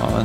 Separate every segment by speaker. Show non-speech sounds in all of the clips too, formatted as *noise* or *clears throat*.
Speaker 1: Ja,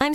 Speaker 2: I'm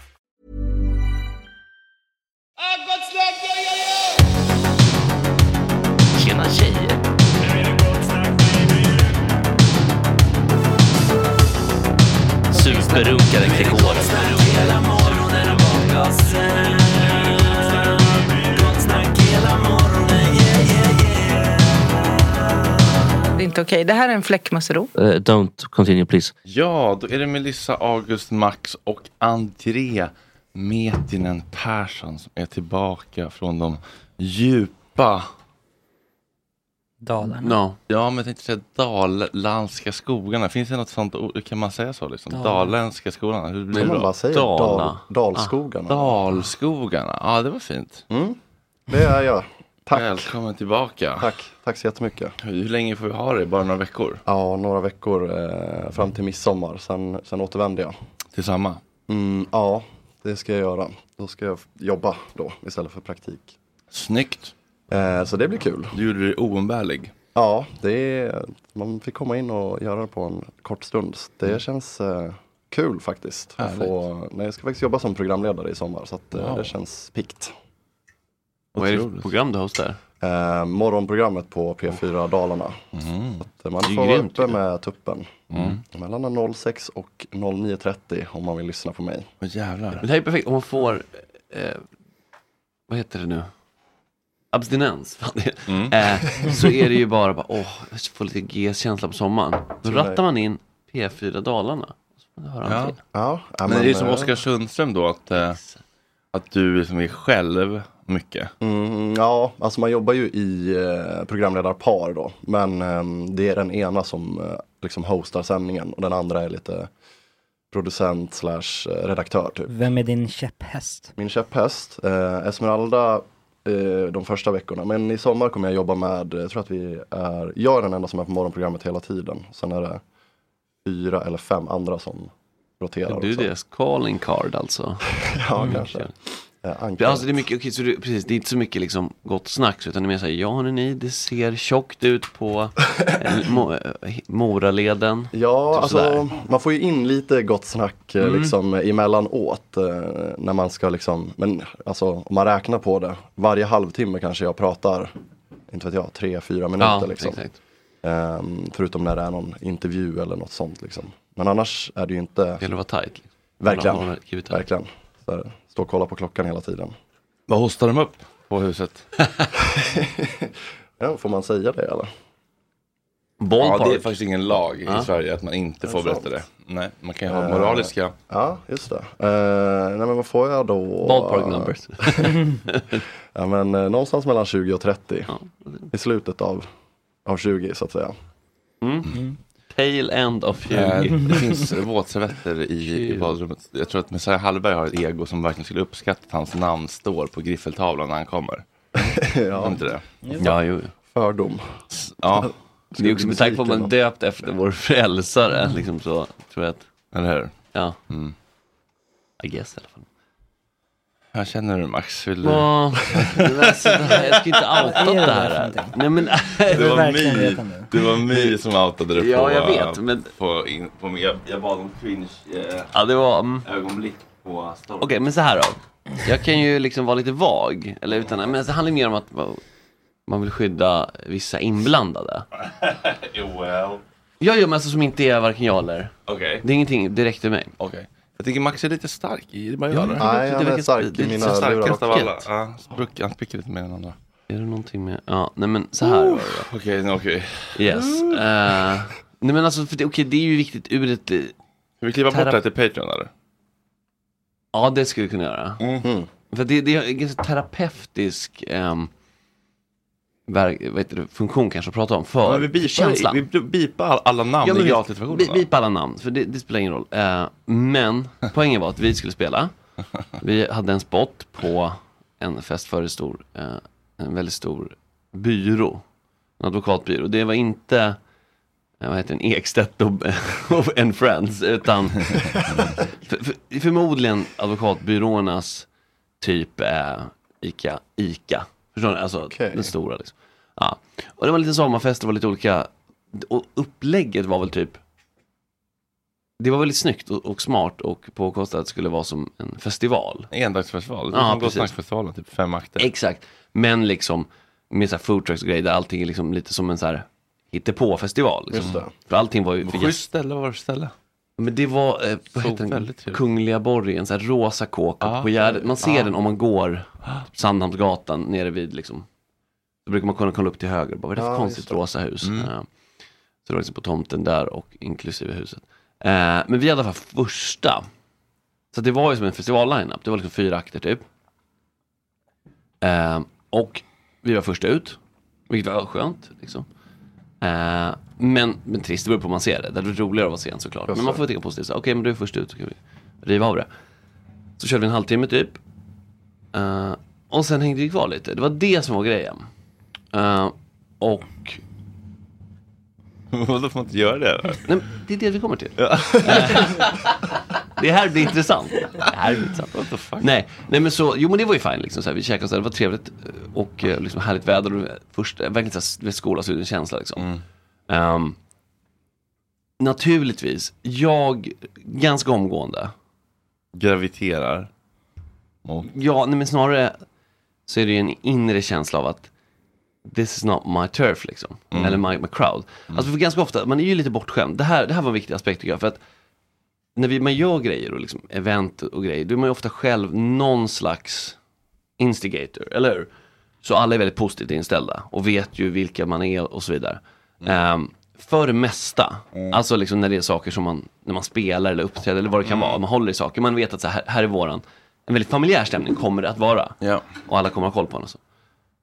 Speaker 3: Tjena tjejer! Superrunkade Gregor.
Speaker 4: Det är inte okej. Det här är en fläckmussero.
Speaker 3: Uh, don't continue please.
Speaker 1: Ja, då är det Melissa August Max och André Metinen Persson som är tillbaka från de djupa,
Speaker 5: Dalarna.
Speaker 6: No.
Speaker 1: ja men jag tänkte säga dalländska skogarna. Finns det något sånt ord? Kan man säga så? Liksom? Dalländska skogarna? Hur blir
Speaker 6: Kan
Speaker 1: det
Speaker 6: man
Speaker 1: då?
Speaker 6: bara säga
Speaker 1: Dala.
Speaker 7: Ah. *laughs*
Speaker 6: dal, dalskogarna?
Speaker 1: Dalskogarna, ja det var fint.
Speaker 6: Det är jag. Tack.
Speaker 1: Välkommen tillbaka.
Speaker 6: Tack, tack så jättemycket.
Speaker 1: Hur länge får vi ha dig? Bara några veckor?
Speaker 6: Ja, några veckor eh, fram till midsommar. Sen, sen återvänder jag.
Speaker 1: Till samma?
Speaker 6: Mm, ja, det ska jag göra. Då ska jag jobba då istället för praktik.
Speaker 1: Snyggt.
Speaker 6: Eh, så det blir kul.
Speaker 1: Du gjorde dig oumbärlig.
Speaker 6: Ja, det är, man fick komma in och göra det på en kort stund. Det
Speaker 1: Mm.
Speaker 6: känns eh, kul faktiskt. Att
Speaker 1: Härligt.
Speaker 6: få, nej, jag ska faktiskt jobba som programledare i sommar så att, eh,
Speaker 1: Wow.
Speaker 6: det känns pikt.
Speaker 7: Vad är det för program du hostar?
Speaker 6: Eh, morgonprogrammet på P4 Dalarna.
Speaker 1: Mm.
Speaker 6: Så att, eh, man
Speaker 7: Det
Speaker 6: får
Speaker 7: är
Speaker 6: vara
Speaker 7: grymt
Speaker 6: uppe med tuppen.
Speaker 7: Mm.
Speaker 6: Mellan 06 och 09.30 om man vill lyssna på mig.
Speaker 1: Åh jävlar.
Speaker 7: Men det här är perfekt om man får, eh, vad heter det nu? Abstinens. *laughs* Fan, det-
Speaker 1: Mm.
Speaker 7: Eh, så är det ju bara, bara åh, jag får lite GS-känsla på sommaren. Då
Speaker 1: Så
Speaker 7: rattar
Speaker 1: där.
Speaker 7: man in P4 Dalarna. Så får man höra
Speaker 1: Ja.
Speaker 7: allting.
Speaker 1: men, eh, det är ju som
Speaker 6: eh,
Speaker 1: Oskar Sundström då, att, eh, att du liksom är själv mycket.
Speaker 6: Mm, ja, alltså man jobbar ju i eh, programledarpar då. Men eh, det är den ena som eh, liksom hostar sändningen och den andra är lite producent slash eh, redaktör typ.
Speaker 5: Vem är din käpphäst?
Speaker 6: Min käpphäst, eh, Esmeralda eh, de första veckorna. Men i sommar kommer jag jobba med, eh, jag tror att vi är, jag är den enda som är på morgonprogrammet hela tiden. Sen är det fyra eller fem andra som roterar.
Speaker 7: Du är
Speaker 6: också.
Speaker 7: deras calling card alltså.
Speaker 6: Ja, kanske. Ja,
Speaker 7: Det, alltså det är mycket, okej, så det, precis, det är inte så mycket liksom gott snack utan det är mer såhär, ja hörni, det ser tjockt ut på
Speaker 6: *laughs*
Speaker 7: eh, mo, eh, Moraleden.
Speaker 6: Ja,
Speaker 7: Typ sådär.
Speaker 6: alltså, man får ju in lite gott snack eh,
Speaker 7: Mm.
Speaker 6: liksom, emellanåt. eh, När man ska liksom, men alltså om man räknar på det, varje halvtimme kanske jag pratar, inte vet jag, tre, fyra minuter.
Speaker 7: Ja,
Speaker 6: liksom.
Speaker 7: exakt.
Speaker 6: Ehm, förutom när det är någon intervju eller något sånt. Liksom. Men annars är det ju inte... Det
Speaker 7: gäller att vara tajt. Man
Speaker 6: Verkligen.
Speaker 7: håller huvudet tajt.
Speaker 6: verkligen. Så här, stå och kolla på klockan hela
Speaker 7: *laughs*
Speaker 6: tiden.
Speaker 1: Vad hostar de upp på huset?
Speaker 6: ja, får man säga det eller?
Speaker 1: Ja, det är faktiskt ingen lag i
Speaker 6: Ja.
Speaker 1: Sverige att man inte
Speaker 6: Är
Speaker 1: får
Speaker 6: det
Speaker 1: berätta
Speaker 6: sant?
Speaker 1: det. Nej, man kan ju ha
Speaker 6: Eh,
Speaker 1: moraliska.
Speaker 6: Ja, just det. Eh, nej men vad får jag då?
Speaker 1: Ballpark numbers.
Speaker 6: *laughs* ja men eh, någonstans mellan 20 och 30. I slutet av, av 20 så att säga.
Speaker 7: Mm. Pale end of
Speaker 1: Eh,
Speaker 7: you.
Speaker 1: Det finns våtservetter i, i badrummet. Jag tror att Messiah Hallberg har ett ego som verkligen skulle uppskatta att hans namn står på griffeltavlan när
Speaker 7: *laughs*
Speaker 1: han kommer. Har de inte det?
Speaker 7: Ja, jo.
Speaker 6: Fördom.
Speaker 1: Ja.
Speaker 7: Det är också med tanke på att man är döpt efter vår frälsare, liksom så, tror jag att.
Speaker 1: Eller hur?
Speaker 7: Ja.
Speaker 1: Mm.
Speaker 7: I guess i alla fall.
Speaker 1: Här känner du Max, vill du?
Speaker 7: Åh, det var så där. Jag *laughs* skulle inte outat det här. Nej, men,
Speaker 1: Det var My, det var My som outade det på,
Speaker 7: Ja, jag vet,
Speaker 1: eh,
Speaker 7: men-
Speaker 1: på, in, på min- jag, jag bad om cringe eh,
Speaker 7: Ja, det var... mm.
Speaker 1: ögonblick på story.
Speaker 7: Okej, men så här då. Jag kan ju liksom vara lite vag, eller utan, men alltså, det handlar ju mer om att man- man vill skydda vissa inblandade.
Speaker 1: well.
Speaker 7: Jag gör men alltså som inte är varken jag eller.
Speaker 1: Okej.
Speaker 7: Det är ingenting direkt för mig.
Speaker 1: Okej. Jag tycker Max är lite stark i det man gör.
Speaker 7: Ja, men Nej, det han är verkar- stark i
Speaker 1: Det är
Speaker 7: mina
Speaker 1: så
Speaker 7: lurar
Speaker 1: starkast
Speaker 7: också.
Speaker 1: av alla. Ja, spruck- han spricker lite mer än andra.
Speaker 7: Är det någonting med, ja, nej men så här var det då.
Speaker 1: Okej, okay, okej.
Speaker 7: Yes.
Speaker 1: Mm.
Speaker 7: Eh, nej men alltså, för det, okej det är ju viktigt ur ett... Ska
Speaker 1: vi kliva bort det här till Patreon eller?
Speaker 7: Ja, det skulle vi kunna göra. För det, det är en ganska terapeutisk um, verk, vad heter det, funktion kanske att prata om för
Speaker 1: Ja, men vi beepar-
Speaker 7: känslan.
Speaker 1: vi beepar alla- alla namn i
Speaker 7: men vi-
Speaker 1: gratisversionen,
Speaker 7: vi-
Speaker 1: va?
Speaker 7: Beepa alla namn, för det, det spelar ingen roll. Eh,
Speaker 1: *laughs*
Speaker 7: men poängen var att vi skulle spela. Vi hade en spot på en fest för en stor, eh, en väldigt stor byrå. En advokatbyrå. Det var inte eh, vad heter den, Ekstedt och, och *laughs* and Friends,
Speaker 1: *laughs*
Speaker 7: utan för, för, förmodligen advokatbyråernas typ eh, Ica, Ica. Förstår ni? Alltså den stora liksom. Ja. Och det var lite sommarfest, det var lite olika, och upplägget var väl typ det var väldigt snyggt och, och smart och påkostat att det skulle vara som en festival.
Speaker 1: Endagsfestival, det är
Speaker 7: Ja,
Speaker 1: som Gott
Speaker 7: precis.
Speaker 1: Snack-festivalen, typ fem akter.
Speaker 7: Exakt, men liksom med så här food trucks och grejer där allting är liksom lite som en så här hittepå-festival. Liksom.
Speaker 1: Just det.
Speaker 7: För allting var ju
Speaker 1: Vad
Speaker 7: för
Speaker 1: Schysst
Speaker 7: gäster.
Speaker 1: ställe var det för ställe?
Speaker 7: Men det var, eh, vad heter den?
Speaker 1: väldigt trevligt.
Speaker 7: Kungliga borgen, så här rosa kåk uppe
Speaker 1: Ah,
Speaker 7: på Gärdet. Man ser
Speaker 1: ah.
Speaker 7: den om man går typ Sandhamnsgatan nere vid liksom. Då brukar man kunna kolla upp till höger, bara, vad är det för
Speaker 1: Ja,
Speaker 7: konstigt
Speaker 1: just det.
Speaker 7: rosa hus? Eh,
Speaker 1: Mm.
Speaker 7: Ja. Så det var liksom på tomten där och inklusive huset. Eh, men vi hade i alla fall första. Så det var ju som en festival-lineup, det var liksom fyra akter typ. Eh, och vi var först ut, vilket var skönt. Liksom. Eh, men, men trist, det beror på hur man ser det. Det hade varit roligare att vara sen såklart. Men man får tänka positivt. så här, Okej, men du är först ut, så kan vi riva av det. Så körde vi en halvtimme typ. Eh, och och sen hängde vi kvar lite. Det var det som var grejen. Eh, och...
Speaker 1: *laughs* Vadå, får man inte göra det? Nej,
Speaker 7: men det är det vi kommer till. Eh, *laughs* det här blir intressant. Det här blir intressant. What the fuck? Nej, nej men så, jo men det var ju fine liksom. Så här, vi käkade och så här, det var trevligt eh, och eh, liksom, härligt väder. Och, eh, först, eh, verkligen så här, skolavslutningskänsla liksom. Ehm, naturligtvis, jag ganska omgående.
Speaker 1: Graviterar?
Speaker 7: Ja, nej men snarare så är det ju en inre känsla av att this is not my turf liksom.
Speaker 1: Mm.
Speaker 7: Eller my, my crowd. Alltså för ganska ofta, man är ju lite bortskämd. Det här, det här var en viktig aspekt tycker jag. För att när vi, man gör grejer och liksom event och grejer, då är man ju ofta själv någon slags instigator, eller hur? Så alla är väldigt positivt inställda och vet ju vilka man är och så vidare. Ehm, för det mesta, alltså liksom när det är saker som man, när man spelar eller uppträder eller vad det kan vara, man håller i saker, man vet att så här, här är våran, en väldigt familjär stämning kommer det att vara. Och alla kommer ha koll på en och så.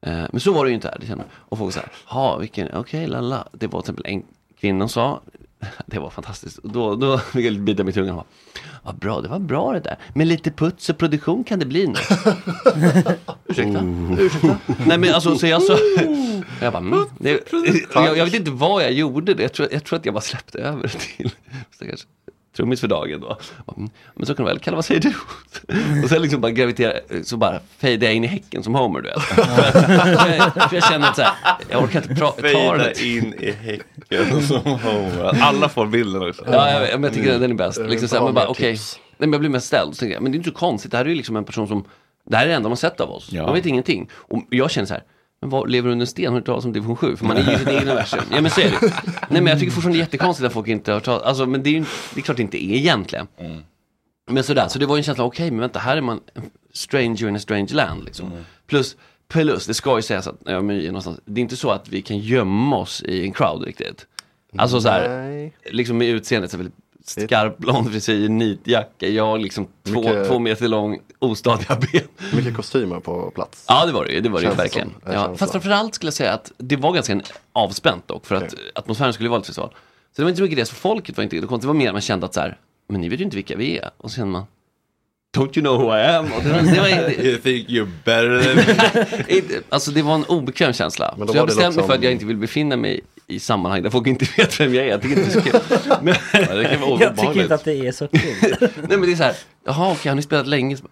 Speaker 7: Eh, Men så var det ju inte här. Det känner jag. och folk så här, ha vilken, okej, lalla. Det var till exempel en kvinna som sa, *laughs* det var fantastiskt. Och Då, då fick jag lite bita mig i tungan. och bara, Vad bra, det var bra det där. Med lite puts och produktion kan det bli nu. ursäkta, ursäkta. *laughs* Nej men alltså, så jag sa, jag bara, mm, det, jag, jag vet inte vad jag gjorde. Det. Jag, tror, jag tror att jag bara släppte över det till stackars trummis för dagen då. Och, mm, Men så kan du väl, Kalle vad säger du? Och sen liksom bara graviterar, så bara fejdar jag in i häcken som Homer *laughs* du vet. för, jag, för jag känner att så här, jag orkar inte prata, ta
Speaker 1: Fejda
Speaker 7: det.
Speaker 1: in i häcken som Homer. Alla får bilden också.
Speaker 7: Ja, jag, vet, men jag tycker den är bäst. Liksom så här, men bara, okej. Nej, men jag blir mest ställd. Så tänker jag, men det är inte så konstigt. Det här är ju liksom en person som, det här är det enda man sett av oss.
Speaker 1: Ja.
Speaker 7: Man vet ingenting. Och jag känner så här, men vad, lever du under en sten? Har du hört talas om division 7? För man är ju i sitt eget universum. Ja men så är det. Nej men jag tycker fortfarande det är jättekonstigt att folk inte har hört talas, alltså men det är ju, det är klart det inte är egentligen.
Speaker 6: Mm.
Speaker 7: Men sådär, så det var ju en känsla, okej men vänta, här är man en stranger in a strange land liksom.
Speaker 6: Mm.
Speaker 7: Plus, plus, det ska ju sägas att när jag är med någonstans, det är inte så att vi kan gömma oss i en crowd riktigt. Alltså så här,
Speaker 6: Nej.
Speaker 7: liksom med utseendet, så väldigt skarp blond frisyr, nitjacka, jag liksom två,
Speaker 6: Mycket-
Speaker 7: två meter lång, ostadiga ben.
Speaker 6: Mycket kostymer på plats.
Speaker 7: Ja det var det ju, det var det ju
Speaker 6: Känns det
Speaker 7: verkligen.
Speaker 6: som, eh,
Speaker 7: Ja,
Speaker 6: känslan.
Speaker 7: fast framförallt skulle jag säga att det var ganska en- avspänt dock, för att atmosfären skulle vara lite så. Så det var inte så mycket det, så folket var inte det konstigt, det var mer att man kände att så här, men ni vet ju inte vilka vi är. Och så kände man, don't you know who I am? Och det, var- det var, det,
Speaker 1: You think you're better than me?
Speaker 7: inte- alltså det var en obekväm känsla.
Speaker 1: Men då
Speaker 7: Så jag
Speaker 1: var det
Speaker 7: bestämde mig
Speaker 1: liksom-
Speaker 7: för att jag inte vill befinna mig i sammanhang där folk inte *laughs* vet vem jag är. Jag tycker inte det är så kul. Men... det kan
Speaker 5: Jag tycker inte att det är så kul.
Speaker 7: Nej men det är så här, jaha okej, har ni spelat länge? Så bara,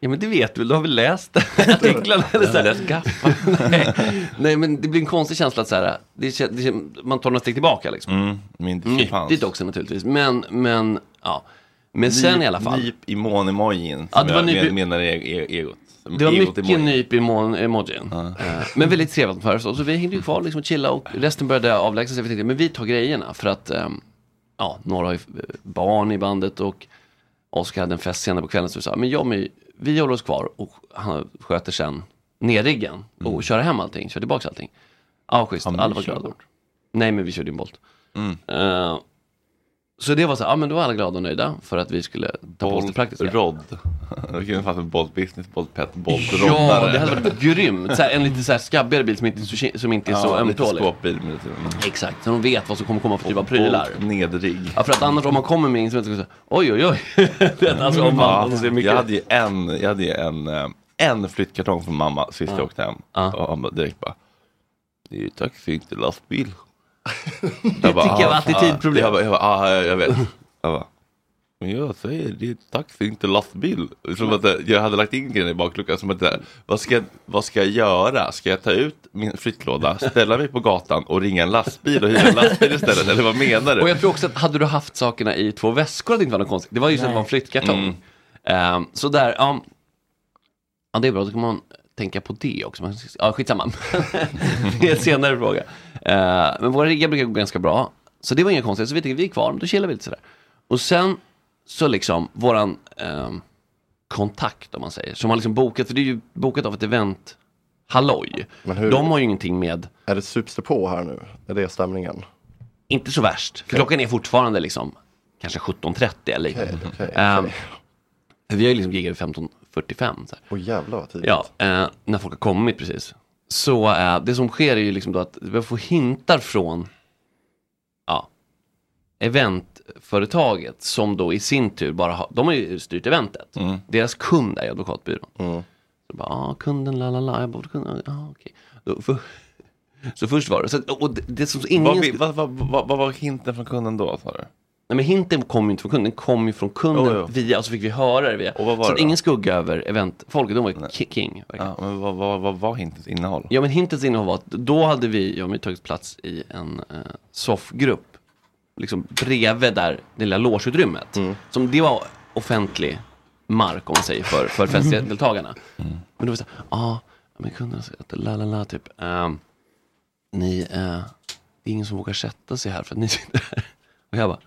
Speaker 7: Ja men det vet du väl, du har väl läst artiklarna? Eller så här, läst gaffa. *laughs* Nej. Nej men det blir en konstig känsla att så här, det, kän- det, kän- man tar några steg tillbaka liksom.
Speaker 1: Mm, min diskrepans.
Speaker 7: Nyttigt också naturligtvis, men, men ja. Men sen
Speaker 1: Nyp-
Speaker 7: i alla fall.
Speaker 1: Nyp i månemojin.
Speaker 7: Ja,
Speaker 1: Som
Speaker 7: det var
Speaker 1: jag
Speaker 7: nyp i-
Speaker 1: men- menar är är- egot.
Speaker 7: Det var
Speaker 1: Egot i
Speaker 7: mycket
Speaker 1: mojin.
Speaker 7: nyp i mon- emojin. Eh, Men väldigt trevligt för oss. Och Så vi hängde ju kvar liksom och chillade och resten började avlägsna sig. Vi tänkte, men vi tar grejerna för att ehm, ja, några har ju eh, barn i bandet och Oskar hade en fest senare på kvällen. Så vi sa, men jag och My, vi håller oss kvar och han sköter sen ner riggen och
Speaker 1: Mm.
Speaker 7: kör hem allting, kör tillbaka allting. Ja, schysst.
Speaker 1: My
Speaker 7: Alla var
Speaker 1: kör
Speaker 7: glada.
Speaker 1: bort. Mm.
Speaker 7: Nej, men vi körde ju en Bolt. Eh, så det var så, här, ja men då var alla glada och nöjda för att vi skulle ta på oss det praktiska.
Speaker 1: *laughs* Rodd. Då kunde fatta Bolt Business, Bolt Pet, Bolt
Speaker 7: Ja, det hade varit grymt. Så här, en lite så här skabbigare bil som inte, är så- som inte är så
Speaker 1: Ja, lite
Speaker 7: ömtålig.
Speaker 1: skåpbil med lite...
Speaker 7: Exakt, så de vet vad som kommer komma för liksom. typ av prylar.
Speaker 1: Nedrigg.
Speaker 7: Ja, för att annars om man kommer med instrument så kommer man säga, oj oj *laughs* oj. Det är alltså om man,
Speaker 1: Ja,
Speaker 7: alltså, det är mycket...
Speaker 1: Jag hade ju en, jag hade ju en, eh, en flyttkartong från mamma sist jag åkte hem. Och han bara direkt bara, det är ju taxi, inte lastbil. Det
Speaker 7: tycker jag var attitydproblem."
Speaker 1: Jag bara, jag bara, ah, jag jag vet. Jag bara, men jag säger det är taxi, inte lastbil. Som att eh, jag hade lagt in grejen i bakluckan. Som att, eh, vad ska, jag- vad ska jag göra? Ska jag ta ut min flyttlåda, ställa mig på gatan och ringa en lastbil och hyra en lastbil istället? Eller vad menar du?
Speaker 7: Och jag tror också att hade du haft sakerna i två väskor hade det inte varit något konstigt. Det var ju som att det var en flyttkartong. Ehm, så där, ja. ja, det är bra. Då kan man tänka på det också. Man- Ja, skitsamma. *laughs* det är en senare fråga. Ehm, men våra riggar brukar gå ganska bra. Så det var inga konstigheter. Så vi tänkte, vi är kvar, men då chillar vi lite sådär. Och sen så liksom, våran ehm, kontakt om man säger, som har liksom bokat, för det är ju bokat av ett event, halloj.
Speaker 6: hur-
Speaker 7: De har ju ingenting med
Speaker 6: Är det sups det på här nu? Är det stämningen?
Speaker 7: inte så värst. För
Speaker 6: Okej.
Speaker 7: klockan är fortfarande liksom kanske 17.30 eller liknande. Ehm, Vi har ju liksom giggat vid 15.45. så här.
Speaker 6: Åh jävlar vad tidigt.
Speaker 7: Ja, eh, när folk har kommit precis. Så eh, det som sker är ju liksom då att vi får hintar från ja, eventföretaget
Speaker 6: Mm.
Speaker 7: som då i sin tur bara har, de har ju styrt eventet. Deras kund är ju advokatbyrån. Så bara, ah, kunden, la la la, jag borde kunna, ah, okej. Då- för- *laughs* Så först var det, så, att- och det, det som ingen...
Speaker 1: Vad-
Speaker 7: vad, var hinten från kunden då, sa du? Nej men hinten kom ju inte från kunden, den kom ju från kunden
Speaker 1: Jo, jo.
Speaker 7: via, och så fick vi höra det via.
Speaker 1: Och vad var
Speaker 7: så
Speaker 1: det
Speaker 7: att
Speaker 1: då?
Speaker 7: ingen skugga över eventfolket, de var ju ki- king. Ja, men vad, var hintens innehåll? Ja men hintens innehåll var att då hade vi, jag och mig, tagit plats i en eh, soffgrupp, liksom bredvid där, det lilla logeutrymmet.
Speaker 1: Mm.
Speaker 7: Som det var offentlig mark om man säger för, för
Speaker 1: Mm.
Speaker 7: festdeltagarna. Men då var det så här, ja, men kunderna säger att la la la typ. ehm, ni, eh, det är ingen som vågar sätta sig här för att ni sitter här. Och jag bara,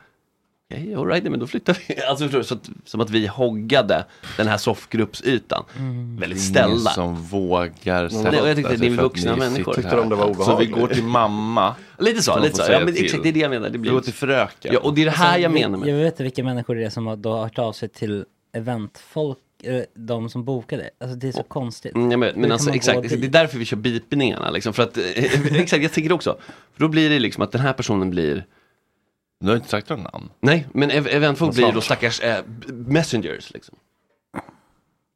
Speaker 7: okej, all right, men då flyttar vi. *laughs* Alltså förstår du, så att, som att vi hoggade den här soffgruppsytan.
Speaker 1: Mm.
Speaker 7: Väldigt
Speaker 1: Ingen
Speaker 7: ställda.
Speaker 1: som vågar
Speaker 7: Nej,
Speaker 1: sätta
Speaker 7: och Jag tyckte
Speaker 1: sig
Speaker 7: det är
Speaker 1: för att
Speaker 7: vuxna
Speaker 1: ni
Speaker 7: människor.
Speaker 1: sitter här. Tyckte de det var Så obehagligt? vi går till mamma,
Speaker 7: Lite så,
Speaker 1: som
Speaker 7: lite
Speaker 1: får
Speaker 7: så. Ja,
Speaker 1: säga
Speaker 7: men
Speaker 1: till.
Speaker 7: exakt, det är det jag menar. Det blir...
Speaker 1: Vi går till fröken.
Speaker 7: Ja, och det är det här
Speaker 5: Alltså,
Speaker 7: jag
Speaker 5: vi-
Speaker 7: menar med.
Speaker 5: Jag vet inte vilka människor det är som har då hört av sig till eventfolk, eh, de som bokade. Alltså det är så konstigt.
Speaker 7: Mm, ja,
Speaker 5: Hur
Speaker 7: men, men
Speaker 5: kan
Speaker 7: alltså,
Speaker 5: man gå
Speaker 7: exakt,
Speaker 5: dit?
Speaker 7: det är därför vi kör bipningarna. Liksom, för att, *laughs* exakt, jag tänker det också. För då blir det liksom att den här personen blir... Du har inte sagt några namn. Nej, men ev- eventfolk
Speaker 1: Vad
Speaker 7: blir
Speaker 1: fan?
Speaker 7: då stackars eh, b- messengers. Liksom.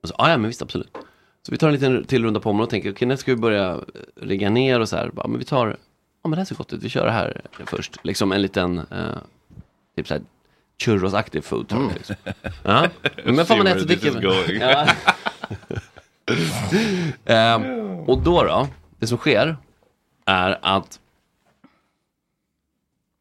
Speaker 7: Och så, ah, ja, men visst, absolut. Så vi tar en liten till runda på området och tänker, okej, när ska vi börja eh, rigga ner och så här. Bara, men vi tar, ja men det här ser gott ut, vi kör det här först. Liksom en liten, eh, typ så här, churros-aktig food truck. Liksom. Ja. Men fan man
Speaker 1: Mm. See
Speaker 7: äter och
Speaker 1: where this is
Speaker 7: dricker.
Speaker 1: going.
Speaker 7: Ja. Ehm, och då då, det som sker är att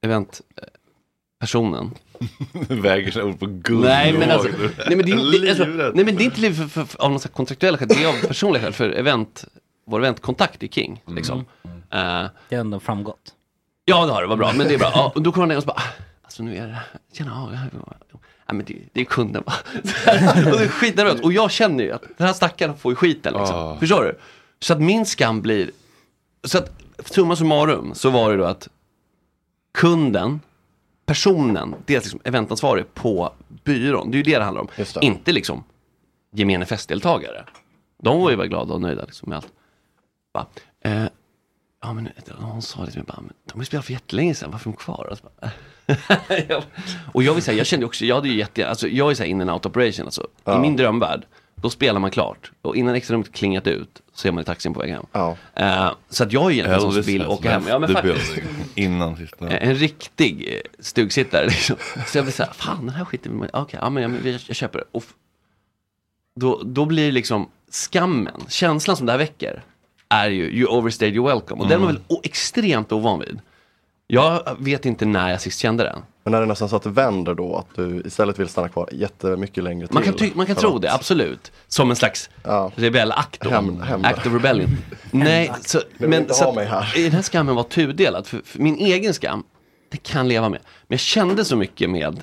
Speaker 7: eh, eventpersonen
Speaker 1: *laughs* väger sig upp på guld.
Speaker 7: Nej men alltså, nej men det är, det, alltså,
Speaker 1: Livet.
Speaker 7: nej, men det är inte liv för, för, för, av någon slags kontraktuella skäl, det är av personliga skäl. För event, vår eventkontakt är king.
Speaker 1: Mm.
Speaker 7: Liksom. Eh,
Speaker 5: Det har ändå framgått.
Speaker 7: ja det har det, vad bra, men det är bra. Ja, och då kommer han ner och så bara, "Ah, alltså nu är det, tjena, ja, ja, ja." Nej, men det, det är kunden va. *laughs* Så här, och det är skitnervöst. Och jag känner ju att den här stackaren får ju skiten liksom.
Speaker 1: Ah.
Speaker 7: Förstår du? Så att min skam blir, så att summa summarum så var det då att kunden, personen, dels liksom eventansvarig på byrån. Det är ju det det handlar om. Inte liksom gemene festdeltagare. De var ju bara glada och nöjda liksom, med allt. Bara, eh, ja men eh, hon sa det till mig, bara, men de har ju spelat för jättelänge sedan, varför är de kvar? Alltså, bara, jag- *laughs* och jag vill säga, jag kände också, jag hade ju jätte, alltså jag är såhär in and out operation alltså. I
Speaker 1: Ja.
Speaker 7: min drömvärld, då spelar man klart. Och innan extrarummet klingat ut, så är man i taxin på väg hem. Eh, så att jag är ju egentligen sån som
Speaker 1: Elvis
Speaker 7: vill
Speaker 1: has
Speaker 7: åka hem.
Speaker 1: left
Speaker 7: Ja men
Speaker 1: the
Speaker 7: faktiskt.
Speaker 1: building. Innan sista.
Speaker 7: Eh, En riktig eh, stugsittare liksom. Så jag blir såhär, fan den här skiten vill man okej, ja men jag, men jag, jag köper det. Och f- då, då blir det liksom skammen, känslan som det här väcker, är ju you overstayed your welcome. Och den var
Speaker 6: Mm.
Speaker 7: väl o- extremt ovan vid. Jag vet inte när jag sist kände den.
Speaker 6: Men är det nästan så att det vänder då? Att du istället vill stanna kvar jättemycket längre till?
Speaker 7: Man kan, ty- man kan
Speaker 6: för
Speaker 7: tro
Speaker 6: att-
Speaker 7: det, absolut. Som en slags rebellakt. då.
Speaker 6: Hämnd- hämnd.
Speaker 7: Act
Speaker 6: *laughs*
Speaker 7: of rebellion. Nej, så,
Speaker 6: vill
Speaker 7: men
Speaker 6: inte
Speaker 7: så
Speaker 6: ha
Speaker 7: att-
Speaker 6: mig här.
Speaker 7: i den här skammen var tudelad. För, för min egen skam, det kan jag leva med. Men jag kände så mycket med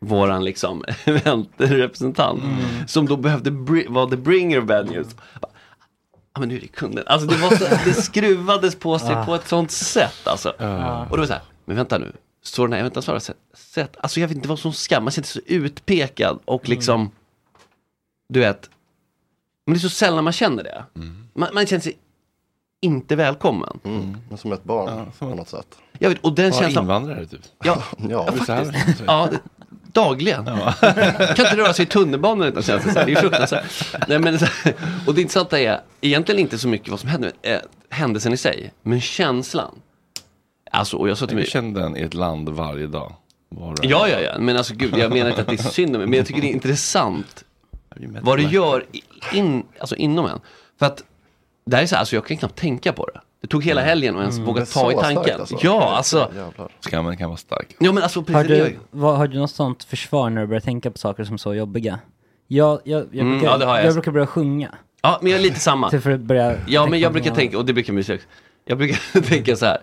Speaker 7: våran liksom *laughs* eventrepresentant.
Speaker 6: Mm.
Speaker 7: Som då behövde bri- vara the bringer of bad news. Bara, Ja men nu är det kunden. Alltså det, var så, det skruvades på sig
Speaker 1: Ah.
Speaker 7: på ett sånt sätt alltså.
Speaker 1: Ah.
Speaker 7: Och det var så här, men vänta nu. Står den här eventansvariga sätt, sätt? Alltså jag vet inte vad som skam, man känner sig så utpekad och
Speaker 6: Mm.
Speaker 7: liksom du vet, men det är så sällan man känner det.
Speaker 6: Mm.
Speaker 7: Man, man känner sig inte välkommen.
Speaker 6: Men som ett barn på något sätt.
Speaker 7: Jag vet, och den
Speaker 6: Ja,
Speaker 7: känslan...
Speaker 6: invandrare, typ.
Speaker 7: Ja,
Speaker 6: *laughs* Ja,
Speaker 7: ja,
Speaker 6: det är så här
Speaker 7: faktiskt. Ja, det- dagligen. *laughs* Kan inte röra sig i tunnelbanan utan att känna sig så här. Det är ju fruktansvärt. Nej, men, så- och det intressanta är egentligen inte så mycket vad som hände, eh, händelsen i sig, men känslan. Alltså, och jag sa till
Speaker 1: Jag
Speaker 7: mig...
Speaker 1: kände den i ett land varje dag. Var och en.
Speaker 7: Ja, ja, ja, men alltså gud, jag menar inte att det är synd om mig, men jag tycker det är intressant vad det gör i- in, alltså inom en. För att det här är så här, alltså jag kan knappt tänka på det. Det tog hela helgen att ens
Speaker 1: Mm.
Speaker 7: våga
Speaker 1: Det är så
Speaker 7: ta i
Speaker 1: starkt,
Speaker 7: tanken.
Speaker 1: alltså.
Speaker 7: Ja, alltså.
Speaker 1: Skammen kan vara stark.
Speaker 7: Ja, men alltså
Speaker 5: Har
Speaker 7: precis.
Speaker 5: du, vad, har du något sånt försvar när du börjar tänka på saker som är så jobbiga? Jag, jag, jag,
Speaker 7: Mm,
Speaker 5: brukar,
Speaker 7: ja, det har jag.
Speaker 5: jag. brukar börja sjunga.
Speaker 7: Ja, men jag är lite samma.
Speaker 5: Så för att börja
Speaker 7: ja, men jag
Speaker 5: på
Speaker 7: brukar
Speaker 5: något.
Speaker 7: tänka, och det brukar min tjej också. Jag brukar *laughs* tänka så här.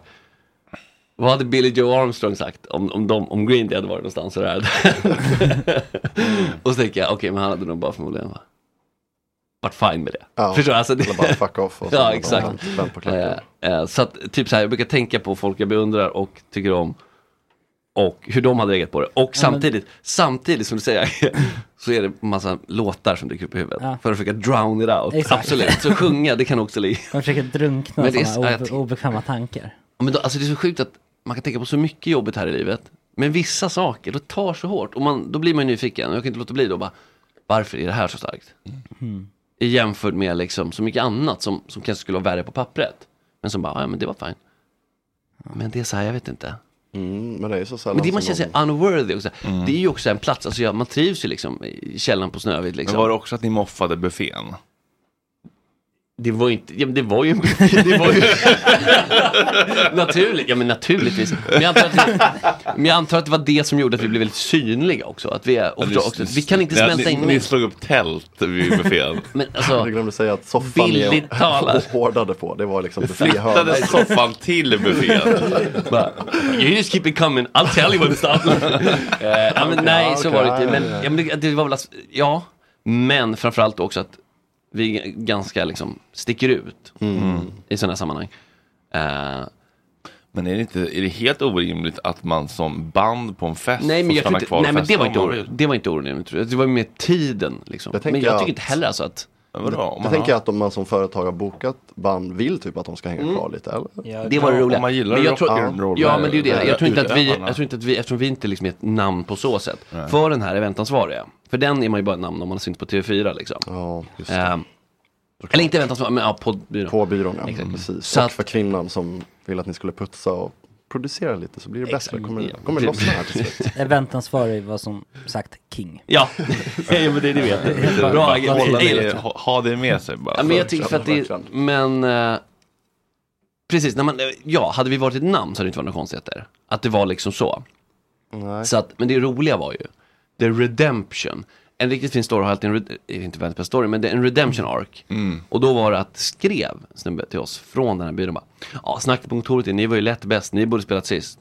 Speaker 7: Vad hade Billy Joe Armstrong sagt om, om, de, om Green Day hade varit någonstans och det här
Speaker 1: Mm.
Speaker 7: *laughs* Och så tänker jag, okej, men han hade nog bara förmodligen va? varit fine med det.
Speaker 6: Ja,
Speaker 7: Förstår du? Alltså, det...
Speaker 6: eller bara fuck off och så
Speaker 7: *laughs* ja,
Speaker 6: bara
Speaker 7: exakt.
Speaker 6: vänt- vänt på klacken.
Speaker 7: Eh, eh, så att, typ så här, jag brukar tänka på folk jag beundrar och tycker om. Och hur de hade reagerat på det. Och
Speaker 5: men-
Speaker 7: samtidigt, samtidigt som du säger, *laughs* så är det massa låtar som dyker upp i huvudet.
Speaker 5: Ja.
Speaker 7: För att försöka drown it out.
Speaker 5: Exakt.
Speaker 7: Absolut, så sjunga, det kan också ligga.
Speaker 5: Jag försöker drunkna
Speaker 7: Men det är
Speaker 5: i
Speaker 7: så-
Speaker 5: sådana
Speaker 7: jag
Speaker 5: obe,
Speaker 7: tycker-
Speaker 5: obekväma tankar.
Speaker 7: Ja, Men då, alltså det är så sjukt att man kan tänka på så mycket jobbigt här i livet. Men vissa saker, det tar så hårt. Och man, då blir man ju nyfiken. Jag kan inte låta bli då bara, varför är det här så starkt? jämfört med liksom så mycket annat som, som kanske skulle vara värre på pappret. Men som bara, ja men det var fine. Men det är så här, jag vet inte.
Speaker 6: Mm, men det är så sällan
Speaker 7: Men det man
Speaker 6: som
Speaker 7: känner sig
Speaker 6: någon-
Speaker 7: unworthy också.
Speaker 1: Mm.
Speaker 7: Det är ju också en plats, alltså jag, man trivs ju liksom i källaren på Snövit liksom.
Speaker 1: Men var det också att ni moffade buffén?
Speaker 7: Det var ju inte, ja, men det var ju en det var ju... *laughs* Naturligt, ja men naturligtvis. Men jag, antar att, men jag antar att det var det som gjorde att vi blev väldigt synliga också. Att vi, är, och förstå- också, vi kan inte
Speaker 1: Nej,
Speaker 7: smälta
Speaker 1: ni,
Speaker 7: in
Speaker 1: Ni
Speaker 7: mer.
Speaker 1: slog upp tält vid
Speaker 7: *laughs*
Speaker 1: buffén.
Speaker 7: Men alltså,
Speaker 6: jag glömde säga att soffan
Speaker 7: Bildligt talat.
Speaker 6: jag *laughs* hårdade på, det var liksom
Speaker 1: Flyttade soffan till buffén.
Speaker 7: Bara, you just keep it coming, I'll tell you when to stop. Eh, ja, men
Speaker 1: Okej,
Speaker 7: nej,
Speaker 1: *laughs* ja,
Speaker 7: så
Speaker 1: okej,
Speaker 7: var det inte. Men,
Speaker 1: ja, ja, ja.
Speaker 7: ja, men det- det var väl att, ja, men framförallt också att vi g- ganska liksom sticker ut
Speaker 1: Mm.
Speaker 7: i sådana här sammanhang. Eh,
Speaker 1: Men är det, inte, är det helt orimligt att man som band på en fest
Speaker 7: Nej, men,
Speaker 1: får
Speaker 7: jag tror
Speaker 1: stanna
Speaker 7: inte,
Speaker 1: kvar och
Speaker 7: nej, men det
Speaker 1: festa
Speaker 7: var
Speaker 1: om
Speaker 7: inte,
Speaker 1: man
Speaker 7: or-
Speaker 1: vill?
Speaker 7: det var inte orimligt. tror jag. Det var med tiden liksom.
Speaker 6: Jag tänker
Speaker 7: men jag
Speaker 6: att-
Speaker 7: tycker inte heller alltså att...
Speaker 6: det tänker jag att om man som företag har bokat band vill typ att de ska hänga kvar lite, eller?
Speaker 7: Mm. det var det roliga. men jag tror,
Speaker 6: Ja.
Speaker 7: ja, men det är ju det. Jag tror inte att vi,
Speaker 6: Utövarna.
Speaker 7: jag tror inte att vi eftersom vi inte liksom är ett namn på så sätt,
Speaker 6: Nej.
Speaker 7: för den här eventansvariga, för den är man ju bara ett namn om man har synts på TV4 liksom. Ehm, eller inte eventansvarig, men ja, poddbyrån.
Speaker 6: På byrån, ja.
Speaker 7: Exakt.
Speaker 6: Precis.
Speaker 7: Så
Speaker 6: och
Speaker 7: att-
Speaker 6: för kvinnan som vill att ni skulle putsa och producera lite så blir det bättre.
Speaker 7: Exakt.
Speaker 6: Kommer,
Speaker 7: Ja,
Speaker 6: kommer det
Speaker 7: typ.
Speaker 6: lossna här till slut?
Speaker 5: Eventansvarig var som sagt king.
Speaker 7: Ja, *laughs* ja men det, det vet jag. Bra, jag,
Speaker 1: Hålla
Speaker 7: jag,
Speaker 1: det- ha- ha det med sig bara.
Speaker 7: Ja, men jag tycker för att det, men eh, precis, när man, eh, ja, hade vi varit ett namn så hade det inte varit några konstigheter. Att det var liksom så. Så att, men det roliga var ju, the redemption. En riktigt fin story har alltid en, red- eh, inte världens bästa story, men det är en redemption arc. Och då var det att skrev en snubbe till oss från den här byrån bara, ja, snacket på kontoret, är, ni var ju lätt bäst, ni borde spelat sist.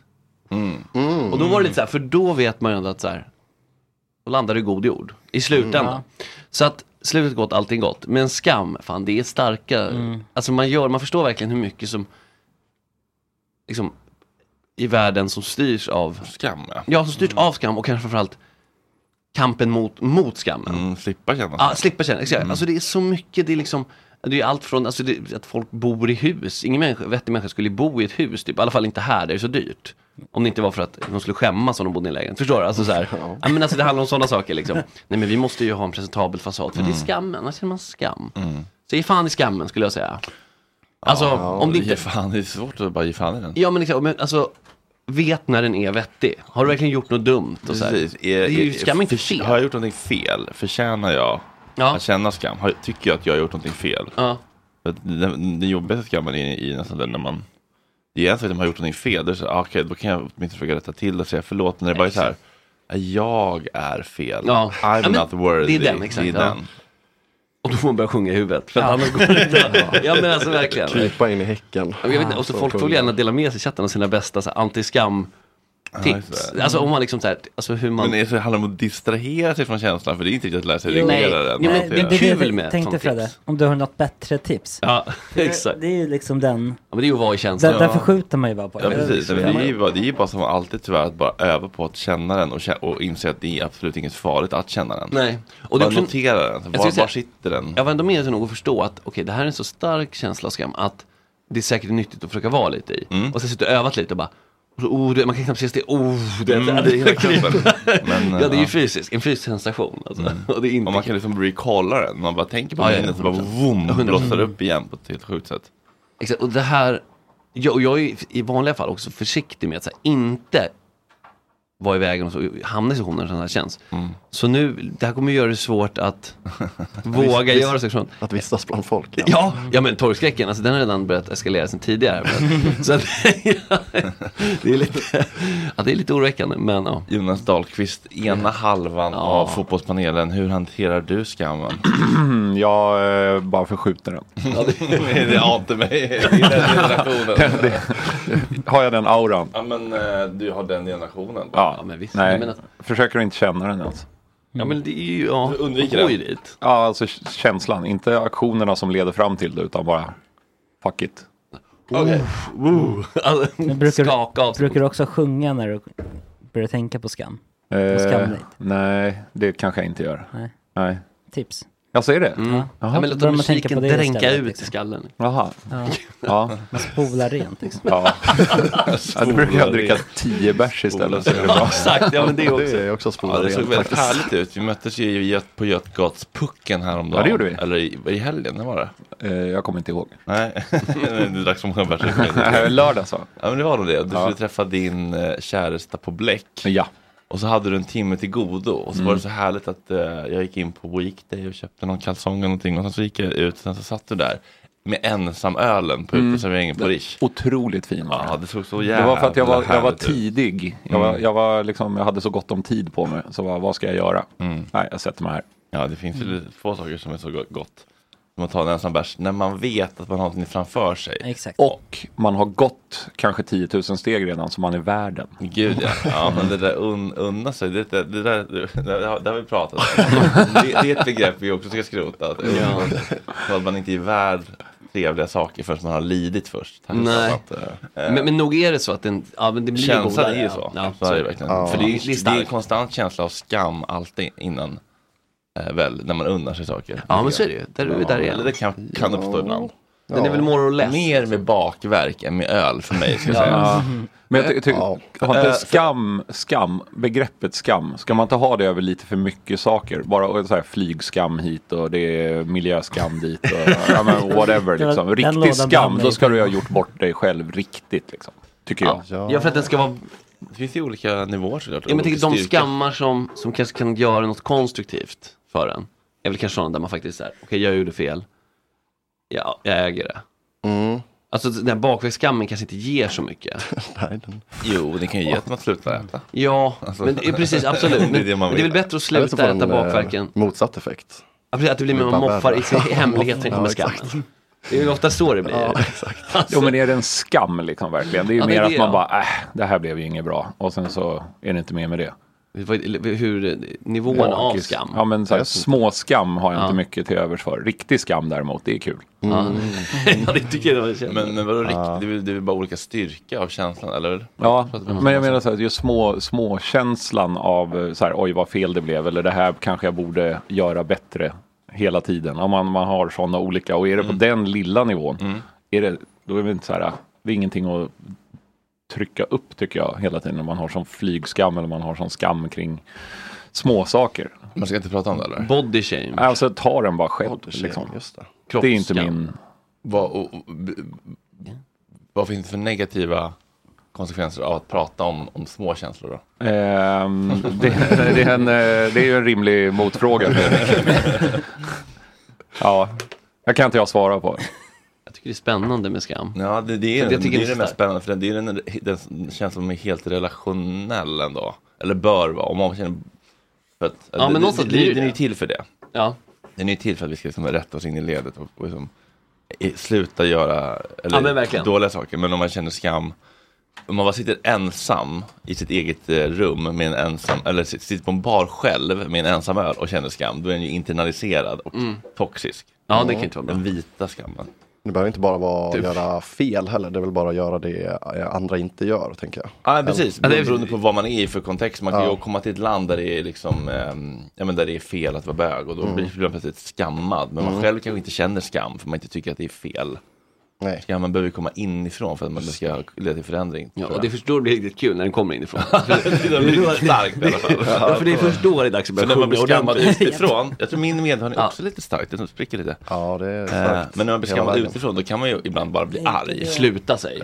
Speaker 7: Och då var det lite så här, för då vet man ju ändå att så här, då landar det i god jord i slutändan.
Speaker 3: Mm.
Speaker 7: Så att slutet gott, allting gott. Men skam, fan det är starka,
Speaker 3: Mm.
Speaker 7: alltså man gör, man förstår verkligen hur mycket som, liksom, i världen som styrs av
Speaker 1: Skam ja.
Speaker 7: Ja, som
Speaker 3: Mm.
Speaker 7: styrs av skam och kanske framförallt kampen mot, mot
Speaker 3: Mm.
Speaker 7: skammen.
Speaker 1: Mm, slippa känna
Speaker 7: Ja,
Speaker 1: skam.
Speaker 7: slippa känna, exakt.
Speaker 1: Mm.
Speaker 7: Alltså det är så mycket, det är liksom det är allt från alltså det, att folk bor i hus. Ingen människa, vettig människa skulle bo i ett hus, typ. i alla fall inte här, det är så dyrt. Om det inte var för att de skulle skämmas om de bodde i en lägenhet. Förstår du? Alltså, så
Speaker 1: *laughs*
Speaker 7: här. Ja. men alltså, det handlar om sådana saker. Liksom. Nej, men vi måste ju ha en presentabel fasad, för det är
Speaker 1: Mm.
Speaker 7: skammen. Annars känner man skam. Så ge fan i skammen, skulle jag säga. Alltså, om det
Speaker 1: Ge
Speaker 7: inte...
Speaker 1: fan, det är svårt att bara ge fan i den.
Speaker 7: Ja, men, exakt, men alltså, vet när den är vettig. Har du verkligen gjort något dumt? Och så här.
Speaker 1: Precis.
Speaker 7: Det är ju skam inte
Speaker 1: fel.
Speaker 7: fel.
Speaker 1: Har jag gjort någonting fel? Förtjänar jag
Speaker 7: Ja.
Speaker 1: att känna skam? Har, tycker jag att jag har gjort någonting fel?
Speaker 7: Ja.
Speaker 1: För att Den, den jobbigaste skammen är i nästan den när man det är en sak att man har gjort någonting fel, då, är det så, här, ah, okej, då kan jag åtminstone försöka rätta till det och säga förlåt. Men det är bara så här, jag är fel,
Speaker 7: Ja.
Speaker 1: I'm
Speaker 7: Ja, men
Speaker 1: not worthy.
Speaker 7: det är den, exakt,
Speaker 1: Det är
Speaker 7: ja.
Speaker 1: den.
Speaker 7: Och då får man börja sjunga i huvudet. För att
Speaker 1: Ja.
Speaker 7: annars går det
Speaker 1: *laughs*
Speaker 7: inte. Ja men alltså verkligen.
Speaker 6: Krypa in i häcken.
Speaker 7: Ja, men Jag vet inte, och så folk får väl gärna dela med sig i chatten av sina bästa så här,
Speaker 1: Ja,
Speaker 7: anti-skam-tips.
Speaker 1: just det.
Speaker 7: alltså om man liksom så här, alltså hur man...
Speaker 1: Men är det, så- handlar det om att distrahera sig från känslan? För det är inte riktigt att lära sig
Speaker 7: Jo.
Speaker 1: reglera
Speaker 7: Nej.
Speaker 1: den.
Speaker 7: Jo, men
Speaker 1: hantera
Speaker 7: det är
Speaker 1: den.
Speaker 7: kul med
Speaker 5: Tänkte
Speaker 7: sånt
Speaker 5: Fredde,
Speaker 7: tips.
Speaker 5: om du har något bättre tips.
Speaker 7: Ja, *laughs*
Speaker 5: Det-
Speaker 7: exakt.
Speaker 5: Det är ju liksom den,
Speaker 7: Ja, men det är ju att vara i
Speaker 5: där,
Speaker 7: känslan.
Speaker 5: därför skjuter man ju bara på
Speaker 1: Ja precis, men det är ju bara, det är ju bara som alltid tyvärr att bara öva på att känna den och, kä- och inse att det är absolut inget farligt att känna den.
Speaker 7: Nej.
Speaker 1: Och
Speaker 7: det är
Speaker 1: bara
Speaker 7: också en-
Speaker 1: notera den,
Speaker 7: Jag
Speaker 1: så
Speaker 7: skulle
Speaker 1: var,
Speaker 7: säga-
Speaker 1: var sitter den?
Speaker 7: Jag var ändå med till nog att förstå att okej, det här är en så stark känsla av skam att det är säkert nyttigt att försöka vara lite i.
Speaker 1: Mm.
Speaker 7: Och sen sitter och övat lite och bara och så, oh, du, man kan knappt se det, oh, det,
Speaker 1: Mm,
Speaker 7: det,
Speaker 1: *laughs* det är hela kroppen. Men,
Speaker 7: ja, det är ju
Speaker 1: ja.
Speaker 7: fysiskt, en fysisk sensation. Alltså. Och, det är inte
Speaker 1: och man kan liksom recalla den, man bara tänker på
Speaker 7: Ja, ja,
Speaker 1: minnet och bara
Speaker 7: 100%.
Speaker 1: vroom, blossar upp igen på ett helt sjukt sätt.
Speaker 7: Exakt, och det här, jag, och jag är i vanliga fall också försiktig med att så här, inte vara i vägen och så, hamna i situationer som det här känns.
Speaker 6: Mm.
Speaker 7: Så nu, det här kommer göra det
Speaker 6: *laughs*
Speaker 7: svårt att våga
Speaker 6: Visst-
Speaker 7: göra
Speaker 6: visst-
Speaker 7: sektion.
Speaker 6: Att vistas bland folk.
Speaker 7: Ja. ja, men torgskräcken, alltså den har redan börjat eskalera sen tidigare.
Speaker 6: *laughs*
Speaker 7: Men, så att, *laughs* det, är lite, ja, det är lite oroväckande, men ja.
Speaker 1: Jonas Dahlqvist, ena halvan av fotbollspanelen, hur hanterar du skammen?
Speaker 8: jag eh, bara förskjuter den.
Speaker 1: *laughs*
Speaker 8: *laughs*
Speaker 1: Ja, det- det ante mig. Det är den generationen.
Speaker 8: Det- har jag den auran?
Speaker 1: Ja men eh, du har den generationen.
Speaker 8: Ja,
Speaker 1: Jag
Speaker 8: Nej,
Speaker 1: menar-
Speaker 8: försöker inte känna den ens.
Speaker 7: Ja men det är ju, ja.
Speaker 1: Du undviker den.
Speaker 8: Ja, alltså k- känslan, inte aktionerna som leder fram till det utan bara fuck it.
Speaker 7: Okej. Woo. Alltså,
Speaker 5: Men brukar,
Speaker 7: skaka av
Speaker 5: du,
Speaker 7: sig.
Speaker 5: brukar du också sjunga när du börjar tänka på skam?
Speaker 8: Eh,
Speaker 5: Och skamligt.
Speaker 8: nej, det kanske jag inte gör.
Speaker 5: Nej.
Speaker 8: nej.
Speaker 5: Tips.
Speaker 8: Jag säger det? Mm.
Speaker 7: Ja, men låt
Speaker 5: Börjar man tänka
Speaker 7: musiken
Speaker 5: på det
Speaker 7: dränka
Speaker 5: istället,
Speaker 7: ut
Speaker 5: liksom.
Speaker 7: i skallen.
Speaker 8: Jaha.
Speaker 5: Ja.
Speaker 8: Ja.
Speaker 5: Man spolar rent liksom.
Speaker 8: Ja. ja, då brukar jag dricka tio bärs istället. Så är det bra.
Speaker 1: Exakt, Oh, ja men det är
Speaker 8: *laughs*
Speaker 1: också.
Speaker 8: Det är också spola
Speaker 1: ja, det såg
Speaker 8: rent,
Speaker 1: väldigt
Speaker 8: faktiskt.
Speaker 1: härligt ut. Vi möttes ju i Göt- på Götgatspucken häromdagen.
Speaker 8: Ja, det gjorde vi.
Speaker 1: Eller i, i helgen, när var det?
Speaker 8: eh, jag kommer inte ihåg. *laughs*
Speaker 1: Nej, *laughs* du drack så många bärs.
Speaker 8: Nej, *laughs* lördag, så.
Speaker 1: Ja men det var nog det. Du
Speaker 8: Ja.
Speaker 1: skulle träffa din eh, käresta på Bläck.
Speaker 8: Ja.
Speaker 1: Och så hade du en timme till godo. Och så
Speaker 8: Mm.
Speaker 1: var det så härligt att eh, jag gick in på Weekday och köpte någon kalsong eller någonting. Och sen så gick jag ut och sen så satt du där. Med ensamölen på
Speaker 8: Mm.
Speaker 1: uteserveringen på Rish.
Speaker 8: Otroligt fin var
Speaker 1: Ja, det såg så
Speaker 8: Det
Speaker 1: jävla
Speaker 8: var för att jag var, jag var
Speaker 1: härligt ut.
Speaker 8: tidig. Jag, var, jag, var liksom, jag hade så gott om tid på mig. Så vad, vad ska jag göra? Nej, jag sätter mig här.
Speaker 1: Ja, det finns ju
Speaker 8: Mm.
Speaker 1: få saker som är så go- gott. Som att ta en ensam bärs när man vet att man har någonting framför sig.
Speaker 5: Exakt.
Speaker 8: Och man har gått kanske 10 000 steg redan, så man är värden.
Speaker 1: Gud
Speaker 7: *laughs*
Speaker 1: ja, ja men det där un, unna sig, det, det, det, där, det, det har- det har vi
Speaker 7: *laughs*
Speaker 1: pratat om. Det, det är ett begrepp vi också ska skrota. Att,
Speaker 7: Ja.
Speaker 1: så att man inte är värd trevliga saker förrän man har lidit först. Tack
Speaker 7: Nej.
Speaker 1: för att, eh,
Speaker 7: Men, men nog är det så att den, ja, men det blir
Speaker 1: Känslan
Speaker 7: godare,
Speaker 1: är ju
Speaker 7: ja.
Speaker 1: så.
Speaker 7: Ja,
Speaker 1: så är det verkligen. För det är,
Speaker 7: det är
Speaker 1: det är en
Speaker 7: starkt.
Speaker 1: konstant känsla av skam alltid innan. eh, Väl, när man unnar sig saker.
Speaker 7: Ja, men så är det ju. Där- där är
Speaker 1: eller
Speaker 7: jag.
Speaker 1: det kan, kan uppstå
Speaker 7: Ja.
Speaker 1: ibland.
Speaker 7: Den är väl
Speaker 1: more or less. Mer med bakverk än med öl för mig. Ska jag
Speaker 8: Ja.
Speaker 1: säga.
Speaker 8: Men jag ty- ty- har
Speaker 1: Eh,
Speaker 8: inte
Speaker 1: för-
Speaker 8: skam, skam, begreppet skam, ska man inte ha det över lite för mycket saker? Bara och så här, flygskam hit och det är miljöskam dit och ja,
Speaker 1: *laughs*
Speaker 8: men whatever.
Speaker 7: Den-
Speaker 8: Liksom.
Speaker 7: den
Speaker 8: Riktig
Speaker 7: lådan brann
Speaker 8: skam,
Speaker 7: mig.
Speaker 8: då ska du ha gjort bort dig själv riktigt. Liksom, tycker jag.
Speaker 7: Ja, för att den ska vara
Speaker 1: Det finns ju olika nivåer såklart.
Speaker 7: Ja, men tänk,
Speaker 1: olika
Speaker 7: de
Speaker 1: styrkor.
Speaker 7: skammar som, som kanske kan göra något konstruktivt för en. Är väl kanske sådana där man faktiskt är, okej jag gjorde fel, ja, jag äger det. Alltså den här bakvägsskammen kanske inte ger så mycket.
Speaker 1: Jo, det kan ju ge att man slutar äta.
Speaker 7: Ja, men det är precis, absolut.
Speaker 1: Alltså, *laughs* det är
Speaker 7: Men
Speaker 1: det man
Speaker 7: det är väl
Speaker 1: vill.
Speaker 7: bättre att sluta
Speaker 9: Eller så får den,
Speaker 7: äta
Speaker 9: eh,
Speaker 7: bakverken.
Speaker 9: Motsatt effekt.
Speaker 7: Ja, precis, Att det blir mer man
Speaker 9: Bland
Speaker 7: moffar i sin *laughs*
Speaker 9: världar.
Speaker 7: hemlighet
Speaker 9: Ja,
Speaker 7: med
Speaker 9: exakt.
Speaker 7: skammen. Det är ju ofta så det blir. Alltså.
Speaker 8: Ja,
Speaker 7: *laughs*
Speaker 8: Jo men är det en skam liksom verkligen? Det är ju
Speaker 7: Ja, det
Speaker 8: mer
Speaker 7: är
Speaker 8: att
Speaker 7: det,
Speaker 8: man
Speaker 7: ja.
Speaker 8: bara, äh, det här blev ju inget bra. Och sen så är det inte mer med det.
Speaker 7: Hur, eh, nivån av
Speaker 8: Bakis.
Speaker 7: skam.
Speaker 8: Ja men så här,
Speaker 7: Jag vet inte.
Speaker 8: små skam har jag
Speaker 7: Ja.
Speaker 8: inte mycket till övers för. Riktig skam däremot, det är kul.
Speaker 7: *laughs* ja, det tycker jag det känner.
Speaker 1: Men, men vadå riktigt? Det, är väl- det är väl bara olika styrka av känslan, eller?
Speaker 8: Ja,
Speaker 1: Pratar vi om
Speaker 8: men jag
Speaker 1: samma
Speaker 8: menar så här, just små, små känslan av eh, så här, oj vad fel det blev eller det här kanske jag borde göra bättre hela tiden. Om man, man har sådana olika och är det på den lilla nivån, är det, då är det inte så här, det är ingenting att trycka upp tycker jag hela tiden när man har sån flygskam eller man har sån skam kring småsaker.
Speaker 1: Man ska inte prata om det eller?
Speaker 7: Body shame.
Speaker 8: Alltså ta den bara själv. liksom. det. är inte
Speaker 1: Kroppsskam.
Speaker 8: min...
Speaker 1: Vad, och, och, b- vad finns det för negativa konsekvenser av att prata om, om små känslor då?
Speaker 8: Ehm, det, det, är en, eh, det är ju en rimlig motfråga. ja, jag kan inte jag svara på.
Speaker 7: Jag tycker det är spännande med skam.
Speaker 1: Ja, det, det är,
Speaker 7: Jag
Speaker 1: den,
Speaker 7: tycker det
Speaker 1: det är
Speaker 7: är
Speaker 1: den
Speaker 7: så
Speaker 1: mest spännande, för den, det är den, den känns som är helt relationell ändå. Eller bör vara, om man känner... För att,
Speaker 7: Ja, men
Speaker 1: det,
Speaker 7: någonstans
Speaker 1: det,
Speaker 7: blir det
Speaker 1: Den är ju
Speaker 7: det.
Speaker 1: till för det.
Speaker 7: Ja.
Speaker 1: Den är ju till för att vi ska liksom rätta oss in i ledet och, och liksom, i, sluta göra eller,
Speaker 7: Ja, men verkligen.
Speaker 1: dåliga saker. Men om man känner skam, om man bara sitter ensam i sitt eget eh, rum med en ensam, eller sit- sitter på en bar själv med en ensam öl och känner skam, då är den ju internaliserad och
Speaker 7: Mm.
Speaker 1: toxisk.
Speaker 7: Ja, det kan inte vara bra.
Speaker 1: Den vita skammen.
Speaker 9: Det behöver inte bara vara att
Speaker 7: typ.
Speaker 1: Du-
Speaker 9: göra fel heller. Det är väl bara att göra det eh, andra inte gör, tänker jag.
Speaker 1: Ja, precis.
Speaker 9: Eller-
Speaker 1: Bero- Beroende på vad man är i för kontext. Man kan
Speaker 9: alltså, Ja.
Speaker 1: ju komma till ett land där det är, liksom, ehm, ja, men där det är fel att vara bög och då
Speaker 9: Mm.
Speaker 1: blir blir man plötsligt skammad. Men man
Speaker 9: Mm.
Speaker 1: själv kanske inte känner skam för man inte tycker att det är fel.
Speaker 9: Nej.
Speaker 1: Skammen behöver ju komma inifrån för att man ska leda till förändring.
Speaker 7: Ja,
Speaker 1: tror
Speaker 7: och
Speaker 1: jag.
Speaker 7: det är först då det blir riktigt kul när den kommer
Speaker 1: *laughs*
Speaker 7: inifrån. För-
Speaker 1: Den blir starkt i alla fall.
Speaker 7: *laughs* Ja, för det är först då det är dags att börja
Speaker 1: Så när man blir
Speaker 7: sjunga *laughs*
Speaker 1: skammad
Speaker 7: ordentligt.
Speaker 1: utifrån, jag tror min medhörning är också lite starkt, den spricker lite.
Speaker 9: Ja, det är
Speaker 1: Eh,
Speaker 9: starkt.
Speaker 1: Men när man blir
Speaker 9: Hela
Speaker 1: skammad
Speaker 9: vägen.
Speaker 1: utifrån då kan man ju ibland bara bli
Speaker 5: Det är inte
Speaker 1: arg.
Speaker 5: det.
Speaker 7: Sluta sig.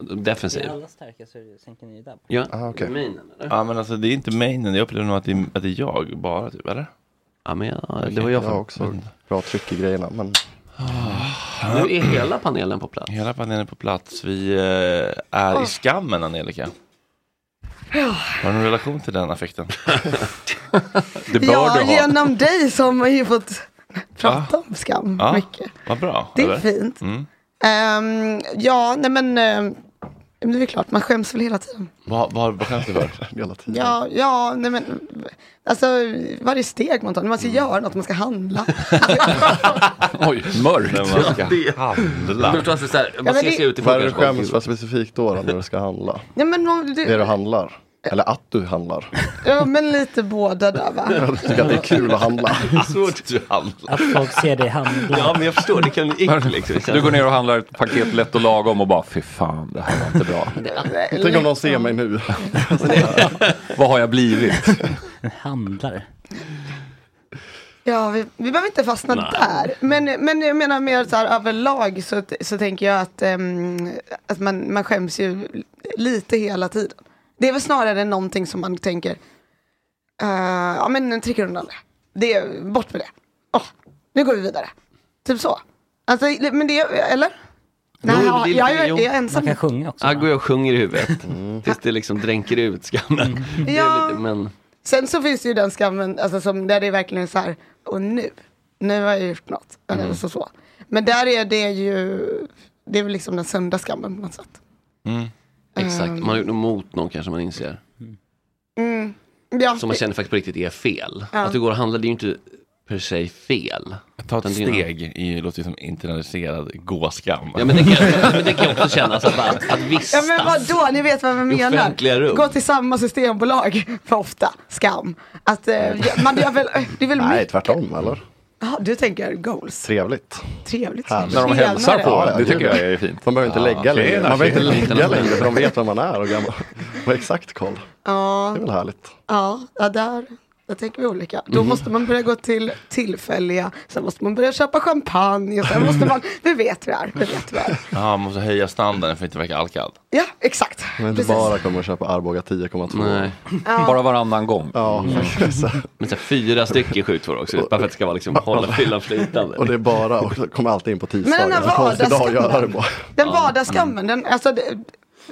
Speaker 5: Det
Speaker 7: Defensiv.
Speaker 5: är alla starka så är det- sänker ni där.
Speaker 7: Ja.
Speaker 5: Ah, okej. Mainen, eller?
Speaker 1: Ja, men alltså det är inte mainen. Jag upplever nog att det är, att det är jag bara, typ, eller?
Speaker 7: Ja, men
Speaker 1: Okej.
Speaker 7: det var jag
Speaker 9: Jag har också bra tryck i grejerna. Men...
Speaker 7: Ah. Nu är hela panelen på plats.
Speaker 1: Hela panelen är på plats. Vi eh, är i skammen, Angelica.
Speaker 10: Ja.
Speaker 1: Har du någon relation till den affekten? det
Speaker 10: ja,
Speaker 8: *laughs*
Speaker 10: genom dig som har ju fått prata om skam
Speaker 1: Ja,
Speaker 10: mycket.
Speaker 1: Vad bra.
Speaker 10: Det är fint.
Speaker 1: Mm.
Speaker 10: Ehm, ja, nej men ehm, det är väl klart, man skäms väl hela tiden.
Speaker 1: Vad, vad, vad skäms
Speaker 7: *laughs*
Speaker 1: du för?
Speaker 10: Ja, ja, nej men alltså varje steg man tar, när man
Speaker 9: Mm.
Speaker 10: ska göra något, man
Speaker 9: *laughs*
Speaker 10: ska handla.
Speaker 8: Oj, mörkt.
Speaker 1: När man ska
Speaker 7: Det-
Speaker 1: handla.
Speaker 7: Du tar sig så här, man
Speaker 10: men
Speaker 7: ser
Speaker 10: det-
Speaker 7: sig utifrån
Speaker 9: Vad är det du
Speaker 7: kanske bara,
Speaker 9: skäms för specifikt då, då, när du ska handla?
Speaker 10: nej, men, om du,
Speaker 9: Det du handlar? Eller att du handlar.
Speaker 10: Ja, men lite båda där va?
Speaker 9: *laughs* Jag tycker att det är kul att
Speaker 7: *laughs*
Speaker 9: handla.
Speaker 1: Svårt du handlar.
Speaker 5: Att folk ser dig handla.
Speaker 1: Ja, men jag förstår, det kan bli ick liksom.
Speaker 8: Du går ner och handlar ett paket lätt och lagom och bara fy fan det här var inte bra.
Speaker 9: *laughs* Tänk om någon ser mig nu.
Speaker 8: Vad har jag blivit?
Speaker 5: Handlare.
Speaker 10: Ja, vi, vi behöver inte fastna
Speaker 8: Nej.
Speaker 10: där. Men, men jag menar mer så här överlag så, så tänker jag att, ehm, att man, man skäms ju lite hela tiden. Det är väl snarare någonting som man tänker, eh, ja men nu trycker undan det. det. är- Bort med det. Åh, nu går vi vidare. Typ så. Alltså, men det, eller? Nej,
Speaker 7: Jo,
Speaker 10: ja,
Speaker 7: det är
Speaker 10: jag, är,
Speaker 7: lite-
Speaker 10: jag är
Speaker 7: jo.
Speaker 10: ensam.
Speaker 5: sjunga
Speaker 7: Aggo och jag sjunger i huvudet.
Speaker 9: Mm.
Speaker 7: Tills det liksom dränker ut skammen. Det är
Speaker 10: Ja.
Speaker 7: lite, men...
Speaker 10: Sen så finns det ju den skammen, alltså som där det är verkligen så här, och nu, nu har jag gjort något. Eller
Speaker 7: Mm.
Speaker 10: så, så. Men där är det ju, det är väl liksom den sunda skammen på något sätt.
Speaker 7: Exakt,
Speaker 10: Ehm.
Speaker 7: man har gjort något mot någon kanske man inser.
Speaker 10: Mm. Ja,
Speaker 7: Som man känner faktiskt på riktigt är fel.
Speaker 10: Ja.
Speaker 7: Att du går och handlar det är ju inte per se fel.
Speaker 1: Ta ett
Speaker 7: Utan det är ju-
Speaker 1: steg i, låter ju som internaliserad gåskam.
Speaker 7: Ja men det kan, men det kan jag också känna, så att, bara, att
Speaker 10: Ja
Speaker 7: vistas.
Speaker 10: men vadå, ni vet vad jag
Speaker 7: I
Speaker 10: menar.
Speaker 7: offentliga rum.
Speaker 10: Gå till samma systembolag för ofta, skam. Att eh, ja, man gör väl, det är väl
Speaker 9: Nej,
Speaker 10: mycket.
Speaker 9: tvärtom eller?
Speaker 10: Jaha, du tänker goals.
Speaker 9: Trevligt.
Speaker 10: Trevligt.
Speaker 9: Härligt.
Speaker 10: När de hälsar på,
Speaker 9: Ja, ja,
Speaker 8: det tycker
Speaker 9: gud.
Speaker 8: jag är fint.
Speaker 9: De behöver inte
Speaker 8: Ja,
Speaker 9: lägga
Speaker 8: okej,
Speaker 9: längre. Man
Speaker 8: Nashi.
Speaker 9: behöver inte lägga
Speaker 8: Internationellt.
Speaker 9: längre för de vet vem man är och gammal. De har exakt koll.
Speaker 10: Ja,
Speaker 9: Det är väl härligt.
Speaker 10: ja, ja där, där tänker vi olika. Då
Speaker 9: Mhm.
Speaker 10: måste man börja gå till tillfälliga, sen måste man börja köpa champagne, och sen
Speaker 7: *laughs*
Speaker 10: måste man, vi vet hur det är, vi vet hur det är.
Speaker 1: Ja, man måste höja standarden för att inte verka alkad.
Speaker 10: Ja, exakt.
Speaker 9: Men inte
Speaker 10: Precis.
Speaker 9: bara kommer att köpa Arboga 10,2.
Speaker 7: Nej.
Speaker 10: Ja.
Speaker 8: Bara varannan gång.
Speaker 9: Ja, faktiskt.
Speaker 7: Men så här, fyra stycken skjutvård också, bara för att det ska vara *laughs* liksom, hålla fyllan flytande.
Speaker 9: Och det är bara, och så kommer alltid in på
Speaker 10: Men den
Speaker 9: tisdagar.
Speaker 10: här
Speaker 9: Så konstig dag att göra det
Speaker 10: vardagsskammen,
Speaker 9: på.
Speaker 10: den vardagsskammen, den, alltså, det-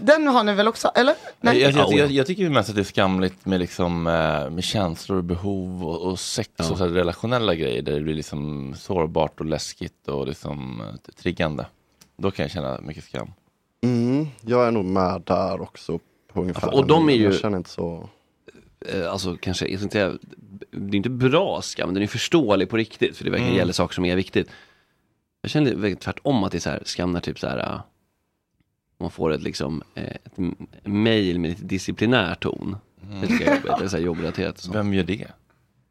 Speaker 10: den har ni väl också, eller?
Speaker 1: Jag, jag,
Speaker 7: Ja,
Speaker 1: jag, jag, jag tycker ju mest att det är skamligt med, liksom, eh, med känslor, behov och, och sex och så här relationella grejer där det blir liksom sårbart och läskigt och liksom eh, triggande. Då kan jag känna mycket skam.
Speaker 9: Mm, jag är nog med där också. På ungefär.
Speaker 7: Alltså, och de är ju-
Speaker 9: Jag känner inte så.
Speaker 7: eh, alltså kanske, jag ska inte säga- det är inte bra skam, men den är förståelig på riktigt, för det verkar
Speaker 9: Mm.
Speaker 7: gälla saker som är viktigt. Jag känner det verkligen tvärtom att det är så här, skam när typ så här, eh, man får ett liksom, eh, ett m- mail med lite disciplinär ton. Det tycker jag är jobbigt, eller så här jobbrelaterat. och sånt.
Speaker 1: Vem gör det?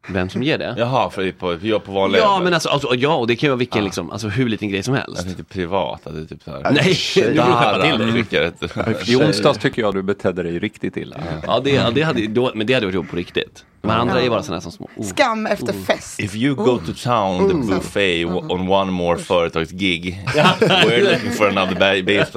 Speaker 7: Vem som ger det?
Speaker 1: Jaha, för jag på, jag på vanliga
Speaker 7: Ja
Speaker 1: jobbet.
Speaker 7: men alltså, alltså ja, och det kan ju vara vilken liksom, alltså hur liten grej som helst.
Speaker 1: Inte privat, att det är typ så här.
Speaker 7: Nej, du får skärpa till dig.
Speaker 8: I onsdags tycker jag du betedde dig riktigt illa.
Speaker 7: Ja, det, ja det hade, då, men det hade varit jobbigt på riktigt. De här andra är bara sådana här som små Oh.
Speaker 10: Skam efter fest.
Speaker 1: If you go to town the buffet w- on one more företagsgig, *laughs* we're looking for another ba- bass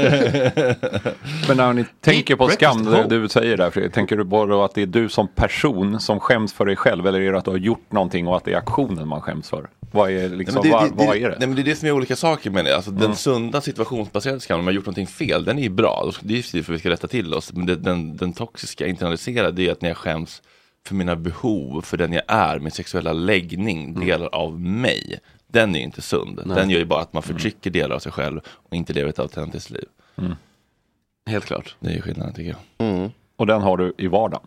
Speaker 1: player.
Speaker 8: Men när ni tänker på skam, det du säger där Fredrik, tänker du bara att det är du som person som skäms för dig själv eller är det att du har gjort någonting och att det är aktionen man skäms för? Vad är, liksom,
Speaker 1: Nej, men
Speaker 8: vad, vad är det? Mm.
Speaker 1: Nej, men det är det som är olika saker med det. Alltså, Den sunda situationsbaserade skammen, om man har gjort någonting fel, den är ju bra. Då ska- Det är ju för att vi ska rätta till oss. Men det, den, den toxiska internaliserade, det är att när jag skäms för mina behov, för den jag är, min sexuella läggning,
Speaker 8: Mm.
Speaker 1: delar av mig. Den är ju inte sund.
Speaker 7: Nej.
Speaker 1: Den gör ju bara att man
Speaker 8: Mm.
Speaker 1: förtrycker delar av sig själv och inte lever ett autentiskt liv.
Speaker 7: Helt klart.
Speaker 1: Det är ju skillnaden tycker jag.
Speaker 8: Och den har du i vardagen?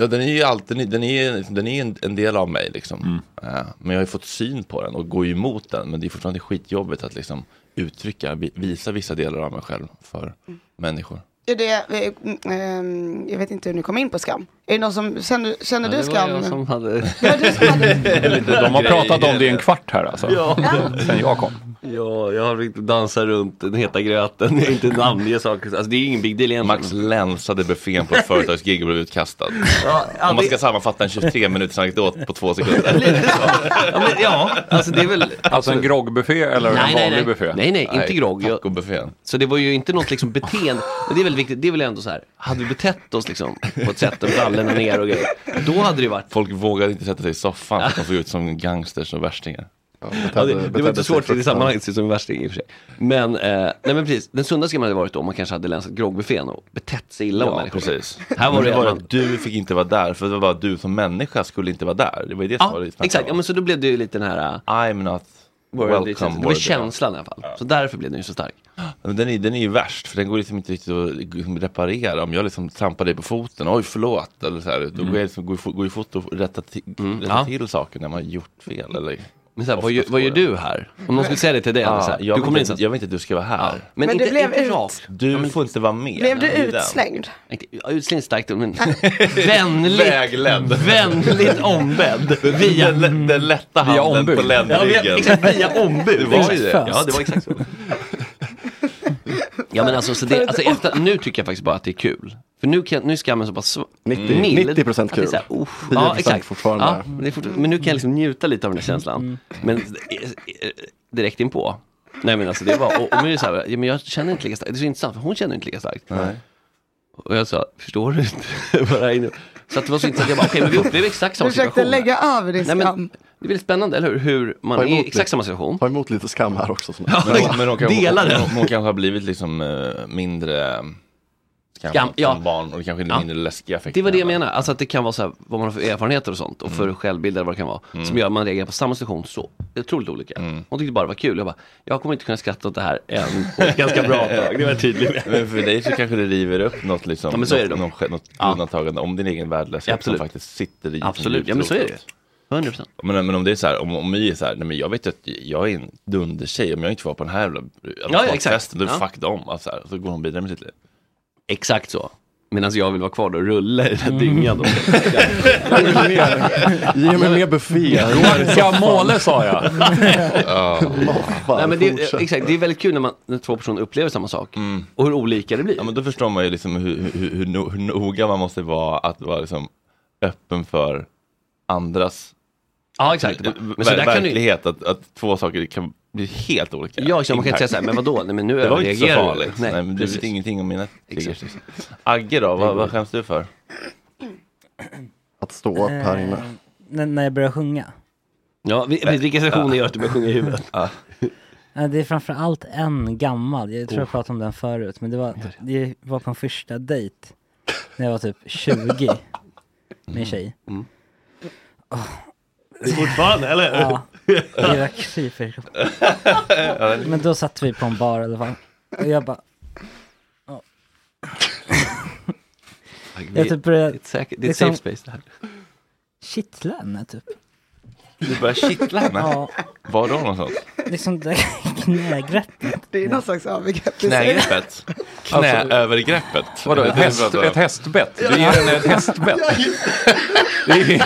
Speaker 1: Ja, den är ju alltid, den är, den är en, en del av mig liksom.
Speaker 8: Mm.
Speaker 1: Eh, men jag har ju fått syn på den och går ju emot den. Men det är fortfarande skitjobbigt att liksom uttrycka, vi- visa vissa delar av mig själv för
Speaker 7: Mm.
Speaker 1: människor.
Speaker 10: Är det, eh, ehm, jag vet inte hur ni kom in på skam. Är det någon som, känner, känner du skam?
Speaker 7: hade...
Speaker 8: De har pratat om det i en kvart här *laughs* alltså.
Speaker 11: *laughs*
Speaker 8: Sen jag kom.
Speaker 7: Ja, jag har dansat runt den heta gröten, jag är inte namnge saker. Alltså det är ingen big deal egentligen.
Speaker 1: Max länsade buffén på ett företagsgig och
Speaker 8: *laughs*
Speaker 1: blev utkastad. Om man ska sammanfatta en 23 minuters anekdot på två sekunder.
Speaker 7: Ja, men, ja alltså det är väl...
Speaker 8: Alltså en *laughs* groggbuffé eller en vanlig
Speaker 7: nej.
Speaker 8: buffé?
Speaker 7: Nej, nej, inte
Speaker 8: Nej,
Speaker 7: grogg. Jag-
Speaker 1: tacobuffén.
Speaker 7: Så det var ju inte något liksom beteende, men det är väldigt viktigt, det är väl ändå så här, hade vi betett oss liksom på ett sätt, och brallorna ner och grejer, då hade det ju varit
Speaker 1: Folk vågade inte sätta sig i soffan för att de såg ut som gangsters och värstingar.
Speaker 7: Ja, det, det var inte svårt i det sammanhanget, det ser ut som en värsting i och för sig. Men, eh, nej men precis, den sunda skammen hade varit om man kanske hade länsat groggbuffén och betett sig illa om
Speaker 1: Ja,
Speaker 7: människor.
Speaker 1: precis.
Speaker 7: Här var
Speaker 1: Men
Speaker 7: det,
Speaker 1: var
Speaker 7: man,
Speaker 1: att du fick inte vara där, för det var bara att du som människa skulle inte vara där. Det var ju det som var
Speaker 7: ja,
Speaker 1: det
Speaker 7: exakt, ja, men så då blev det ju lite den här...
Speaker 1: I'm not
Speaker 7: World,
Speaker 1: welcome
Speaker 7: det var
Speaker 1: worthy.
Speaker 7: känslan i alla fall. Så därför blev den ju så stark.
Speaker 1: Men Den är, den är ju värst, för den går liksom inte riktigt att liksom reparera. Om jag liksom trampar dig på foten, oj förlåt, eller så här, då
Speaker 7: Mm.
Speaker 1: går jag liksom, går, i fo- går i fot och rättar, ti, rättar
Speaker 7: Ja.
Speaker 1: till saker när man har gjort fel. Eller
Speaker 7: Men så här, vad, gör- vad gör du här? Om någon skulle säga det till dig,
Speaker 1: Ja,
Speaker 7: så här,
Speaker 1: jag
Speaker 7: du
Speaker 1: vill
Speaker 7: kommer in
Speaker 1: inte-
Speaker 7: så
Speaker 1: Jag vill inte att du ska vara här.
Speaker 7: Men,
Speaker 10: Men
Speaker 7: inte,
Speaker 10: du blev
Speaker 7: inte
Speaker 10: ut-
Speaker 7: rakt.
Speaker 1: Du får inte vara med.
Speaker 10: Blev du
Speaker 1: Det är den.
Speaker 10: utslängd?
Speaker 7: Inte- ja, Utslängd starkt, men vänligt.
Speaker 1: Vägledd.
Speaker 7: Vänligt ombedd.
Speaker 1: Via, den, den lätta
Speaker 7: Via
Speaker 1: handen
Speaker 7: ombud.
Speaker 1: på
Speaker 7: Ja,
Speaker 1: ländryggen.
Speaker 7: via- exakt, via ombud.
Speaker 1: Det var ju det.
Speaker 7: Exakt.
Speaker 1: Ja, det var exakt så.
Speaker 7: Ja men alltså, så det, alltså efter, nu tycker jag faktiskt bara att det är kul. För nu, kan, nu är skammen så pass sv-
Speaker 6: 90
Speaker 7: mild
Speaker 6: 90%
Speaker 7: att det är
Speaker 6: kul.
Speaker 7: så här, uff,
Speaker 6: 10%
Speaker 7: ja, exakt.
Speaker 6: fortfarande.
Speaker 7: Ja, men, det är fortfarande men nu kan jag liksom njuta lite av den här känslan. Men eh, eh, direkt inpå. Nej men alltså det var, och, och men det är så här, ja, men jag känner inte lika starkt. Det är så intressant för hon känner inte lika starkt. Och jag sa, förstår du inte vad det här innebär? Så att det var så intressant, jag bara okej men vi upplever exakt
Speaker 10: Du
Speaker 7: samma
Speaker 10: försökte
Speaker 7: situation.
Speaker 10: lägga över din
Speaker 7: Nej, men-
Speaker 10: skam.
Speaker 7: Det är väldigt spännande, eller hur? Hur man
Speaker 6: Ta
Speaker 7: är
Speaker 6: emot
Speaker 7: i
Speaker 6: lite.
Speaker 7: exakt samma situation.
Speaker 6: Ta emot lite skam här också. Som
Speaker 7: Ja,
Speaker 1: Men, hon- men hon, kan,
Speaker 7: Dela
Speaker 1: hon,
Speaker 7: den.
Speaker 1: hon, hon kanske har blivit liksom eh, mindre skam,
Speaker 7: Skam, ja.
Speaker 1: som barn och kanske
Speaker 7: Ja.
Speaker 1: mindre läskiga effekter.
Speaker 7: Det var det jag menade, alltså att det kan vara så här, vad man har för erfarenheter och sånt och för
Speaker 1: Mm.
Speaker 7: självbilder vad det kan vara. Som gör att man reagerar på samma situation så otroligt olika.
Speaker 1: Mm.
Speaker 7: Hon tyckte bara det var kul, jag bara, jag kommer inte kunna skratta åt det här än. på ett Ganska bra
Speaker 1: *laughs*
Speaker 7: tag, det var jag tydlig med.
Speaker 1: Men för dig så kanske det river upp något, liksom,
Speaker 7: Ja, men så är det
Speaker 1: något,
Speaker 7: då.
Speaker 1: något, något undantagande om din egen värdelöshet
Speaker 7: Ja, absolut.
Speaker 1: som faktiskt sitter i.
Speaker 7: Absolut, ja men så är det 100%.
Speaker 1: Men, men om det är så här, om, om vi är så här, nej men jag vet ju att jag är en dundertjej, om jag inte får vara på den här jävla
Speaker 7: ja, exakt.
Speaker 1: advokatfesten, då
Speaker 7: Ja.
Speaker 1: fuck dem. Alltså, så, här, så går hon vidare med sitt liv.
Speaker 7: Exakt så. Medan jag vill vara kvar då och rulla i den här dyngan. då.
Speaker 6: *laughs* Ge mig mer buffé.
Speaker 7: Guacamole, sa jag.
Speaker 6: *laughs*
Speaker 1: Ja.
Speaker 7: Nej, men det, är- exakt, det är väldigt kul när, man, när två personer upplever samma sak. Och hur olika det blir.
Speaker 1: Ja men då förstår man ju liksom hur, hur, hur, no- hur noga man måste vara att vara liksom öppen för andras Alltså,
Speaker 7: Ja, exakt.
Speaker 1: Ver-
Speaker 7: Men så där kan du-
Speaker 1: verklighet, att, att två saker kan bli helt olika.
Speaker 7: Ja, så man kan inte
Speaker 1: Impact.
Speaker 7: säga så här, men vadå, nej, men nu
Speaker 1: Det var ju inte så
Speaker 7: överreagerar du.
Speaker 1: farligt.
Speaker 7: Nej,
Speaker 1: Nej, men du vet
Speaker 7: precis.
Speaker 1: ingenting om mina
Speaker 7: Exakt.
Speaker 1: triggers. liksom. Agge då, vad, vad skäms du för?
Speaker 6: Att stå upp här inne.
Speaker 5: Eh, När, när jag börjar sjunga.
Speaker 7: Ja, vi- vi- vilka reaktioner gör att du börjar sjunga i huvudet?
Speaker 5: Eh, Det är framförallt en gammal, jag tror jag pratade om den förut, men det var, det var på en första dejt när jag var typ 20 med en tjej.
Speaker 7: Mm.
Speaker 5: Åh.
Speaker 7: Fortfarande, eller?
Speaker 10: *laughs*
Speaker 5: Ja, det var creepy. Men då satt vi på en bar i alla fall. Och jag bara... ja. Jag typ
Speaker 7: det är
Speaker 5: började...
Speaker 7: ett säkert- det är ett safe space det här.
Speaker 5: Kittla henne typ.
Speaker 1: Du börjar kittla henne?
Speaker 5: Ja.
Speaker 1: Var då någonstans?
Speaker 5: Liksom det knägreppet.
Speaker 10: Det är någon slags övergrepp.
Speaker 1: Knägreppet?
Speaker 7: Alltså,
Speaker 1: Alltså, Knäövergreppet?
Speaker 8: Vadå, ett, häst, ett hästbett? Du ger henne ett hästbett? *laughs* Det är,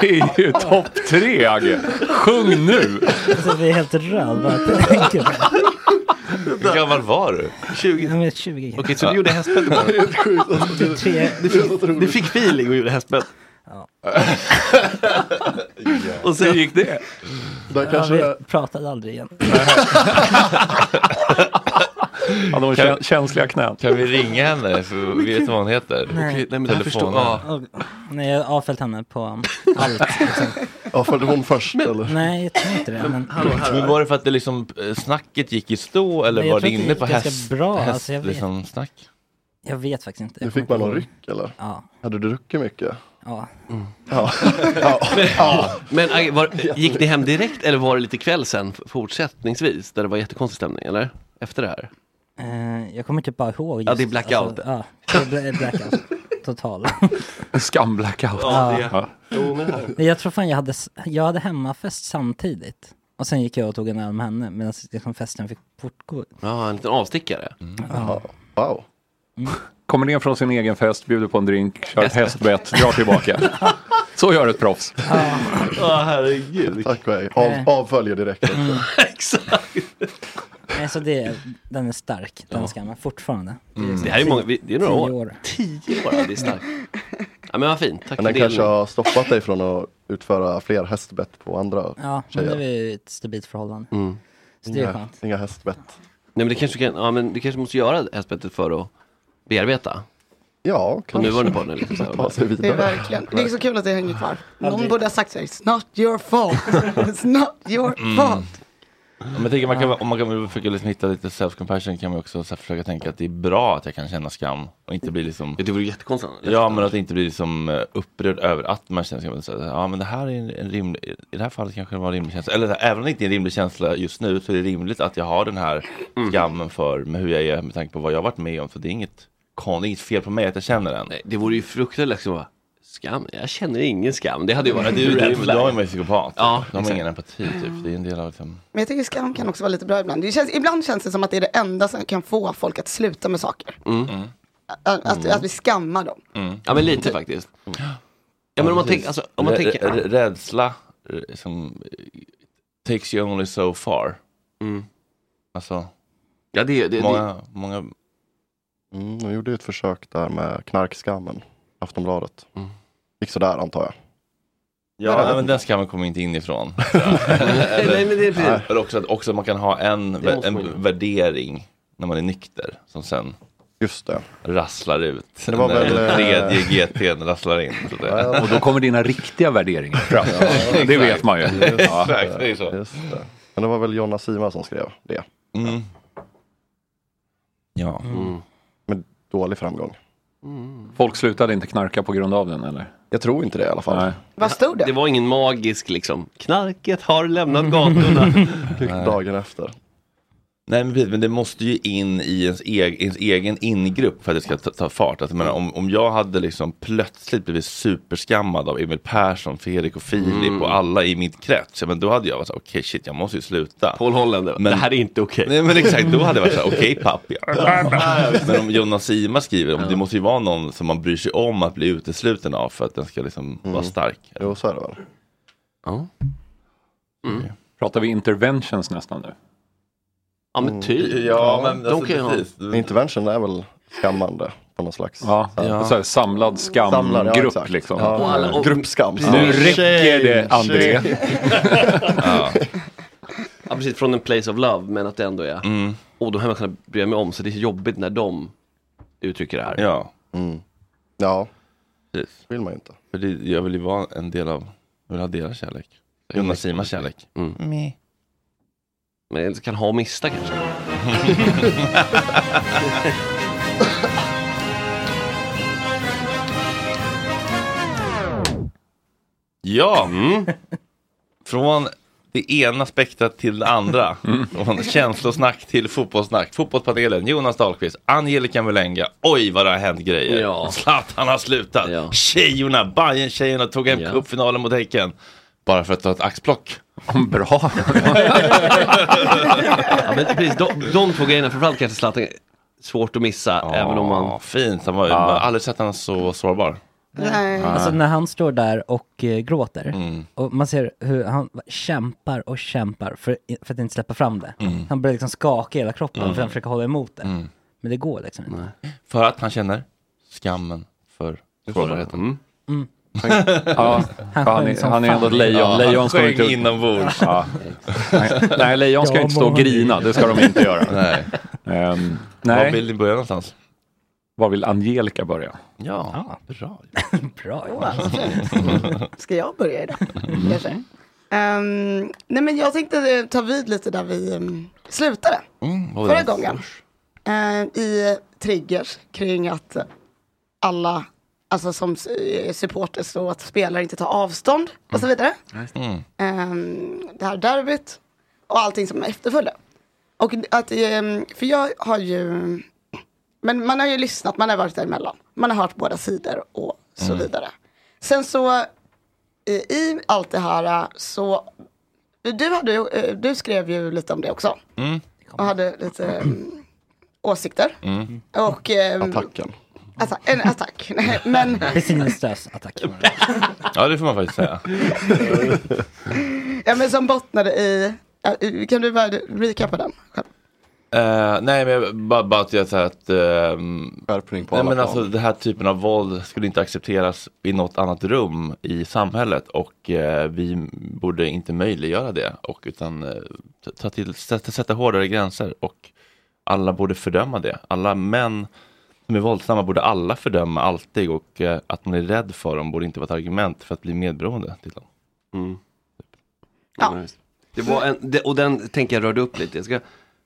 Speaker 8: det är ju topp tre, Agge. Sjung nu!
Speaker 5: Alltså vi är helt röd bara att jag tänker på det.
Speaker 1: Hur gammal var du?
Speaker 7: 20.
Speaker 5: Jag är 20
Speaker 7: Okej, så du gjorde hästbett på det?
Speaker 5: Du, Typ tre...
Speaker 7: Du fick, du fick feeling och gjorde hästbett?
Speaker 5: Ja.
Speaker 7: och sen gick det?
Speaker 5: Där kanske ja, vi pratade aldrig igen.
Speaker 8: Ja, de
Speaker 1: Kan-
Speaker 8: kä- känsliga knän.
Speaker 1: Kan vi ringa
Speaker 7: *laughs*
Speaker 1: henne? För vi vet vad hon heter.
Speaker 5: Nej. Okej, nej, men jag
Speaker 1: Telefon.
Speaker 5: Och, nej, jag har avföljt henne på um, allt. Liksom.
Speaker 6: Avföljde hon först eller?
Speaker 5: Nej, jag tror inte det. Men,
Speaker 1: Men var det för att det liksom, eh, snacket gick i stå eller
Speaker 5: Nej, jag
Speaker 1: var det
Speaker 5: tror att det
Speaker 1: inne
Speaker 5: gick
Speaker 1: på
Speaker 5: ganska
Speaker 1: häst,
Speaker 5: bra,
Speaker 1: häst
Speaker 5: alltså, jag vet.
Speaker 1: liksom, snack?
Speaker 5: jag vet faktiskt inte.
Speaker 6: Du
Speaker 5: Jag
Speaker 6: fick bara
Speaker 5: kommer
Speaker 6: någon
Speaker 5: inte
Speaker 6: ryck
Speaker 5: ihåg.
Speaker 6: eller?
Speaker 5: Ja.
Speaker 6: Hade du druckit mycket?
Speaker 5: Ja.
Speaker 7: *laughs*
Speaker 6: Ja. ja.
Speaker 7: Mm. Men Agge, var, gick det hem direkt eller var det lite kväll sen fortsättningsvis? Där det var jättekonstig stämning, eller? Efter det här?
Speaker 5: Eh, jag kommer typ bara ihåg. Just,
Speaker 7: Ja, det är blackout.
Speaker 5: Alltså, ja, det är
Speaker 7: *laughs*
Speaker 5: bla- blackout. Total. *laughs*
Speaker 8: Skamblackout.
Speaker 5: Ja, det är-
Speaker 8: Ja.
Speaker 5: Men jag tror fan jag hade, s- jag hade hemmafest samtidigt. Och sen gick jag och tog en öl med henne medan liksom festen fick fortgå.
Speaker 7: Ja, en liten avstickare.
Speaker 1: Mm.
Speaker 5: Ja.
Speaker 6: Wow.
Speaker 8: Kommer ner från sin egen fest, bjuder på en drink, kör ett hästbett, drar tillbaka. Så gör ett proffs.
Speaker 7: Ja,
Speaker 1: *laughs*
Speaker 12: *laughs*
Speaker 7: herregud.
Speaker 6: Tack och hej. Av, avföljer direkt. också.
Speaker 7: *laughs* Exakt.
Speaker 5: Nej, så det, den är stark, den skammen, fortfarande.
Speaker 7: Mm. Det här är, många, vi- det är några
Speaker 5: Tio
Speaker 7: år.
Speaker 5: år.
Speaker 7: Tio år, ja, det är starkt. Ja, men vad fint. Tack
Speaker 6: Men
Speaker 7: för
Speaker 6: den kanske
Speaker 7: det.
Speaker 6: har stoppat dig från att utföra fler hästbett på andra
Speaker 5: Ja, men nu
Speaker 6: tjejer.
Speaker 5: är vi i ett stabilt förhållande.
Speaker 7: Mm.
Speaker 5: Så det är
Speaker 6: Inga,
Speaker 5: skönt.
Speaker 6: inga hästbett.
Speaker 7: Nej, men det kanske kan, ja, men du kanske måste göra hästbettet för att bearbeta.
Speaker 6: Ja,
Speaker 7: På
Speaker 6: kanske.
Speaker 7: nuvarande partner. Liksom, så här.
Speaker 6: Ta sig
Speaker 10: Det är
Speaker 6: vidare.
Speaker 10: verkligen. Det är så kul att det hänger kvar. Någon borde ha sagt så här, it's not your fault. It's not your
Speaker 7: Mm.
Speaker 10: fault.
Speaker 1: *laughs* Ja, Men jag tänker, man kan, om man kan försöka liksom hitta lite self-compassion kan man ju också så här, försöka tänka att det är bra att jag kan känna skam och inte bli liksom
Speaker 7: Ja, Det vore jättekonstigt.
Speaker 1: Ja men att inte bli liksom eh, upprörd över att man känner skam. Så här, Ja men det här är en, en rimlig, i det här fallet kanske det var en rimlig känsla. Eller så här, även om det inte är en rimlig känsla just nu så är det rimligt att jag har den här
Speaker 7: Mm.
Speaker 1: skammen för med hur jag är med tanke på vad jag har varit med om. Så det är inget, kon- det är inget fel på mig att jag känner den.
Speaker 7: Nej, det vore ju fruktansvärt liksom bara, Skam? Jag känner ingen skam. Det hade ju varit
Speaker 1: Du-
Speaker 7: du
Speaker 1: du-
Speaker 7: red flag.
Speaker 1: då är man ju psykopat.
Speaker 7: Ja,
Speaker 1: De har
Speaker 7: exakt.
Speaker 1: ingen empati typ. Det är en del av liksom.
Speaker 10: Men jag tycker skam kan också vara lite bra ibland. Det känns, ibland känns det som att det är det enda som kan få folk att sluta med saker.
Speaker 7: Mm.
Speaker 10: Att, att,
Speaker 7: Mm.
Speaker 10: att vi skammar dem.
Speaker 1: Mm.
Speaker 7: Ja, men lite faktiskt. Ja, men om man
Speaker 1: precis.
Speaker 7: tänker, alltså, om man
Speaker 1: Rä-
Speaker 7: tänker,
Speaker 1: rä- Rädsla eh, som eh, takes you only so far. Alltså.
Speaker 7: Mm. Ja, det, det,
Speaker 1: många, många
Speaker 6: Mm, de gjorde ju ett försök där med knarkskammen, Aftonbladet. Gick sådär antar jag.
Speaker 1: Ja,
Speaker 6: Vadå?
Speaker 1: men den skammen kommer
Speaker 7: *laughs*
Speaker 1: inte inifrån.
Speaker 6: Nej,
Speaker 1: eller,
Speaker 6: nej, men det är precis.
Speaker 1: eller också, att, också att man kan ha en,
Speaker 6: Det måste man ju.
Speaker 1: en värdering när man är nykter som sen
Speaker 6: Just det.
Speaker 1: rasslar ut.
Speaker 6: Det var
Speaker 1: när
Speaker 6: väl,
Speaker 1: den
Speaker 6: eh,
Speaker 1: tredje GT'n rasslar in. Så att säga.
Speaker 8: Och då kommer dina riktiga värderingar fram. det vet man ju.
Speaker 6: Just det.
Speaker 8: Ja.
Speaker 6: Just det. Men det var väl Jonna Sima som skrev det.
Speaker 1: Mm. Ja.
Speaker 6: Mm. Med dålig framgång.
Speaker 8: Folk slutade inte knarka på grund av den eller?
Speaker 6: Jag tror inte det i alla fall.
Speaker 10: Vad stod det?
Speaker 7: det var ingen magisk liksom, knarket har lämnat gatorna.
Speaker 6: Dagen efter.
Speaker 1: Nej men precis, men det måste ju in i ens, eg, ens egen ingrupp för att det ska ta, ta fart. Alltså, jag menar, om, om jag hade liksom plötsligt blivit superskammad av Emil Persson, Fredrik och Filip
Speaker 7: Mm.
Speaker 1: och alla i mitt krets. Ja, men då hade jag varit så här, okej shit jag måste ju sluta.
Speaker 7: Paul Hollander, det här är inte okej.
Speaker 1: Nej men exakt, då hade jag varit så här, okej
Speaker 6: *laughs*
Speaker 1: pappi. men om Jonas Sima skriver, om, det måste ju vara någon som man bryr sig om att bli utesluten av för att den ska liksom vara stark.
Speaker 6: Mm. Jo så är det väl.
Speaker 7: Ja.
Speaker 8: Pratar vi interventions nästan nu?
Speaker 7: Ja men typ.
Speaker 6: Intervention är väl skammande på något slags.
Speaker 8: Ja,
Speaker 6: Ja.
Speaker 8: Så här, samlad skamgrupp
Speaker 6: Samlad, ja, exakt.
Speaker 8: liksom.
Speaker 6: Ja, Och alla- och- gruppskam. precis.
Speaker 8: Nu
Speaker 6: Ja.
Speaker 8: räcker det
Speaker 6: Tjej,
Speaker 8: André.
Speaker 7: ja. ja, precis. Från en place of love, men att det ändå är. Och då har man kunnat bry mig om, så det är så jobbigt när de uttrycker det här.
Speaker 1: Ja.
Speaker 6: Ja.
Speaker 1: Precis.
Speaker 6: vill man ju inte.
Speaker 1: För det, jag vill ju vara en del av, jag vill ha deras kärlek. Jonas Simas kärlek.
Speaker 7: Mm. Men jag kan ha och mista kanske.
Speaker 1: *laughs* Ja, från det ena spektrat till det andra.
Speaker 6: Mm.
Speaker 1: Från känslosnack till fotbollssnack. Fotbollspanelen, Jonas Dahlqvist, Angelica Mulenga. Oj vad det har hänt grejer.
Speaker 7: Ja.
Speaker 1: *laughs* Zlatan har slutat. Tjejorna, bayern tjejerna tog hem
Speaker 7: Ja.
Speaker 1: cupfinalen mot Häcken. Bara för att ta ett axplock.
Speaker 8: Bra.
Speaker 7: ja, men precis, de, de två grejerna, framförallt kanske Zlatan, svårt att missa. även om man...
Speaker 1: Fint, han var ju,
Speaker 7: Ja.
Speaker 1: man har aldrig sett honom så sårbar.
Speaker 10: Nej.
Speaker 5: Alltså när han står där och eh, gråter
Speaker 1: Mm.
Speaker 5: och man ser hur han kämpar och kämpar för, för att inte släppa fram det.
Speaker 1: Mm.
Speaker 5: Han börjar liksom skaka i hela kroppen
Speaker 1: Mm.
Speaker 5: för att han försöker hålla emot det.
Speaker 1: Mm.
Speaker 5: Men det går liksom inte.
Speaker 1: För att han känner skammen för sårbarheten.
Speaker 5: Mm.
Speaker 8: Ja,
Speaker 5: Han
Speaker 8: han,
Speaker 5: sjöng
Speaker 8: är,
Speaker 5: som
Speaker 8: han är
Speaker 5: fan.
Speaker 8: ändå ett lejon.
Speaker 1: Ja, han
Speaker 8: lejon ska
Speaker 1: sjöng
Speaker 8: inte...
Speaker 11: *laughs*
Speaker 1: inombords.
Speaker 8: Ja. Nej, lejon ska
Speaker 1: Jag
Speaker 8: inte stå och
Speaker 1: mår
Speaker 8: grina.
Speaker 1: dig.
Speaker 8: Det ska de inte göra.
Speaker 1: Nej.
Speaker 8: Ehm,
Speaker 1: Var
Speaker 8: nej.
Speaker 1: vill ni börja någonstans?
Speaker 8: Var vill Angelica börja?
Speaker 1: Ja, bra.
Speaker 5: Bra
Speaker 10: Jonas. Ska jag börja idag? Kanske. Ehm, nej men jag tänkte eh, ta vid lite där vi um, slutade.
Speaker 1: Mm, vad var
Speaker 10: Förra
Speaker 1: det?
Speaker 10: gången. eh, I triggers kring att eh, alla, alltså som eh, supporters och att spelare inte tar avstånd och så vidare.
Speaker 1: Mm.
Speaker 10: Ehm, det här derbyt och allting som efterföljde. Och att, ehm, för jag har ju, men man har ju lyssnat, man har varit däremellan. Man har hört båda sidor och så
Speaker 11: Mm.
Speaker 10: vidare. Sen så, eh, i allt det här eh, så, du, hade, ju- eh, du skrev ju lite om det också.
Speaker 1: Mm.
Speaker 10: Och hade lite ehm, åsikter.
Speaker 1: Mm.
Speaker 10: Och, ehm,
Speaker 6: Attacken.
Speaker 10: Atta en attack. *laughs* Nej, men,
Speaker 5: Besinningslös attack.
Speaker 1: Ja, det får man faktiskt säga.
Speaker 10: ja, men som bottnade i, ja, kan du bara recapa den?
Speaker 1: Eh, nej, men jag- bara, bara att jag säger att... ehm,
Speaker 6: på
Speaker 1: nej,
Speaker 6: alla
Speaker 1: men
Speaker 6: plan.
Speaker 1: alltså, Den här typen av våld skulle inte accepteras i något annat rum i samhället och eh, vi borde inte möjliggöra det. Och, utan eh, ta- ta till, sätta, sätta hårdare gränser och alla borde fördöma det. Alla män som är våldsamma borde alla fördöma alltid och eh, att man är rädd för dem borde inte vara ett argument för att bli medberoende Typ. till dem.
Speaker 7: Ja. Det var en, det, och den tänker jag rörde upp lite. Jag ska,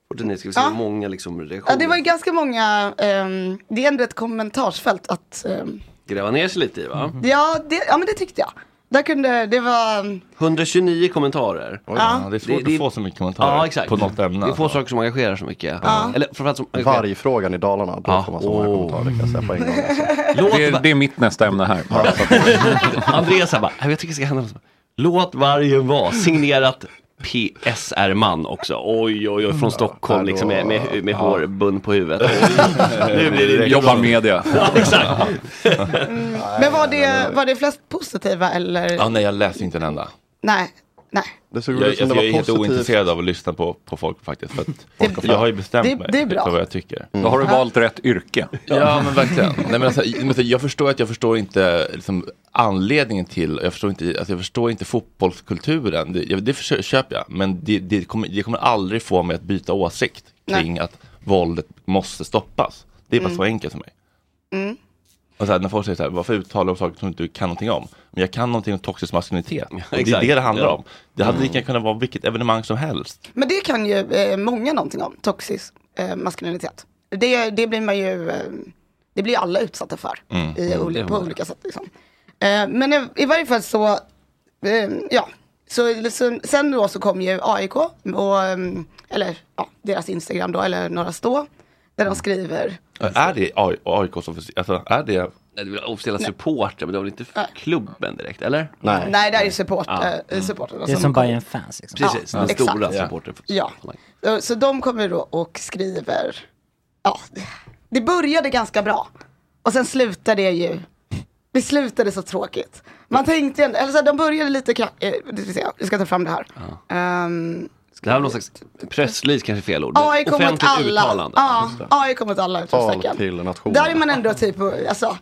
Speaker 7: och den är, ska vi se
Speaker 10: Ja.
Speaker 7: hur många liksom reaktioner.
Speaker 10: Ja, det var ju ganska många, ehm, det är ändå ett kommentarsfält att, ehm, Mhm.
Speaker 7: Gräva ner sig lite i va?
Speaker 10: ja, det, ja men det tyckte jag. Där kunde, det var,
Speaker 7: 129 kommentarer.
Speaker 10: Ja.
Speaker 1: det är svårt att få så mycket kommentarer
Speaker 7: ja, exakt.
Speaker 1: på något ämne. alltså.
Speaker 7: Det är få saker som engagerar så mycket.
Speaker 10: Ja.
Speaker 7: Eller framförallt som engagerar.
Speaker 6: Vargfrågan i Dalarna, då får man så många kommentarer kan jag säga på en gång.
Speaker 8: Det är, det är mitt nästa ämne här.
Speaker 7: Andreas här bara, "Nej, jag tycker det ska hända något. Låt vargen vara, signerat PSR-man också. Oj, oj, oj, från Stockholm liksom med, med, med hårbund på huvudet. Oj. Nu blir det
Speaker 8: Jobbar
Speaker 11: *laughs*
Speaker 8: media.
Speaker 7: Ja, exakt.
Speaker 10: men var det, var det flest positiva eller?
Speaker 1: Ja, nej, jag läser inte en enda.
Speaker 10: Nej, nej.
Speaker 6: Det
Speaker 1: Jag,
Speaker 6: såg
Speaker 1: jag,
Speaker 6: ut som det var
Speaker 1: jag är helt
Speaker 6: positivt.
Speaker 1: ointresserad av att lyssna på, på folk faktiskt. För att jag har ju bestämt
Speaker 10: Det-
Speaker 1: mig
Speaker 10: det är bra. Mm.
Speaker 1: för vad jag tycker.
Speaker 8: Då har du valt rätt yrke.
Speaker 1: Ja, men verkligen. Nej, men alltså, men alltså, jag förstår att jag förstår inte liksom, anledningen till, jag förstår inte, alltså, jag förstår inte fotbollskulturen, det, jag, det försö- köper jag, men det, det, kommer, det kommer aldrig få mig att byta åsikt kring att våldet måste stoppas. Det är bara
Speaker 10: Mm.
Speaker 1: så enkelt för mig.
Speaker 10: Mm.
Speaker 1: Och så här, när folk säger så här, varför uttalar du om saker som du inte kan någonting om? Men jag kan någonting om toxisk maskulinitet. Och det är
Speaker 7: exakt.
Speaker 1: det det handlar
Speaker 7: Ja. Mm.
Speaker 1: om. Det hade lika gärna kunnat vara vilket evenemang som helst.
Speaker 10: Men det kan ju eh, många någonting om, toxisk eh, maskulinitet. Det, det blir man ju, eh, det blir ju alla utsatta för
Speaker 1: Mm.
Speaker 10: i,
Speaker 1: Mm,
Speaker 10: oli-
Speaker 1: det är
Speaker 10: på
Speaker 1: man.
Speaker 10: olika sätt. Liksom. Eh, men i, i varje fall så, eh, ja. Så, så, sen då så kom ju AIK, och, eh, eller ja, deras Instagram då, eller några stå, där de skriver
Speaker 1: Är det AI AIKs officiella, alltså är det?
Speaker 7: Nej, det var officiella supporter, men det var väl inte f- klubben direkt, eller?
Speaker 10: Nej, det här är support,
Speaker 7: Ja.
Speaker 10: eh, supportrarna
Speaker 5: Det är som Bayern fans liksom.
Speaker 7: Precis,
Speaker 10: Ja,
Speaker 7: den
Speaker 10: exakt.
Speaker 7: stora
Speaker 10: Ja.
Speaker 7: supporten.
Speaker 10: Ja, Eh, så, så de kommer då och skriver, ja, det började ganska bra och sen slutade det ju, det slutade så tråkigt. Man tänkte ju ändå, eller så här, de började lite krack, eh, vi ska se, jag ska ta fram det här. Ehm,
Speaker 7: Det här var någon slags pressrelease kanske är fel ord.
Speaker 10: AI kom mot
Speaker 7: Offentligt
Speaker 10: alla.
Speaker 7: uttalande.
Speaker 10: Ja, AI kom mot alla utropstecken.
Speaker 6: till nationen.
Speaker 10: Där är man ändå typ, alltså,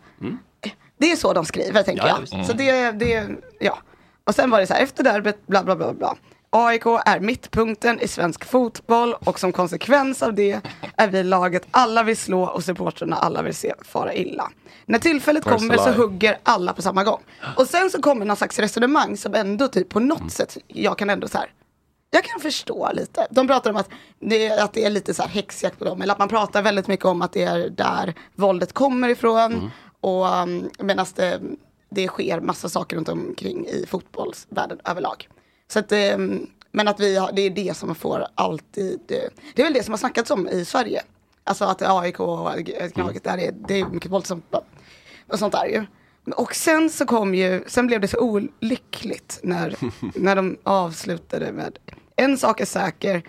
Speaker 10: det är så de skriver tänker
Speaker 7: Mm. Ja,
Speaker 10: jag.
Speaker 7: visst. Mm.
Speaker 10: Så det, det, ja. Och sen var det så här, efter derbyt, bla bla bla bla. AIK är mittpunkten i svensk fotboll och som konsekvens av det är vi laget alla vill slå och supportrarna alla vill se fara illa. När tillfället
Speaker 11: Where's
Speaker 10: kommer
Speaker 11: the
Speaker 10: så
Speaker 11: lie?
Speaker 10: hugger alla på samma gång. Och sen så kommer någon slags resonemang som ändå typ på något sätt, jag kan ändå så här, jag kan förstå lite. De pratar om att det, att det är lite så här häxjakt på dem. Eller att man pratar väldigt mycket om att det är där våldet kommer ifrån. Och um, medan det, det sker massa saker runt omkring i fotbollsvärlden överlag. Så att, um, men att vi har, det är det som får alltid... eh, Det är väl det som har snackats om i Sverige. Alltså att AIK och
Speaker 7: Mm.
Speaker 10: Gnaget, där är, det är mycket våld som... Och sånt där ju. Och sen så kom ju, sen blev det så olyckligt när, när de avslutade med en sak är säker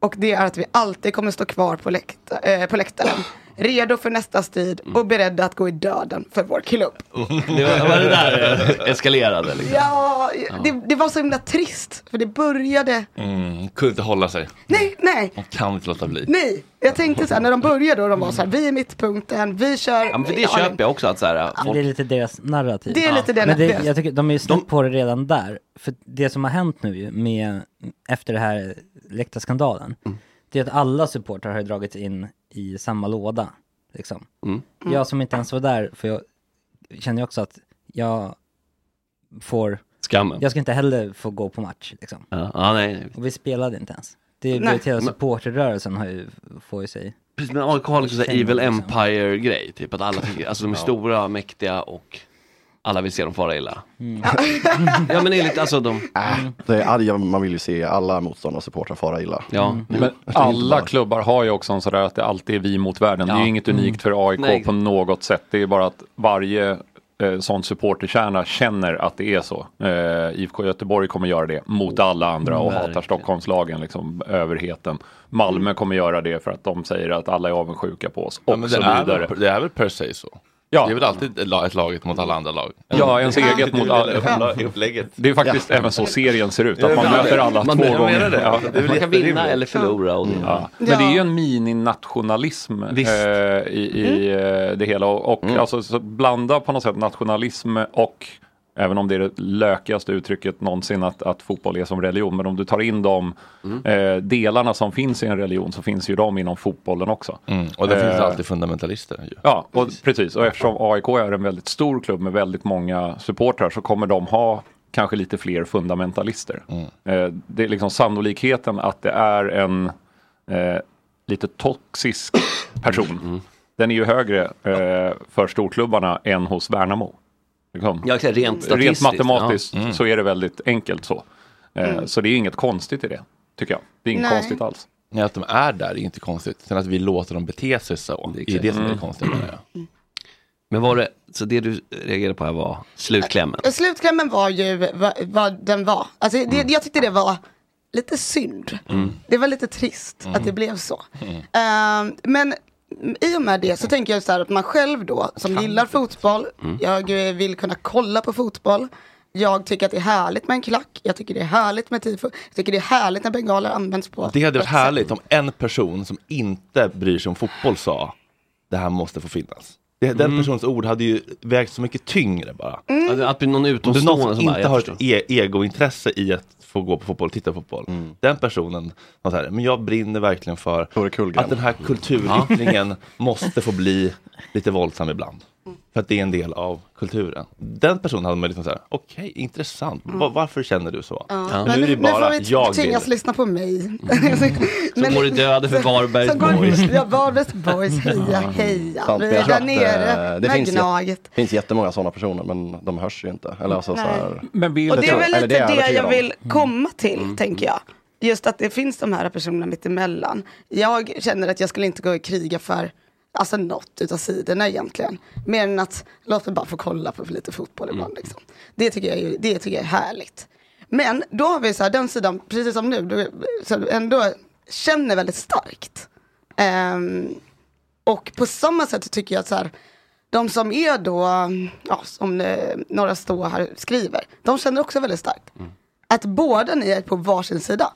Speaker 10: och det är att vi alltid kommer stå kvar på, läkta, eh, på läktaren. Redo för nästa strid och beredda att gå i döden för vår klubb.
Speaker 7: Det var, var det där eh, *laughs* eskalerade liksom.
Speaker 10: Ja, det, det var så himla trist för det började,
Speaker 1: Mm, kunde inte hålla sig.
Speaker 10: nej, nej,
Speaker 1: Man kan inte låta bli.
Speaker 10: nej. Jag tänkte så här när de började och de var så här, vi är mittpunkten, vi kör.
Speaker 7: Ja, men för det köper jag också att så här,
Speaker 10: Ja.
Speaker 7: folk
Speaker 5: Det är lite deras narrativ.
Speaker 10: Det är lite det
Speaker 5: Men det,
Speaker 10: narrativet.
Speaker 5: jag tycker de är ju snett på det redan där. För det som har hänt nu ju med, efter det här läktarskandalen,
Speaker 7: Mm.
Speaker 5: det är att alla supportrar har ju dragits in i samma låda. Liksom.
Speaker 7: Mm.
Speaker 5: Jag som inte ens var där, för jag känner ju också att jag får...
Speaker 7: Skammen.
Speaker 5: Jag ska inte heller få gå på match liksom.
Speaker 7: Ja, ja, nej, nej.
Speaker 5: Och vi spelade inte ens. Det
Speaker 7: Nej.
Speaker 5: blev till att
Speaker 7: Men-
Speaker 5: supporterrörelsen har ju, får ju sig...
Speaker 7: Precis, men AIK har liksom såhär
Speaker 5: Känner
Speaker 7: Evil
Speaker 5: liksom.
Speaker 7: Empire-grej, typ att alla tycker, alltså de är
Speaker 5: Ja.
Speaker 7: stora, mäktiga och alla vill se dem fara illa.
Speaker 5: Mm.
Speaker 7: ja men enligt, alltså de,
Speaker 9: Äh,
Speaker 6: Det är arga, man vill ju se alla motståndare och supportrar fara
Speaker 10: *laughs*
Speaker 6: illa.
Speaker 8: Men alla klubbar har ju också en sådär att det alltid är vi mot världen. Det är
Speaker 6: Ja.
Speaker 8: ju inget unikt för AIK
Speaker 6: Nej.
Speaker 8: på något sätt. Det är bara att varje eh, sån supporterkärna känner att det är så. Eh, IFK Göteborg kommer göra det mot alla andra och hatar
Speaker 7: Verkligen.
Speaker 8: Stockholmslagen, liksom överheten. Malmö kommer göra det för att de säger att alla är avundsjuka på oss och
Speaker 1: men
Speaker 8: så
Speaker 1: det, är
Speaker 8: vidare.
Speaker 1: väl, det är väl per se så.
Speaker 8: Ja.
Speaker 1: Det är väl alltid ett la- ett laget mot alla andra lag.
Speaker 8: Ja, ens
Speaker 1: Det är
Speaker 8: eget
Speaker 1: det
Speaker 8: mot
Speaker 1: du
Speaker 8: alla-
Speaker 1: vill ha i *laughs* upplägget.
Speaker 8: Det är faktiskt
Speaker 1: Ja.
Speaker 8: även så serien ser ut,
Speaker 1: Ja,
Speaker 8: att man
Speaker 1: men-
Speaker 8: möter alla
Speaker 1: man-
Speaker 8: två
Speaker 1: jag
Speaker 8: gånger.
Speaker 1: menar det.
Speaker 8: Ja.
Speaker 1: Det är väl Man kan vinna jätterimligt. Mm. eller
Speaker 7: förlora. Och
Speaker 8: ja.
Speaker 7: Ja.
Speaker 8: Men det är ju en mininationalism eh, i, i eh, det hela. Och, och alltså, så blanda på något sätt nationalism och Även om det är det lökigaste uttrycket någonsin att, att fotboll är som religion. Men om du tar in de eh, delarna som finns i en religion så finns ju de inom fotbollen också.
Speaker 1: Mm. Och det finns
Speaker 8: Eh,
Speaker 1: alltid fundamentalister. Ju.
Speaker 8: Ja, och precis. Och eftersom AIK är en väldigt stor klubb med väldigt många supportrar så kommer de ha kanske lite fler fundamentalister.
Speaker 7: Mm.
Speaker 8: Eh, Det är liksom sannolikheten att det är en eh, lite toxisk
Speaker 7: Mm.
Speaker 8: person. Den är ju högre eh, för storklubbarna än hos Värnamo. Liksom.
Speaker 7: Ja, exakt, rent statistiskt,
Speaker 8: matematiskt
Speaker 7: ja. Mm.
Speaker 8: så är det väldigt enkelt så. Eh,
Speaker 7: Mm.
Speaker 8: Så det är inget konstigt i det, tycker jag. Det är inget
Speaker 10: Nej.
Speaker 8: konstigt alls.
Speaker 1: Nej, att de är där är inte konstigt. Sen att vi låter dem bete sig så, det är det som är
Speaker 7: Mm.
Speaker 1: konstigt. menar jag.
Speaker 7: Men var det, så det du reagerade på här var slutklämmen?
Speaker 10: Slutklämmen var ju va- vad den var. Alltså, det,
Speaker 9: Mm.
Speaker 10: Jag tyckte det var lite synd. Det var lite trist
Speaker 11: Mm.
Speaker 10: att det blev så. Ehm, men i och med det så tänker jag så här att man själv då, som gillar fotboll,
Speaker 11: Mm.
Speaker 10: jag eh, vill kunna kolla på fotboll. Jag tycker att det är härligt med en klack, jag tycker det är härligt med tifo, jag tycker det är härligt när bengaler används på.
Speaker 1: Det hade varit härligt om en person som inte bryr sig om fotboll sa det här måste få finnas. Det, den personens ord hade ju vägt så mycket tyngre bara.
Speaker 7: Mm.
Speaker 10: Mm.
Speaker 7: Att, att bli någon
Speaker 1: Om det är någon
Speaker 7: utomstående
Speaker 1: som
Speaker 7: som bara,
Speaker 1: inte
Speaker 7: jag
Speaker 1: har
Speaker 7: förstår.
Speaker 1: ett e- egointresse i att få gå på fotboll, titta på fotboll.
Speaker 7: Mm.
Speaker 1: Den personen var så här, men jag brinner verkligen för att den här kulturyttringen
Speaker 7: Mm. Ja. *laughs*
Speaker 1: måste få bli lite våldsam ibland.
Speaker 10: Mm.
Speaker 1: För att det är en del av kulturen. Den personen hade man liksom så här, okej, intressant. Va- varför känner du så?
Speaker 10: Mm. Ja.
Speaker 1: Men
Speaker 10: Men
Speaker 1: nu är det
Speaker 10: nu, nu får
Speaker 1: bara
Speaker 10: vi
Speaker 1: jag vill.
Speaker 10: tvingas lyssna på
Speaker 9: Mm.
Speaker 10: mig.
Speaker 7: Så går det döden för Varbergs
Speaker 10: Så går-
Speaker 7: boys.
Speaker 10: Ja, Varbergs boys, heja, heja.
Speaker 9: Sant,
Speaker 10: Vi
Speaker 9: men jag
Speaker 10: är
Speaker 9: tror
Speaker 10: där
Speaker 9: att, eh,
Speaker 10: nere
Speaker 9: det
Speaker 10: med
Speaker 9: finns,
Speaker 10: Gnaget.
Speaker 9: jät- finns jättemånga sådana personer men de hörs ju inte. Eller alltså, så
Speaker 10: Nej.
Speaker 9: här,
Speaker 10: Och det är väl lite
Speaker 9: Eller är
Speaker 10: det jag,
Speaker 9: övertygad om.
Speaker 10: vill komma till, tänker jag. Just att det finns de här personerna mittemellan. Jag känner att jag skulle inte gå och kriga för alltså, något utav sidorna egentligen. Mer än att låt mig bara få kolla på lite fotboll ibland. Liksom. Det, tycker jag är, det tycker jag är härligt. Men då har vi så här, den sidan, precis som nu, du så ändå känner väldigt starkt. Ehm, och på samma sätt tycker jag att så här, de som är då, ja, som eh, några stå här skriver, de känner också väldigt starkt.
Speaker 7: Mm.
Speaker 10: Att båda ni är på varsin sida.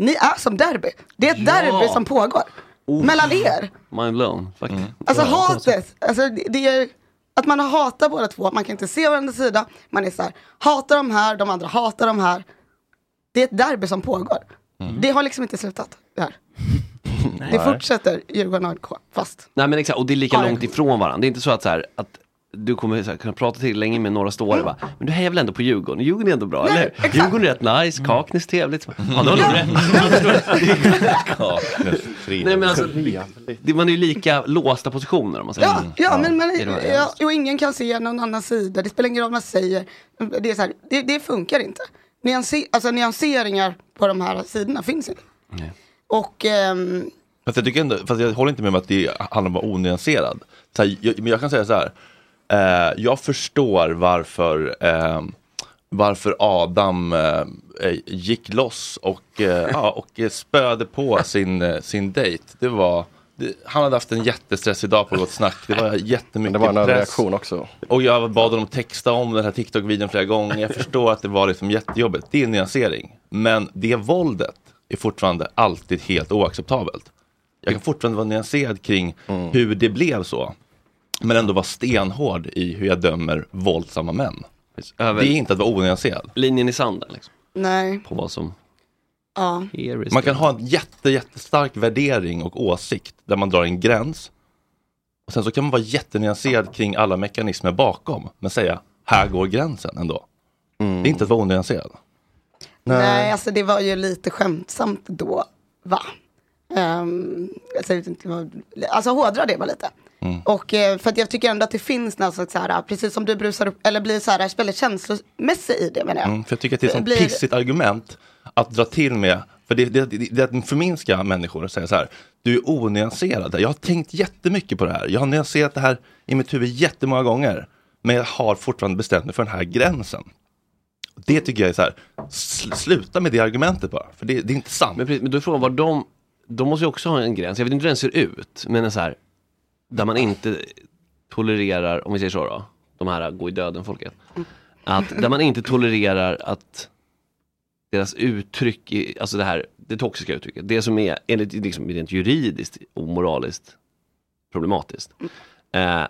Speaker 10: Ni är som derby. Det är ett
Speaker 7: Ja.
Speaker 10: derby som pågår. Mellan er.
Speaker 7: Mind blown, faktiskt.
Speaker 10: Alltså hatet. Alltså, det- det är att man hatar båda två. Man kan inte se varandras sida. Man är så här, hatar de här, de andra hatar de här. Det är ett derby som pågår. Det har liksom inte slutat. Det,
Speaker 9: *laughs*
Speaker 10: här. det
Speaker 7: Nej.
Speaker 10: fortsätter Djurgården AIK, fast.
Speaker 7: Nej men exakt, och det är lika
Speaker 10: Ja,
Speaker 7: långt ifrån varandra. Det är inte så att, så här, att du kommer så här, kunna prata till länge med några ståare va? Men du hejar väl ändå på Djurgården? Djurgården är ändå bra, eller hur? Djurgården är rätt nice, Kaknäs trevligt. Mm. *laughs* Ja, då har du rätt. Kaknäs, Nej men alltså, det, man är ju lika låsta positioner om man säger
Speaker 10: Ja,
Speaker 7: Mm.
Speaker 10: ja, men, men
Speaker 7: Är det vad-
Speaker 10: ja, och ingen kan se någon annan sida. Det spelar ingen roll vad man säger. Det, är så här, det, det funkar inte. Nyanse, alltså, nyanseringar på de här sidorna finns inte. Och ehm,
Speaker 1: Fast jag, tycker ändå, fast jag håller inte med om att det handlar om att vara onyanserad. Så här, jag, men jag kan säga så här. Eh, jag förstår varför, eh, varför Adam eh, eh, gick loss och, eh, ja, och eh, spöade på sin, eh, sin dejt. Det var, det, han hade haft en jättestressig dag på Gott Snack. Det var jättemycket
Speaker 9: Det var en
Speaker 1: press.
Speaker 9: överreaktion också.
Speaker 1: Och jag bad honom texta om den här TikTok-videon flera gånger. Jag förstår att det var liksom jättejobbigt. Det är en nyansering. Men det våldet är fortfarande alltid helt oacceptabelt. Jag kan fortfarande vara nyanserad kring hur det blev så. Men ändå vara stenhård i hur jag dömer våldsamma män.
Speaker 7: över-
Speaker 1: Det är inte att vara onyanserad.
Speaker 7: Linjen i sanden liksom.
Speaker 10: nej,
Speaker 7: På vad som
Speaker 10: ja.
Speaker 7: here is
Speaker 1: Man kan ha en jätte, jättestark värdering och åsikt där man drar en gräns. Och sen så kan man vara jättenyanserad kring alla mekanismer bakom. Men säga, här går gränsen ändå. Det är inte att vara onyanserad.
Speaker 10: Nej.
Speaker 7: Eh.
Speaker 10: alltså det var ju lite skämtsamt då, va? Um, alltså, det var- alltså hårdra det bara lite.
Speaker 7: Mm.
Speaker 10: Och eh, för att jag tycker ändå att det finns något slags så här, precis som du brusar upp, eller blir så här, väldigt känslomässig i det menar jag.
Speaker 1: Mm, för jag tycker att det är ett sånt
Speaker 10: Blir-
Speaker 1: pissigt argument att dra till med. För det, det, det, det är att förminska människor och säga så här. Du är onyanserad. Jag har tänkt jättemycket på det här. Jag har nyanserat det här i mitt huvud jättemånga gånger. Men jag har fortfarande bestämt mig för den här gränsen. Det tycker jag är så här. sl- Sluta med det argumentet bara. För det, det är inte sant.
Speaker 7: Men, precis, men då är frågan var de, de måste ju också ha en gräns, jag vet inte hur den ser ut, men en så här, där man inte tolererar, om vi säger så då, de här gå i döden folket.
Speaker 10: Mm.
Speaker 7: Att där man inte tolererar att deras uttryck, i, alltså det här, det toxiska uttrycket, det som är enligt liksom, rent juridiskt omoraliskt problematiskt. Eh,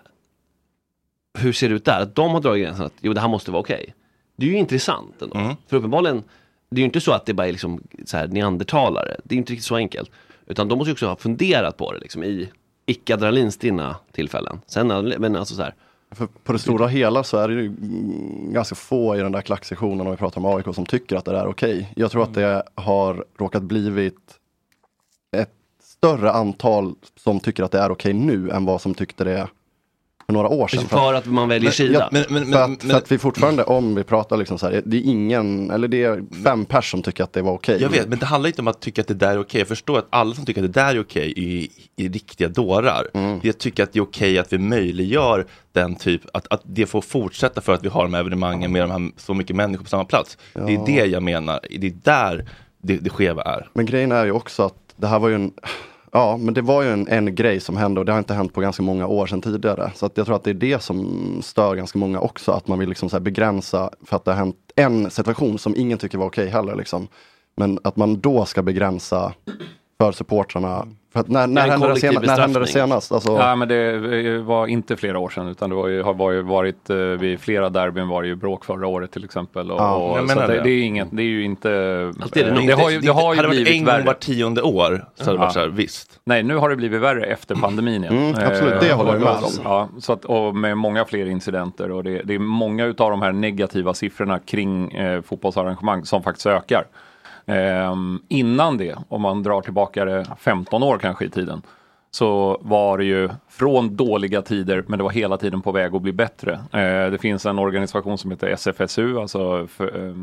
Speaker 7: hur ser det ut där? Att de har dragit gränsen att jo, det här måste vara okej. Det är ju intressant ändå. För uppenbarligen, det är ju inte så att det bara är liksom så här neandertalare. Det är ju inte riktigt så enkelt. Utan de måste ju också ha funderat på det liksom i icke-adrenalins dina tillfällen. Sen, adrenalin- men alltså så här.
Speaker 9: För på det stora hela så är det ju mm, ganska få i den där klacksektionen om vi pratar om AIK som tycker att det där är okej. Jag tror att det har råkat blivit ett större antal som tycker att det är okej nu än vad som tyckte det för några år sedan.
Speaker 7: För att man väljer sida.
Speaker 9: Ja,
Speaker 7: Men- men-
Speaker 9: för,
Speaker 7: men-
Speaker 9: att,
Speaker 7: men-
Speaker 9: för att vi fortfarande, om vi pratar liksom så här, det är ingen, eller det är fem pers som tycker att det var okej.
Speaker 1: Jag vet, men det handlar inte om att tycka att det där är okej. Jag förstår att alla som tycker att det där är okej är, är riktiga dårar.
Speaker 9: Mm.
Speaker 1: Jag tycker att det är okej att vi möjliggör den typ, att, att det får fortsätta för att vi har de här evenemangen med de här, så mycket människor på samma plats. Det
Speaker 9: Ja.
Speaker 1: är det jag menar, det är där det, det skeva är.
Speaker 9: Men grejen är ju också att det här var ju en Ja, men det var ju en, en grej som hände och det har inte hänt på ganska många år sedan tidigare. Så att jag tror att det är det som stör ganska många också, att man vill liksom så här begränsa för att det har hänt en situation som ingen tycker var okej heller. Liksom. Men att man då ska begränsa för supportrarna. Liksom. För att när, när, hände, det senast, när hände det senast? Alltså,
Speaker 8: Nej, men det eh, var inte flera år sedan, utan det var ju, har var ju varit eh, vid flera derbyn var det ju bråk förra året till exempel. Och,
Speaker 1: Ja.
Speaker 8: och,
Speaker 1: Jag
Speaker 8: så
Speaker 1: menar
Speaker 8: att det,
Speaker 1: det.
Speaker 8: det, är inget, det är ju inte...
Speaker 11: Alltså,
Speaker 1: Alltid är Alltså, det
Speaker 8: eh,
Speaker 1: nog-
Speaker 8: det har ju,
Speaker 1: det-
Speaker 8: det har ju
Speaker 1: hade det varit
Speaker 8: blivit
Speaker 1: en gång
Speaker 8: värre.
Speaker 1: var tionde år så hade det varit så här, visst.
Speaker 8: Nej, nu har det blivit värre efter pandemin. igen.
Speaker 1: Mm, absolut, det
Speaker 8: Eh,
Speaker 1: håller jag
Speaker 8: och-
Speaker 1: med om.
Speaker 8: Ja, så att, och med många fler incidenter och det, det är många utav de här negativa siffrorna kring eh, fotbollsarrangemang som faktiskt ökar. Ehm, innan det, om man drar tillbaka det 15 år kanske i tiden, så var det ju från dåliga tider, men det var hela tiden på väg att bli bättre. Eh, det finns en organisation som heter SFSU, alltså för, eh,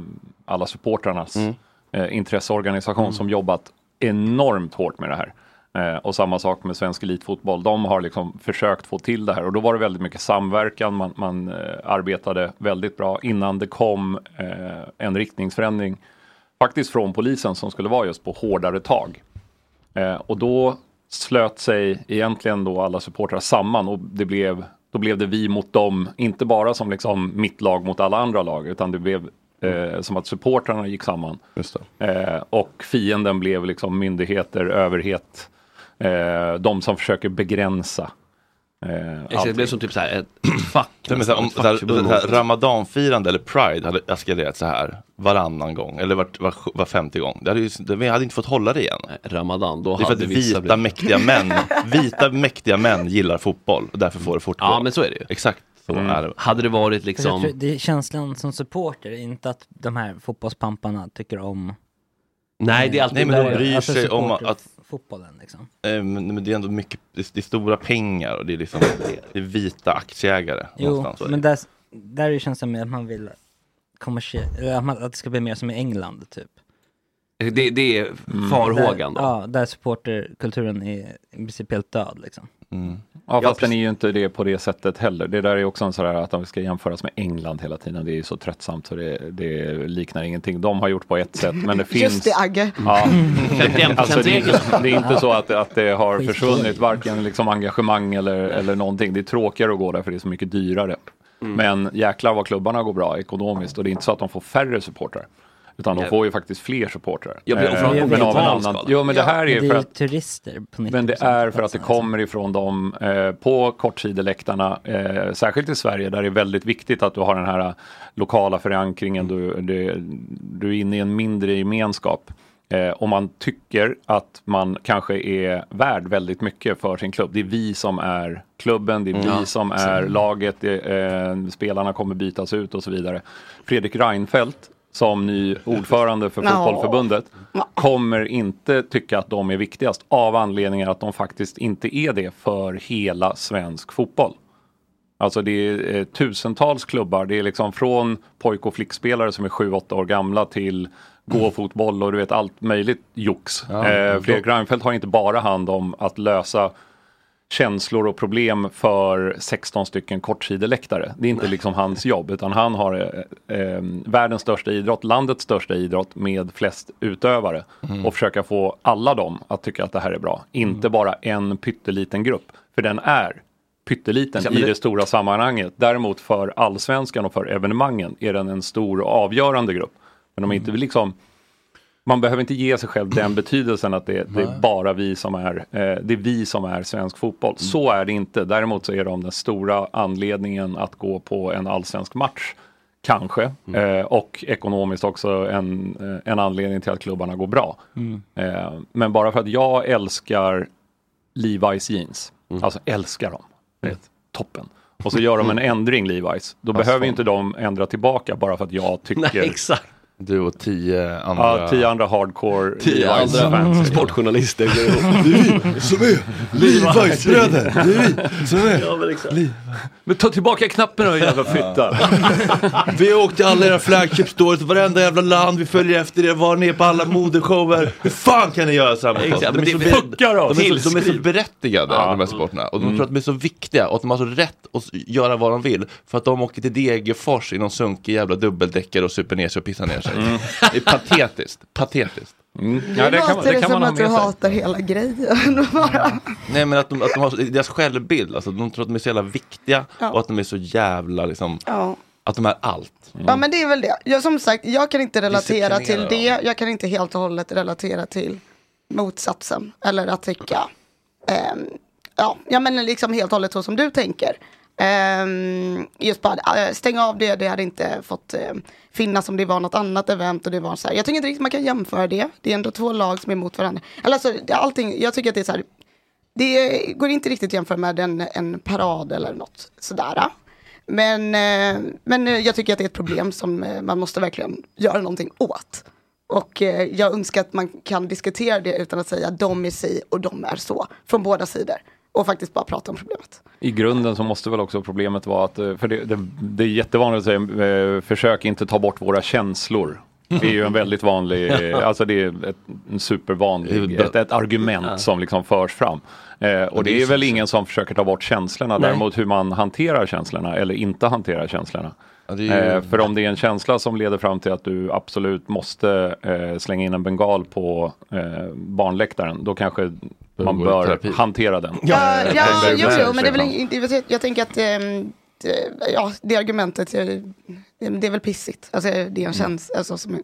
Speaker 8: alla supportrarnas
Speaker 1: Mm.
Speaker 8: eh, intresseorganisation, som jobbat enormt hårt med det här. Eh, och samma sak med svensk elitfotboll. De har liksom försökt få till det här och då var det väldigt mycket samverkan. Man, man eh, arbetade väldigt bra innan det kom eh, en riktningsförändring. Faktiskt från polisen som skulle vara just på hårdare tag. Eh, och då slöt sig egentligen då alla supportrar samman och det blev, då blev det vi mot dem, inte bara som liksom mitt lag mot alla andra lag, utan det blev eh, som att supportrarna gick samman. Eh, och fienden blev liksom myndigheter, överhet, eh, de som försöker begränsa. Eh,
Speaker 7: Exakt, det blev som typ så här ett *clears throat* fack.
Speaker 1: Det är så här, om så här, så här, ramadanfirande eller pride hade eskalerat så här varannan gång eller var, var, var femte gång. Det hade ju, det, vi hade inte fått hålla det igen.
Speaker 7: Ramadan, då
Speaker 1: det är för att
Speaker 7: hade vissa
Speaker 1: vita
Speaker 7: blivit-
Speaker 1: mäktiga män, vita mäktiga män gillar fotboll och därför får det fortgå.
Speaker 7: Ja, men så är det ju.
Speaker 1: Exakt så är det.
Speaker 7: Hade det varit liksom-
Speaker 5: Jag tror, det är känslan som supporter, inte att de här fotbollspamparna tycker om...
Speaker 7: Nej, det är alltid-
Speaker 1: Nej, men de
Speaker 7: Där-
Speaker 1: bryr
Speaker 7: alltså
Speaker 1: sig om
Speaker 5: supporter-
Speaker 1: att...
Speaker 5: Fotbollen liksom.
Speaker 1: Eh, men men det är ändå mycket, det är, det är stora pengar och det är liksom det är vita aktieägare.
Speaker 5: Jo,
Speaker 1: någonstans.
Speaker 5: men där, där är känslan med att man vill kommersie- eller att, man, att det ska bli mer som i England typ.
Speaker 7: Det, det är
Speaker 8: Mm.
Speaker 7: farhågan
Speaker 5: Där,
Speaker 7: då.
Speaker 5: ja, där supporterkulturen är i princip helt död liksom.
Speaker 8: Ja, fast den är ju inte det på det sättet heller. Det där är ju också en sån här att de ska jämföras med England hela tiden. Det är ju så tröttsamt så det, det liknar ingenting. De har gjort på ett sätt,
Speaker 5: *laughs*
Speaker 8: men det finns...
Speaker 10: Just det, Agge.
Speaker 7: *laughs*
Speaker 8: Ja.
Speaker 10: Mm.
Speaker 8: alltså, det, är- det är inte så att, att det har
Speaker 10: Skitbra.
Speaker 8: försvunnit, varken liksom engagemang eller, eller någonting. Det är tråkigare att gå där för det är så mycket dyrare.
Speaker 7: Mm.
Speaker 8: Men jäklar vad klubbarna går bra ekonomiskt och det är inte så att de får färre supportrar. Utan de
Speaker 7: Nej.
Speaker 8: får ju faktiskt fler supportrar.
Speaker 7: Ja, men- och
Speaker 8: Eh,
Speaker 7: framför-
Speaker 8: men av en
Speaker 7: global
Speaker 8: annan...
Speaker 7: skala.
Speaker 8: Jo, men det här är
Speaker 5: Men
Speaker 8: ju
Speaker 5: det
Speaker 8: för
Speaker 5: är ju
Speaker 8: att
Speaker 5: turister på liksom. Alltså, 90%.
Speaker 8: men det är för att det kommer ifrån dem eh, på kortsideläktarna, eh, särskilt i Sverige där det är väldigt viktigt att du har den här eh, lokala förankringen, du, du, du är inne i en mindre gemenskap. Eh, och man tycker att man kanske är värd väldigt mycket för sin klubb. Det är vi som är klubben, det är
Speaker 7: Mm. Ja,
Speaker 8: vi som är
Speaker 7: så.
Speaker 8: laget, det, eh, spelarna kommer bytas ut och så vidare. Fredrik Reinfeldt som ny ordförande för
Speaker 10: Ja.
Speaker 8: Fotbollförbundet kommer inte tycka att de är viktigast av anledningen att de faktiskt inte är det för hela svensk fotboll. Alltså det är eh, tusentals klubbar, det är liksom från pojk och flickspelare som är 7-8 år gamla till gåfotboll och du vet allt möjligt jox.
Speaker 7: Ja,
Speaker 8: eh, Fredrik Reinfeldt har inte bara hand om att lösa känslor och problem för 16 stycken kortsideläktare. Det är inte liksom hans jobb, utan han har eh, eh, världens största idrott, landets största idrott med flest utövare
Speaker 7: Mm.
Speaker 8: och försöka få alla dem att tycka att det här är bra. Inte bara en pytteliten grupp, för den är pytteliten
Speaker 7: Ja, men
Speaker 8: i
Speaker 7: det-
Speaker 8: det stora sammanhanget. Däremot för allsvenskan och för evenemangen är den en stor och avgörande grupp. Men
Speaker 7: Mm.
Speaker 8: de är inte liksom man behöver inte ge sig själv den betydelsen att det, det är bara vi som är, eh, det är vi som är svensk
Speaker 7: Mm.
Speaker 8: fotboll. Så är det inte. Däremot så är de den stora anledningen att gå på en allsvensk match. Kanske.
Speaker 7: Mm.
Speaker 8: Eh, och ekonomiskt också en, eh, en anledning till att klubbarna går bra.
Speaker 7: Mm.
Speaker 8: Eh, men bara för att jag älskar Levi's jeans,
Speaker 7: Mm.
Speaker 8: alltså älskar dem, vet, toppen. Och så gör de en ändring Levi's, då
Speaker 7: Mm. Alltså. *laughs*
Speaker 8: behöver ju inte de ändra tillbaka bara för att jag tycker
Speaker 7: Nej, exakt.
Speaker 1: Du och tio andra.
Speaker 8: Ja, tio andra hardcore
Speaker 1: Tio
Speaker 8: Levi's
Speaker 1: andra
Speaker 8: fans. liksom.
Speaker 7: sportjournalister går
Speaker 1: ihop. Det är vi som är Levi's-bröder. Det är vi som är
Speaker 7: Ja, men exakt.
Speaker 8: Men ta tillbaka knappen då *laughs* jävla fitta.
Speaker 1: Vi har åkt till alla era flagship stores, varenda jävla land, vi följer efter er, var ni är på alla modeshower. Hur fan kan ni göra så här mot oss?
Speaker 7: Exakt,
Speaker 1: De är
Speaker 7: men
Speaker 1: så,
Speaker 7: det- fuckar oss.
Speaker 1: de är så, de är så
Speaker 7: Tillskriv.
Speaker 1: berättigade,
Speaker 7: Ja.
Speaker 1: de här supporterna. Och de
Speaker 7: Mm.
Speaker 1: tror att de är så viktiga och att de har så rätt att s- göra vad de vill. För att de åker till Degerfors i någon sunkig jävla dubbeldäckare och super ner sig och pissar ner sig.
Speaker 7: Mm.
Speaker 1: Det är patetiskt, patetiskt.
Speaker 10: nu låter det som att du hatar hela grejen. Bara.
Speaker 1: Nej men att de, att de har, så- deras självbild, alltså de tror att de är så jävla viktiga
Speaker 10: Ja.
Speaker 1: och att de är så jävla liksom,
Speaker 10: ja.
Speaker 1: att de är allt.
Speaker 10: ja, men det är väl det. Jag, som sagt, jag kan inte relatera till
Speaker 1: Disciplinerar
Speaker 10: det. Jag kan inte helt och hållet relatera till motsatsen. Eller att tänka, ehm, ja, jag menar liksom helt och hållet så som du tänker. Ehm, just bara, eh, stäng av det, det hade inte fått eh, finnas om det var något annat event. Och det var så här. Jag tycker inte riktigt man kan jämföra det. Det är ändå två lag som är emot varandra. Eller Alltså, det- allting, jag tycker att det är så här, det går inte riktigt att jämföra med en, en parad eller något sådär. Men, eh, men eh, jag tycker att det är ett problem som eh, man måste verkligen göra någonting åt. Och eh, jag önskar att man kan diskutera det utan att säga de är si och de är så. Från båda sidor. Och faktiskt bara prata om problemet.
Speaker 8: I grunden så måste väl också problemet vara att, eh, för det, det, det är jättevanligt att säga, eh, försök inte ta bort våra känslor. Det är ju en väldigt *laughs* vanlig, eh, alltså det är ett, en supervanlig, ett, ett
Speaker 7: Ja.
Speaker 8: argument som liksom förs fram. Eh, och det är väl ingen som försöker ta bort känslorna,
Speaker 7: Nej.
Speaker 8: däremot hur man hanterar känslorna eller inte hanterar känslorna.
Speaker 1: det är ju-
Speaker 8: Eh, för om det är en känsla som leder fram till att du absolut måste eh, slänga in en bengal på eh, barnläktaren, då kanske man
Speaker 1: gå i
Speaker 8: bör
Speaker 1: terapi.
Speaker 8: hantera den.
Speaker 10: Ja,
Speaker 8: Eh,
Speaker 10: ja
Speaker 8: tänker
Speaker 10: jo,
Speaker 8: väl
Speaker 10: jo, men det är väl
Speaker 8: sig
Speaker 10: in, jag, jag tänker att ehm, det- ja, det argumentet, eh, det är väl pissigt. Alltså, det är en känsla. Alltså, som,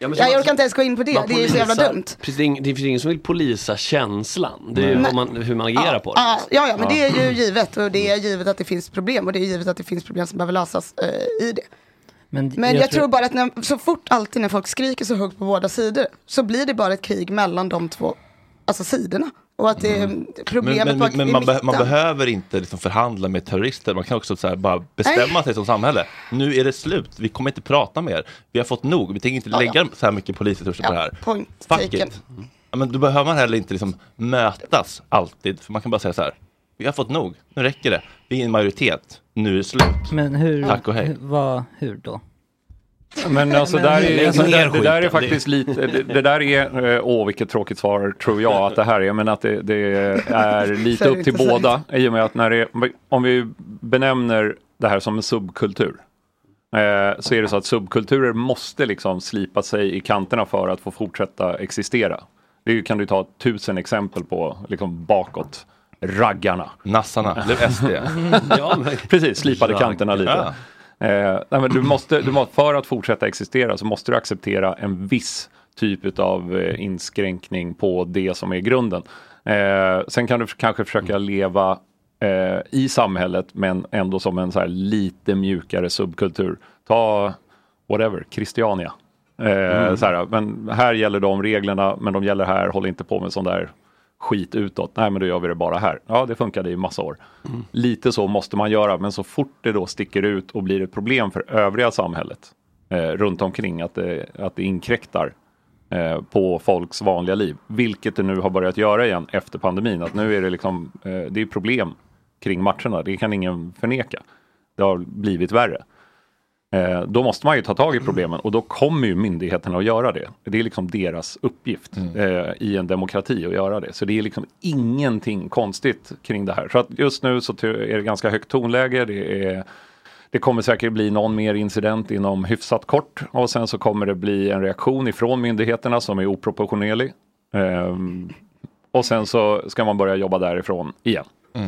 Speaker 7: Ja, men så
Speaker 10: ja, jag
Speaker 7: man-
Speaker 10: orkar inte ens gå in på det,
Speaker 7: man
Speaker 10: det är ju så jävla
Speaker 7: polisar-
Speaker 10: dumt.
Speaker 7: Precis, det, är ing- det finns ingen som vill polisa känslan. Det är ju
Speaker 10: Nej.
Speaker 7: vad man, hur man agerar på det.
Speaker 10: Ja, ja, ja, men det är ju givet. Och det är givet att det finns problem. Och det är givet att det finns problem som behöver lösas eh, i det.
Speaker 5: Men,
Speaker 10: Men jag, tror bara att när, så fort alltid när folk skriker så högt på båda sidor så blir det bara ett krig mellan de två alltså, sidorna. Och att det, problemet
Speaker 1: men,
Speaker 10: var
Speaker 1: men, men
Speaker 10: i
Speaker 1: man, be-
Speaker 10: mitten.
Speaker 1: man behöver inte liksom förhandla med terrorister, man kan också så här bara bestämma
Speaker 10: Nej.
Speaker 1: sig som samhälle. Nu är det slut, vi kommer inte prata med er. Vi har fått nog, vi tänker inte
Speaker 10: Ja,
Speaker 1: lägga
Speaker 10: ja.
Speaker 1: så här mycket polisresurser på det här.
Speaker 10: Point
Speaker 1: Fuck
Speaker 10: taken.
Speaker 1: it. Ja, Men då behöver man heller inte liksom mötas alltid, för man kan bara säga så här. Vi har fått nog, nu räcker det. Vi är en majoritet, nu är det slut.
Speaker 5: Men hur,
Speaker 1: Tack och hej.
Speaker 5: hur, vad, hur då?
Speaker 8: Men alltså
Speaker 5: Men-
Speaker 8: där
Speaker 5: Lägg
Speaker 8: är, alltså,
Speaker 5: ner
Speaker 8: det, det där är
Speaker 5: skiten.
Speaker 8: faktiskt lite, det, det där är, eh, åh vilket tråkigt svar tror jag att det här är, men att det, det är
Speaker 5: *laughs*
Speaker 8: lite
Speaker 7: Säg
Speaker 8: upp till
Speaker 7: inte, säg
Speaker 8: båda i och med att när det, om vi benämner det här som en subkultur eh, så är det så att subkulturer måste liksom slipa sig i kanterna för att få fortsätta existera. Det kan du ta tusen exempel på liksom bakåt. Raggarna.
Speaker 1: Nassarna, blev SD.
Speaker 7: *laughs* Ja, men-
Speaker 8: *laughs* Precis, slipade
Speaker 7: Ragg-
Speaker 8: kanterna lite.
Speaker 7: Ja.
Speaker 8: Eh, nej, men du måste, du må, för att fortsätta existera så måste du acceptera en viss typ av eh, inskränkning på det som är grunden. Eh, sen kan du f- kanske försöka leva eh, i samhället men ändå som en så här lite mjukare subkultur. Ta whatever, Christiania. Eh,
Speaker 7: Mm.
Speaker 8: så här, men här gäller de reglerna, men de gäller här, håll inte på med sån där skit utåt. Nej, men då gör vi det bara här. Ja, det funkade i massa år. Lite så måste man göra, men så fort det då sticker ut och blir ett problem för övriga samhället eh, runt omkring, att det, att det inkräktar eh, på folks vanliga liv, vilket det nu har börjat göra igen efter pandemin, att nu är det liksom, eh, det är problem kring matcherna, det kan ingen förneka. Det har blivit värre. Eh, då måste man ju ta tag i problemen och då kommer ju myndigheterna att göra det. Det är liksom deras uppgift eh, i en demokrati att göra det. Så det är liksom ingenting konstigt kring det här. Så att just nu så ty- är det ganska högt tonläge. Det, är, det kommer säkert bli någon mer incident inom hyfsat kort och sen så kommer det bli en reaktion ifrån myndigheterna som är oproportionerlig. Ehm, och sen så ska man börja jobba därifrån igen.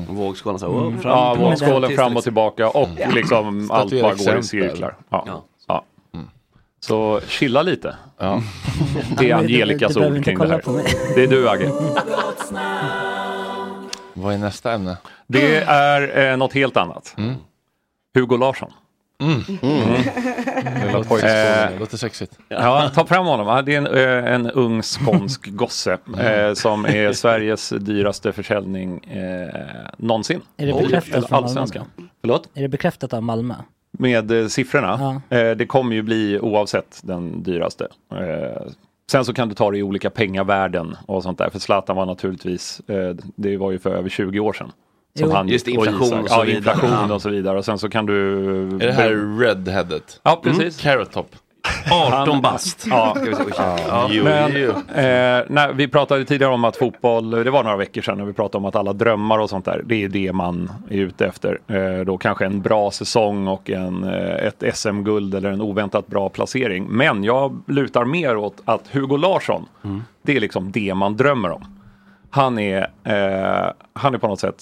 Speaker 7: Vågskålen så här, wow, fram-
Speaker 8: ja,
Speaker 7: fram-
Speaker 8: vågskålen
Speaker 7: tills-
Speaker 8: fram och tillbaka och
Speaker 7: Ja.
Speaker 8: liksom allt
Speaker 7: Statuera
Speaker 8: bara går i
Speaker 7: exempel.
Speaker 8: cirklar. Ja.
Speaker 7: Ja.
Speaker 8: Ja. Mm. Så chilla lite.
Speaker 5: *laughs*
Speaker 8: Det
Speaker 5: Du-
Speaker 8: är
Speaker 5: du-
Speaker 8: Angelicas
Speaker 5: du behöver
Speaker 8: ord
Speaker 5: inte
Speaker 8: kring det
Speaker 5: kolla
Speaker 8: här.
Speaker 5: på mig.
Speaker 8: Det är du Agge.
Speaker 1: Vad är nästa ämne?
Speaker 8: Det är eh, något helt annat.
Speaker 5: Mm.
Speaker 8: Hugo Larsson. Mm.
Speaker 7: Eh,
Speaker 1: Det
Speaker 8: Lilla
Speaker 1: låter-
Speaker 8: pojkskål.
Speaker 1: det låter sexigt.
Speaker 8: Ja, ta fram honom. Ja, Det är en, eh, en ung
Speaker 5: *laughs*
Speaker 8: skånsk gosse
Speaker 5: Mm.
Speaker 8: eh, som är Sveriges dyraste försäljning eh, någonsin.
Speaker 5: Är det bekräftat
Speaker 8: Eller
Speaker 5: från Malmö?
Speaker 8: Allsvenskan.
Speaker 5: Är det bekräftat av Malmö?
Speaker 8: med eh, siffrorna. Eh, det kommer ju bli oavsett den dyraste. Eh, sen så kan du ta det i olika pengavärden och sånt där. För Zlatan var naturligtvis, eh, det var ju för över 20 år sedan.
Speaker 1: Jo. Just inflation
Speaker 8: Isak-
Speaker 1: och så
Speaker 8: ja,
Speaker 1: vidare.
Speaker 8: inflation
Speaker 1: Ja.
Speaker 8: och så vidare. Och sen så kan du...
Speaker 1: Är det här redheadet?
Speaker 8: Ja, precis.
Speaker 1: Mm. Carrot Top.
Speaker 8: 18
Speaker 1: bast.
Speaker 8: Ja.
Speaker 1: Ska vi se, oj, shit.
Speaker 8: Ja.
Speaker 1: Jo,
Speaker 8: Men,
Speaker 1: jo.
Speaker 8: eh, nej, vi pratade ju tidigare om att fotboll, det var några veckor sedan, när vi pratade om att alla drömmar och sånt där, det är det man är ute efter. Eh, då kanske en bra säsong och en, eh, ett SM-guld eller en oväntat bra placering. Men jag lutar mer åt att Hugo Larsson,
Speaker 1: Mm.
Speaker 8: det är liksom det man drömmer om. Han är, eh, han är på något sätt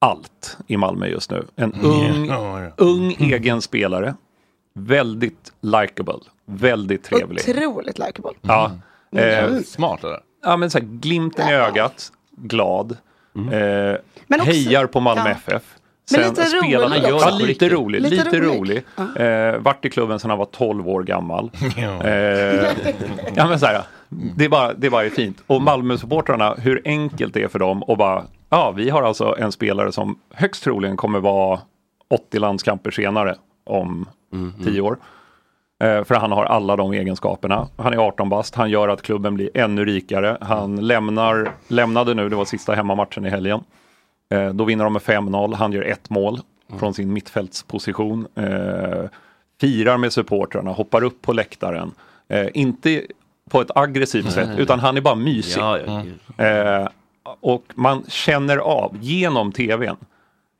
Speaker 8: allt i Malmö just nu. En ung,
Speaker 1: Ja, ja.
Speaker 8: ung egen spelare. Väldigt likable. Väldigt trevlig.
Speaker 10: Otroligt likeable.
Speaker 8: Ja. Eh,
Speaker 10: Mm.
Speaker 1: Smart det där.
Speaker 8: Ja, men så här, glimten i ögat, glad, eh,
Speaker 10: Men också-
Speaker 8: hejar på Malmö
Speaker 10: ja.
Speaker 8: FF.
Speaker 10: Men lite rolig
Speaker 8: spelat-
Speaker 10: också.
Speaker 8: ja, lite rolig.
Speaker 10: Lite
Speaker 8: Lite,
Speaker 10: rolig.
Speaker 8: rolig. Eh, vart i klubben sedan han var 12 år *laughs* gammal. Eh, ja, men så här, det, är bara, det är bara fint. Och Malmö-supportrarna, hur enkelt det är för dem att bara, ja, vi har alltså en spelare som högst troligen kommer vara 80 landskamper senare om 10 år. Eh, För han har alla de egenskaperna. Han är 18 bast, han gör att klubben blir ännu rikare. Han lämnar, lämnade nu, det var sista hemmamatchen i helgen. Eh, Då vinner de med 5-0, han gör ett mål
Speaker 7: Mm.
Speaker 8: från sin mittfältsposition. Eh, Firar med supportrarna, hoppar upp på läktaren. Eh, Inte på ett aggressivt
Speaker 7: Nej,
Speaker 8: sätt,
Speaker 7: nej, nej.
Speaker 8: utan han är bara mysig.
Speaker 7: Ja, ja,
Speaker 8: Eh, Och man känner av, genom tvn,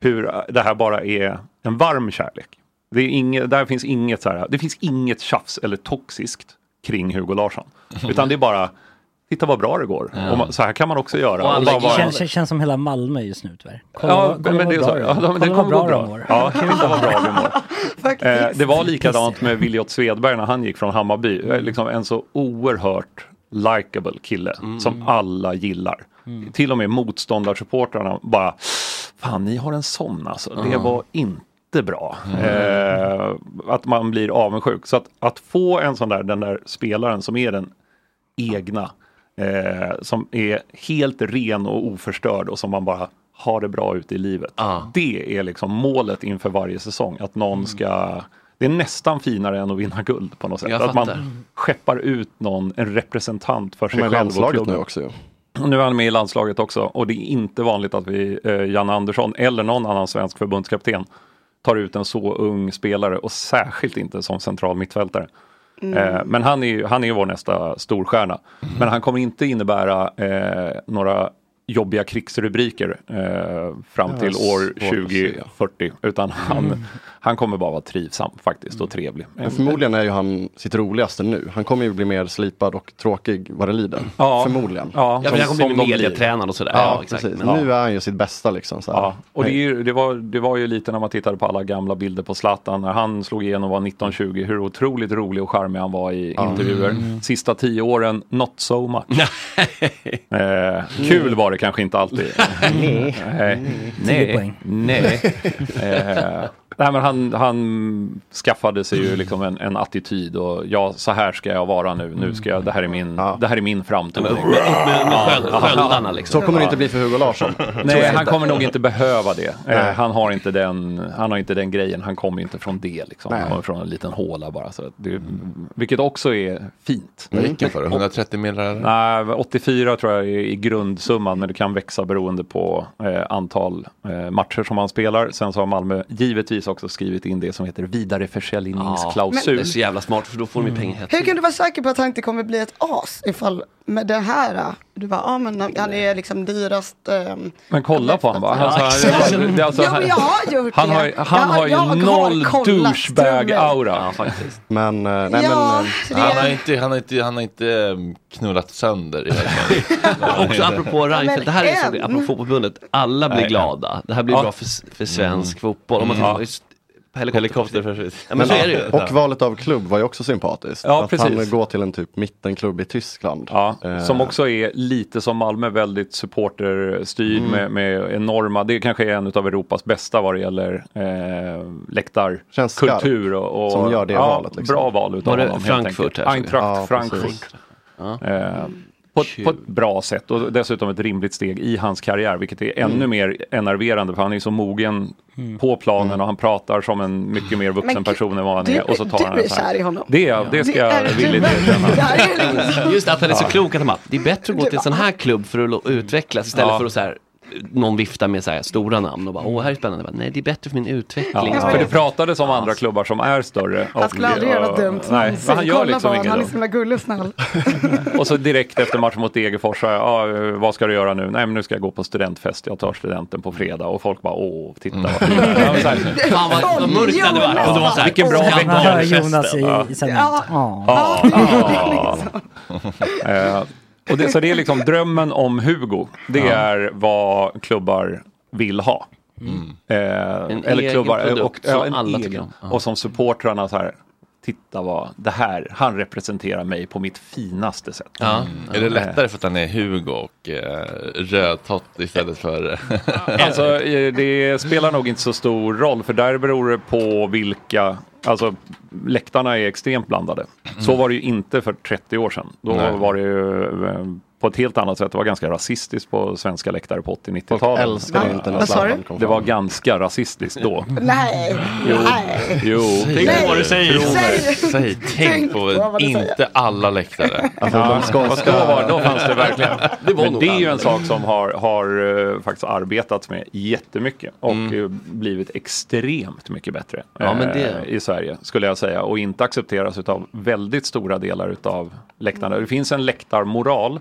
Speaker 8: hur det här bara är en varm kärlek. Det, är inget, där finns inget så här, det finns inget tjafs eller toxiskt kring Hugo Larsson. Utan det är bara, titta vad bra det går.
Speaker 5: Ja.
Speaker 8: Och man, så här kan man också göra. Och bara vara-
Speaker 5: Känns, känns som hela Malmö just nu tyvärr. Kolla,
Speaker 8: ja,
Speaker 5: vad- kolla
Speaker 8: men det är
Speaker 5: vad
Speaker 8: så.
Speaker 5: bra
Speaker 8: Ja,
Speaker 5: de-
Speaker 8: de-
Speaker 5: kolla
Speaker 8: den
Speaker 5: vad
Speaker 8: kommer
Speaker 5: bra
Speaker 8: gå
Speaker 5: de
Speaker 8: bra.
Speaker 5: mår.
Speaker 8: Ja, titta vad bra
Speaker 5: *laughs*
Speaker 8: de mår. Eh, Det var likadant med Viljot Svedberg när han gick från Hammarby.
Speaker 5: Mm.
Speaker 8: Eh, Liksom en så oerhört likable kille
Speaker 5: Mm.
Speaker 8: som alla gillar. Till och med motståndarsupportrarna bara, fan ni har en sån alltså, det
Speaker 5: Mm.
Speaker 7: Ja.
Speaker 8: var inte bra.
Speaker 7: Mm.
Speaker 8: Eh, att man blir avundsjuk. Så att, att få en sån där, den där spelaren som är den egna. Eh, som är helt ren och oförstörd och som man bara har det bra ute i livet.
Speaker 7: Ah.
Speaker 8: Det är liksom målet inför varje säsong. Att
Speaker 7: Mm.
Speaker 8: någon ska... Det är nästan finare än att vinna guld på något sätt.
Speaker 7: Jag
Speaker 8: att man
Speaker 7: fattar.
Speaker 8: skeppar ut någon, en representant för sig
Speaker 9: De är i
Speaker 8: själv. och
Speaker 9: landslaget
Speaker 8: klubben.
Speaker 9: nu också ju.
Speaker 8: Och Nu är han med i landslaget också och det är inte vanligt att vi, eh, Janne Andersson eller någon annan svensk förbundskapten tar ut en så ung spelare och särskilt inte som central mittfältare.
Speaker 7: Mm.
Speaker 8: Eh, men han är, ju- han är ju vår nästa storstjärna. Men han kommer inte innebära eh, några jobbiga krigsrubriker eh, fram
Speaker 7: Ja,
Speaker 8: till
Speaker 7: svårt att
Speaker 8: år
Speaker 7: se.
Speaker 8: 2040 utan han,
Speaker 9: Mm.
Speaker 8: han kommer bara vara trivsam faktiskt
Speaker 7: Mm.
Speaker 8: och trevlig.
Speaker 9: Men förmodligen är ju han sitt roligaste nu. Han kommer ju bli mer slipad och tråkig vad det lider.
Speaker 8: Ja.
Speaker 9: Förmodligen.
Speaker 8: Ja. Ja, men han kommer bli
Speaker 9: som de blir.
Speaker 8: mediatränad och sådär.
Speaker 9: Ja,
Speaker 8: Ja, exakt.
Speaker 9: precis.
Speaker 8: Men-
Speaker 9: Nu är han ju sitt bästa liksom. Så här.
Speaker 8: Ja, och det, är ju, det, var, det var ju lite när man tittade på alla gamla bilder på Zlatan när han slog igenom var 1920, hur otroligt rolig och charmig han var i intervjuer.
Speaker 7: Mm.
Speaker 8: Sista tio åren, not so much. eh, kul var det kanske inte alltid.
Speaker 7: *laughs* Nej.
Speaker 8: Nej.
Speaker 7: Tio poäng.
Speaker 8: Nej. Nej. Eh, nej men han, han skaffade sig ju liksom en, en attityd och ja, så här ska jag vara nu. nu ska jag, det, här är min, det här är min framtid.
Speaker 7: Men upp med- upp med- med sköld- sköldarna, liksom. Så kommer det inte bli
Speaker 9: för Hugo
Speaker 7: *laughs*
Speaker 9: Larsson.
Speaker 7: Tror
Speaker 8: Nej,
Speaker 7: jag
Speaker 8: han
Speaker 7: inte.
Speaker 8: kommer nog inte behöva det.
Speaker 7: Nej.
Speaker 8: Eh, han, har inte den, han har inte den grejen, han kommer inte från det. Liksom.
Speaker 7: Nej.
Speaker 8: Han kommer från en liten håla bara. Så att det, Vilket också är fint.
Speaker 1: Vad gick han för? 130 miljoner?
Speaker 8: Nej, 84 Eh, tror jag är i grundsumman, men det kan växa beroende på eh, antal eh, matcher som han spelar. Sen så har Malmö givetvis också skrivit in det som heter vidareförsäljningsklausul.
Speaker 10: Ja, men- Det är så
Speaker 8: jävla smart, för då får de ju pengar.
Speaker 10: Hur kan du vara säker på att han inte kommer bli ett as ifall med det här? äh, Du bara, ja men han han är liksom dyrast. ehm,
Speaker 8: Men kolla på han bara.
Speaker 10: Ja,
Speaker 8: Alltså,
Speaker 10: exakt.
Speaker 8: det är alltså-
Speaker 10: Ja, men jag har gjort
Speaker 8: han
Speaker 10: det.
Speaker 8: har, han
Speaker 10: Jag-
Speaker 8: har ju
Speaker 10: jag har
Speaker 8: noll
Speaker 10: kollat,
Speaker 8: douchebag-aura.
Speaker 9: Men, eh, nej,
Speaker 10: Ja,
Speaker 9: men, eh,
Speaker 10: så det
Speaker 1: Han har
Speaker 10: är-
Speaker 1: inte, han har inte, han har inte ehm, knullat sönder i
Speaker 7: Också apropå Reinfeldt, det här är så,
Speaker 1: en.
Speaker 7: apropå fotbollförbundet, alla blir
Speaker 1: Nej.
Speaker 7: glada. Det här blir
Speaker 1: Ja.
Speaker 7: bra för, för svensk fotboll. Om man
Speaker 9: Mm.
Speaker 7: tar just helikopter. Ja, men,
Speaker 9: men,
Speaker 7: så är det ju.
Speaker 9: Och valet av klubb var ju också sympatiskt.
Speaker 8: Ja,
Speaker 9: att han
Speaker 8: precis.
Speaker 9: går till en typ mittenklubb i Tyskland. Eh,
Speaker 8: Som också är lite som Malmö, väldigt supporterstyrd
Speaker 9: Mm.
Speaker 8: med, med enorma, det kanske är en av Europas bästa vad det gäller eh,
Speaker 9: skarp,
Speaker 8: läktarkultur. Och, och,
Speaker 9: som gör det
Speaker 8: ja,
Speaker 9: valet, liksom.
Speaker 8: Bra val
Speaker 7: Var
Speaker 8: utav
Speaker 7: det
Speaker 8: honom. helt
Speaker 7: Frankfurt
Speaker 8: enkelt.
Speaker 7: här?
Speaker 8: Eintracht
Speaker 7: Ja,
Speaker 8: Frankfurt.
Speaker 7: precis.
Speaker 8: Eh, På, ett- på ett bra sätt och dessutom ett rimligt steg i hans karriär, vilket är
Speaker 10: Mm.
Speaker 8: ännu mer enerverande för han är så mogen
Speaker 7: Mm.
Speaker 8: på
Speaker 9: Mm.
Speaker 8: planen och han pratar som en mycket mer vuxen
Speaker 10: Men gud,
Speaker 8: person än vad han
Speaker 10: du-
Speaker 8: är. Och så tar
Speaker 10: du
Speaker 8: han en
Speaker 10: är
Speaker 8: så här.
Speaker 10: kär i honom.
Speaker 8: Det, är jag, det ska jag villigt erkänna.
Speaker 7: Just att han är liksom så
Speaker 8: Ja.
Speaker 7: klok att han bara, det är bättre att gå till en sån här klubb för att lo- utvecklas istället
Speaker 8: Ja.
Speaker 7: för att så här, någon viftar med så här stora namn och bara, åh här är spännande. Jag Bara, Nej, det är bättre för min utveckling.
Speaker 8: Ja, för det pratades om andra klubbar som är större.
Speaker 10: Han skulle aldrig göra något dumt.
Speaker 8: Nej, men han
Speaker 10: Kolla
Speaker 8: gör
Speaker 10: på
Speaker 8: liksom
Speaker 10: honom,
Speaker 8: inget
Speaker 10: Han är
Speaker 8: dumt.
Speaker 10: så himla gullig och
Speaker 8: *laughs*
Speaker 10: snäll.
Speaker 8: Och så direkt efter matchen mot Degerfors, så, ja, eh, vad ska du göra nu? Nej, men nu ska jag gå på studentfest, jag tar studenten på fredag. Och folk bara, åh, titta
Speaker 7: Mm.
Speaker 8: vad fint.
Speaker 7: *laughs*
Speaker 8: Ja, men så här-
Speaker 7: Fan vad, vad mörkt det hade varit. Och det var så här,
Speaker 8: Vilken bra
Speaker 7: skandal.
Speaker 8: vecka.
Speaker 5: Man hör Jonas i, i sändningen.
Speaker 10: Ja.
Speaker 8: Ja. *laughs* Eh, och det, så det är liksom drömmen om Hugo, det
Speaker 7: Ja.
Speaker 8: är vad klubbar vill ha. Eh, eller
Speaker 7: Mm. egen
Speaker 8: klubbar, eh, och,
Speaker 7: produkt som
Speaker 8: en
Speaker 7: alla
Speaker 8: egen.
Speaker 7: tycker om. Ja.
Speaker 8: och som supportrarna så här, titta vad, det här, han representerar mig på mitt finaste sätt.
Speaker 1: Mm. Är det
Speaker 8: Eh,
Speaker 1: lättare för att han är Hugo och eh, rödtott istället för... eh,
Speaker 8: Alltså, eh, det spelar nog inte så stor roll, för där beror det på vilka... Alltså, läktarna är extremt blandade. Så var det ju inte för 30 år sedan. Då
Speaker 1: Nej.
Speaker 8: var det ju eh, på ett helt annat sätt. Det var ganska rasistiskt på svenska läktare på 80-90-talet.
Speaker 9: Folk älskade Va? inte när Vad sa sladden du? kom fram.
Speaker 8: Det var ganska rasistiskt då.
Speaker 10: Nej,
Speaker 8: Jo.
Speaker 10: nej.
Speaker 8: Jo.
Speaker 1: Tänk på vad du säger.
Speaker 8: Tro mig.
Speaker 1: Säg, säg, tänk på
Speaker 10: vad du säger.
Speaker 1: inte alla läktare.
Speaker 8: Alltså, de skånska- Fast då var- då fanns det verkligen.
Speaker 1: Det var
Speaker 8: Men
Speaker 1: nog
Speaker 8: det är ju
Speaker 1: alla.
Speaker 8: en sak som har, har eh, faktiskt arbetats med jättemycket och eh, blivit extremt mycket bättre
Speaker 7: Mm. Ja, men det-
Speaker 8: eh, i Sverige skulle jag säga och inte accepteras av väldigt stora delar utav läktarna. Det finns en läktarmoral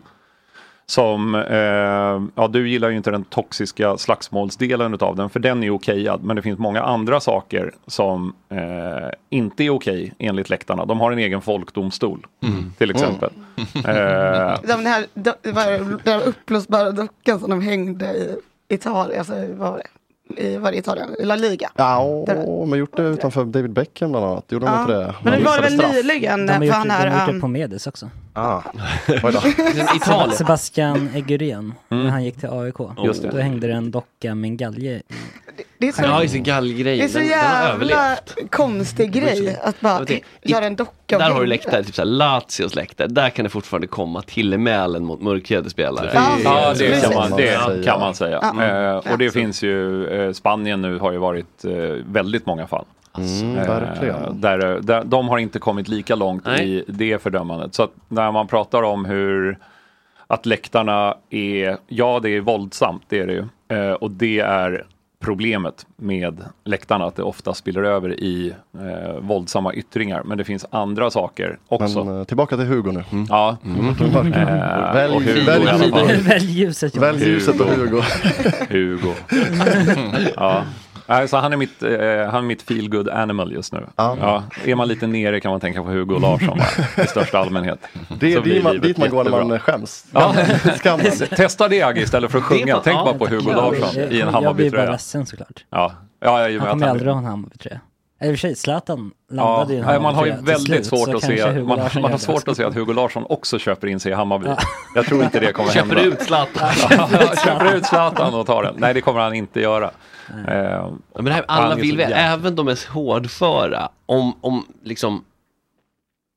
Speaker 8: som, eh, ja du gillar ju inte den toxiska slagsmålsdelen utav den, för den är okejad. Men det finns många andra saker som eh, inte är okej enligt läktarna. De har en egen folkdomstol,
Speaker 7: Mm.
Speaker 8: till exempel. Eh,
Speaker 10: De här, de, det var den här uppblåsbara dockan som de hängde i Italien, alltså vad var det? I, var det Italien? I La Liga?
Speaker 9: Ja, åh, men gjort det utanför David Beckham bland annat. Gjorde de
Speaker 10: Ja.
Speaker 9: inte det?
Speaker 10: Men
Speaker 9: Han
Speaker 10: det var
Speaker 9: missade
Speaker 10: väl
Speaker 9: straff.
Speaker 10: nyligen,
Speaker 5: De har
Speaker 10: för
Speaker 5: gjort,
Speaker 10: han
Speaker 5: de
Speaker 10: här...
Speaker 5: har gjort det
Speaker 10: um,
Speaker 5: på Medis också.
Speaker 9: Ah. Oj då.
Speaker 5: Seb- Sebastian Egurén,
Speaker 8: Mm.
Speaker 5: när han gick till AIK.
Speaker 7: Just det.
Speaker 5: Då hängde det en docka med en galge i.
Speaker 10: det är så,
Speaker 7: Ja, i sin gallgrej.
Speaker 10: det är så
Speaker 7: Den- den har
Speaker 10: jävla
Speaker 7: överlevt.
Speaker 10: konstig grej att bara
Speaker 7: Jag vet inte.
Speaker 10: göra en docka.
Speaker 7: Där
Speaker 10: av
Speaker 7: har du
Speaker 10: huvudet.
Speaker 7: läktare, typ såhär Lazios läktare. Där kan det fortfarande komma tillmälen mot mörkhyade spelare.
Speaker 8: Ja, det kan man,
Speaker 7: Ja.
Speaker 8: det kan man säga.
Speaker 7: Ja.
Speaker 8: Eh, och det finns ju, eh, Spanien nu har ju varit eh, väldigt många fall.
Speaker 9: Mm,
Speaker 8: Eh,
Speaker 9: verkligen.
Speaker 8: där, där, de har inte kommit lika långt
Speaker 7: Nej.
Speaker 8: i det fördömandet. Så att när man pratar om hur att läktarna är, ja det är våldsamt, det är det ju. Eh, och det är problemet med läktarna, att det ofta spiller över i eh, våldsamma yttringar. Men det finns andra saker också.
Speaker 9: Men eh, tillbaka till Hugo nu. Mm.
Speaker 8: Ja. Eh,
Speaker 9: Välj,
Speaker 8: och Hugo
Speaker 9: välj,
Speaker 8: i alla
Speaker 5: *laughs*
Speaker 8: fall.
Speaker 9: ljuset.
Speaker 5: Välj ljuset, Jonas.
Speaker 9: Välj ljuset och Hugo.
Speaker 8: *laughs* Hugo.
Speaker 9: *laughs*
Speaker 8: ja. Nej, Så han är mitt, eh, han är mitt feel good animal just nu. Ja. Är man lite nere kan man tänka på Hugo Larsson va? i största allmänhet.
Speaker 9: Det
Speaker 8: Så
Speaker 9: är
Speaker 8: blir
Speaker 9: dit man,
Speaker 8: livet
Speaker 9: dit man går när
Speaker 8: jättebra.
Speaker 9: man skäms.
Speaker 8: Ja.
Speaker 9: Skammen.
Speaker 8: *laughs* Testa det Agge istället för att
Speaker 9: Det är
Speaker 8: sjunga.
Speaker 9: fan-
Speaker 8: Tänk
Speaker 9: ja,
Speaker 8: bara på Hugo
Speaker 5: jag blir-
Speaker 8: Larsson i en
Speaker 5: Jag blir bara
Speaker 8: Hammarbytröja.
Speaker 5: ledsen såklart.
Speaker 8: Ja. Ja, jag är ju
Speaker 5: Han
Speaker 8: med att
Speaker 5: kommer
Speaker 8: han-
Speaker 5: aldrig ha en Hammarbytröja. Eller i och för sig, Zlatan
Speaker 8: Ja,
Speaker 5: landade i en
Speaker 8: nej, man har ju
Speaker 5: Hammarbytröja till
Speaker 8: väldigt
Speaker 5: slut.
Speaker 8: svårt
Speaker 5: så
Speaker 8: att
Speaker 5: kanske
Speaker 8: se,
Speaker 5: Hugo
Speaker 8: man,
Speaker 5: Larsson
Speaker 8: man har
Speaker 5: gör
Speaker 8: svårt
Speaker 5: det.
Speaker 8: att se att Hugo Larsson också köper in sig i Hammarby. Jag tror inte det kommer
Speaker 7: Köper
Speaker 8: hända.
Speaker 7: ut Zlatan.
Speaker 8: *laughs* Ja, köper ut Zlatan och tar den. Nej, det kommer han inte göra. Eh,
Speaker 7: Men det här,
Speaker 8: han
Speaker 7: alla
Speaker 8: är så
Speaker 7: vill väl,
Speaker 8: jävla-
Speaker 7: även de mest hårdföra, om, om liksom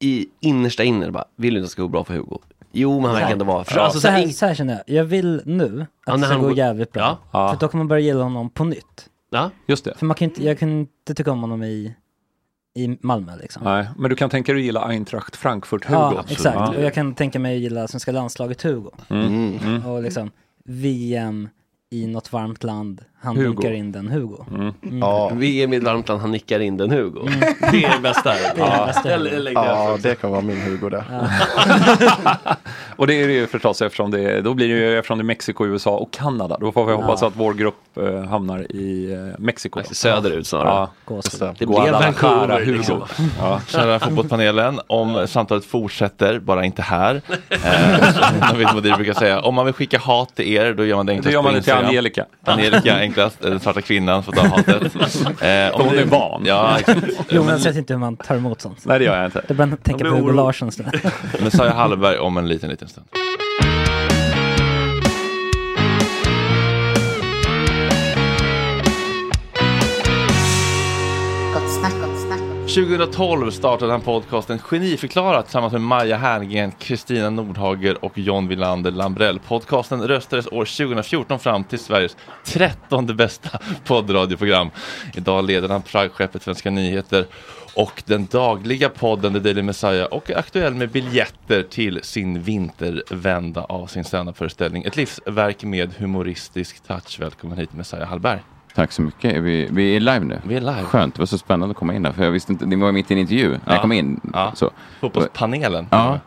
Speaker 7: i innersta inner bara, vill du inte att det ska gå bra för Hugo? Jo, men han verkar ändå vara...
Speaker 5: Ja,
Speaker 7: Alltså,
Speaker 5: så,
Speaker 7: så här,
Speaker 5: här, så här känner jag, jag vill nu att
Speaker 7: Ja,
Speaker 5: det
Speaker 7: när
Speaker 5: ska
Speaker 7: han
Speaker 5: gå
Speaker 7: går-
Speaker 5: jävligt bra.
Speaker 7: Ja.
Speaker 5: För då kommer man börja gilla honom på nytt.
Speaker 7: Ja,
Speaker 8: just det.
Speaker 5: För man kan inte, jag kan inte tycka om honom i, i Malmö liksom.
Speaker 8: Nej, men du kan tänka dig att gilla Eintracht Frankfurt Hugo.
Speaker 5: ja, exakt. Och jag kan tänka mig att gilla svenska landslaget Hugo.
Speaker 8: Mm. Mm.
Speaker 5: Och liksom VM i något varmt land, han
Speaker 7: Hugo.
Speaker 5: dunkar in den Hugo. Mm.
Speaker 7: Ja. VM i ett varmt land, han nickar in den Hugo.
Speaker 1: Mm.
Speaker 7: Det är det bästa.
Speaker 5: Det är det bästa.
Speaker 7: Jag lä- lägger
Speaker 9: Ja,
Speaker 7: det
Speaker 9: det kommer vara min Hugo det.
Speaker 8: *laughs* Och det är det ju förstås eftersom det, då blir det ju eftersom det är Mexiko, USA och Kanada. Då får vi hoppas
Speaker 5: Ja.
Speaker 8: att vår grupp eh, hamnar i eh, Mexiko.
Speaker 7: Söderut snarare.
Speaker 5: Gåshud.
Speaker 7: Det blev Vancouver, liksom.
Speaker 8: Ja.
Speaker 1: Kära fotbollspanelen, om samtalet fortsätter, bara
Speaker 7: *laughs*
Speaker 1: inte här. Eh, som Navid Modir brukar säga, om man vill skicka hat till er, då gör man det enklast
Speaker 8: Då gör man
Speaker 1: på
Speaker 8: det till
Speaker 1: Instagram.
Speaker 8: Angelica.
Speaker 1: Angelica enklast, eh, den svarta kvinnan får ta hatet.
Speaker 8: *laughs*
Speaker 1: Eh, om
Speaker 8: Hon
Speaker 1: ni-
Speaker 8: är van.
Speaker 1: Ja, exakt.
Speaker 5: Jonas vet inte hur man tar emot sånt.
Speaker 8: Nej, det gör jag inte.
Speaker 5: Då börjar man tänka på
Speaker 1: blir
Speaker 5: Hugo
Speaker 1: oro-
Speaker 5: Larsson. sådär.
Speaker 1: Men Saja Hallberg om en liten, liten stund.
Speaker 11: Gott snack, gott snack.
Speaker 1: 2012 startade han podcasten Geniförklarat tillsammans med Maja Herngren, Kristina Nordhager och John Wilander Lambrell. Podcasten röstades år 2014 fram till Sveriges 13 bästa *laughs* poddradioprogram. Idag leder han flaggskeppet Svenska nyheter och den dagliga podden The Daily Messiah och är aktuell med biljetter till sin vintervända av sin standupföreställning. Ett livsverk med humoristisk touch. Välkommen hit Messiah Hallberg.
Speaker 11: Tack så mycket. Är vi, vi är live nu.
Speaker 1: Vi är live.
Speaker 11: Skönt. Det var så spännande att komma in här. För jag visste inte, det var mitt i en intervju när
Speaker 1: Ja.
Speaker 11: jag kom in.
Speaker 1: Ja. Mm.
Speaker 11: Så.
Speaker 1: Fotbollspanelen.
Speaker 11: Ja.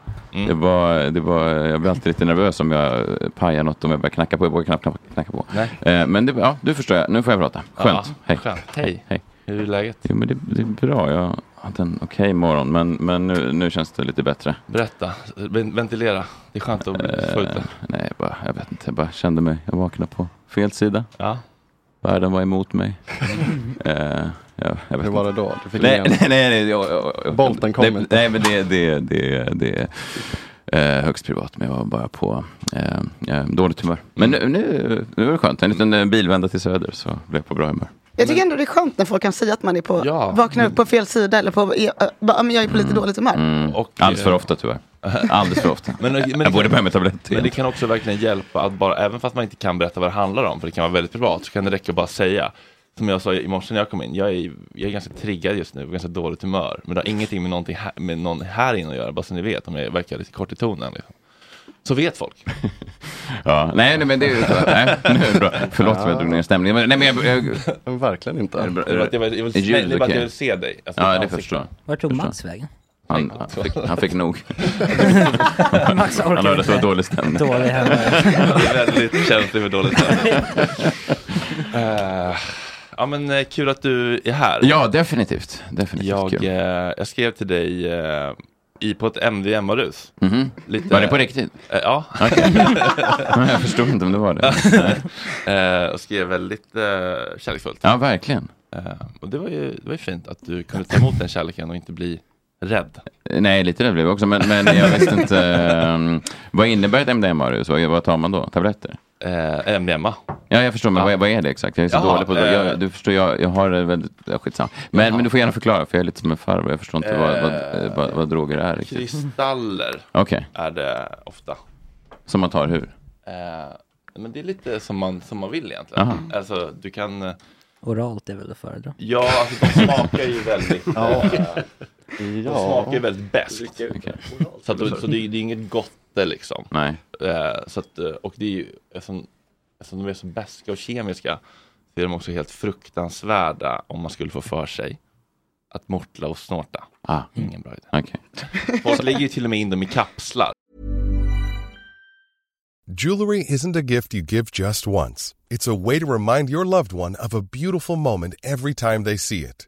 Speaker 11: Det var, det var, jag blir alltid lite nervös om jag pajar något, om jag börjar knacka på. Jag vågar knappt knappt knacka på.
Speaker 1: Nej.
Speaker 11: Eh, Men det, ja, nu förstår jag. Nu får jag prata. Skönt.
Speaker 1: Ja,
Speaker 11: Hej.
Speaker 1: skönt. Hej.
Speaker 11: Hej.
Speaker 1: Hur är läget?
Speaker 11: Jo, men det, det är bra. Jag hade en okej morgon, men, men nu, nu känns det lite bättre.
Speaker 1: Berätta, Ven- ventilera. Det är skönt att få ut det.
Speaker 11: Eh, nej, jag bara, jag vet inte. Jag bara kände mig. Jag vaknade på fel sida.
Speaker 1: Ja.
Speaker 11: Världen var
Speaker 1: *laughs*
Speaker 11: emot mig. eh, jag, jag vet
Speaker 6: Hur var
Speaker 11: inte.
Speaker 6: det då? Du fick
Speaker 11: nej,
Speaker 6: ingen-
Speaker 11: nej, nej, nej, jag, jag, jag,
Speaker 6: Bolten kom
Speaker 11: nej,
Speaker 6: inte.
Speaker 11: Nej, men det, det, det, det är eh, högst privat. Men jag var bara på eh, eh, dåligt humör. Men nu, nu, nu är det skönt. En liten eh, bilvända till söder så blev jag på bra humör.
Speaker 10: Jag tycker ändå det är skönt när folk kan säga att man är på, vaknar upp på fel sida eller på, eh, bara, men jag är på lite dåligt humör.
Speaker 11: Mm. Alldeles
Speaker 6: eh,
Speaker 11: för ofta tyvärr. Alldeles för ofta.
Speaker 1: Men, men det
Speaker 11: jag borde
Speaker 1: kan-
Speaker 11: börja med tabletter.
Speaker 1: Men det kan också verkligen hjälpa att bara, även fast man inte kan berätta vad det handlar om, för det kan vara väldigt privat, så kan det räcka att bara säga. Som jag sa i morse när jag kom in, jag är, jag är ganska triggad just nu, ganska dåligt humör. Men det har ingenting med, någonting här, med någon här inne att göra, bara så ni vet om jag verkar lite kort i tonen. Liksom. Så vet folk.
Speaker 11: Ja, nej, nej, men det är ju så. Nej, nu är det bra. Förlåt om jag drog ner stämningen. Men, nej, men jag, jag,
Speaker 6: Verkligen inte.
Speaker 11: Är det bra?
Speaker 1: Det är bara att jag vill- jag vill-
Speaker 11: Är ljudet
Speaker 1: nej, det är bara att jag
Speaker 11: okej?
Speaker 1: vill se dig. Alltså,
Speaker 11: ja, det
Speaker 1: ansiktet.
Speaker 11: förstår jag.
Speaker 5: Var tog
Speaker 11: Förstår.
Speaker 5: Mats vägen?
Speaker 11: Han, han, fick, han fick nog.
Speaker 5: Max orkar
Speaker 11: han hörde att det var
Speaker 5: inte.
Speaker 11: dålig stämning.
Speaker 5: Dålig hemma.
Speaker 1: Jag är väldigt känslig för dåligt *laughs* uh, Ja men eh, kul att du är här.
Speaker 11: Ja, definitivt. definitivt
Speaker 1: Jag,
Speaker 11: kul.
Speaker 1: eh, jag skrev till dig eh, i, på ett MDMA-rus.
Speaker 11: Mhm. Var det på riktigt?
Speaker 1: Eh, *laughs* ja.
Speaker 11: Okej. Jag förstod inte om det var det.
Speaker 1: Eh, och skrev väldigt eh, kärleksfullt.
Speaker 11: Ja, verkligen.
Speaker 1: Eh, och det var, ju, det var ju fint att du kunde ta emot den kärleken och inte bli rädd.
Speaker 11: Nej, lite rädd blev jag också, men, men jag visste inte. ehm, vad innebär ett MDMA-rus? Vad, vad tar man då? Tabletter?
Speaker 1: Eh, MDMA.
Speaker 11: Ja, jag förstår, men vad, vad är det exakt? Jag är så
Speaker 1: Jaha,
Speaker 11: dålig på det.
Speaker 1: eh.
Speaker 11: Jag, du förstår, jag, jag har det väldigt... Ja, skitsamma. Men, men du får gärna förklara, för jag är lite som en farbror. Jag förstår inte vad, vad, eh, vad, vad droger är riktigt.
Speaker 1: Kristaller
Speaker 11: Okej.
Speaker 1: är det ofta.
Speaker 11: Som man tar hur?
Speaker 1: Eh, men det är lite som man, som man vill egentligen.
Speaker 11: Aha.
Speaker 1: Alltså du kan eh,
Speaker 5: Oralt är väl att föredra.
Speaker 1: Ja, alltså de smakar ju väldigt...
Speaker 5: Ja.
Speaker 1: eh, De
Speaker 5: Ja.
Speaker 1: smakar ju väldigt bäst.
Speaker 5: Okej.
Speaker 1: Så, att, så det, är- det är inget gotte liksom.
Speaker 11: Nej.
Speaker 1: Eh, Så att, eh, och det är ju, eftersom, eftersom de är så beska och kemiska så är de också helt fruktansvärda om man skulle få för sig att mortla och snorta.
Speaker 11: Ah.
Speaker 1: Ingen bra idé.
Speaker 11: Okej.
Speaker 6: Mm.
Speaker 1: Folk lägger ju till och med in dem i kapslar.
Speaker 13: Jewelry isn't a gift you give just once. It's a way to remind your loved one of a beautiful moment every time they see it.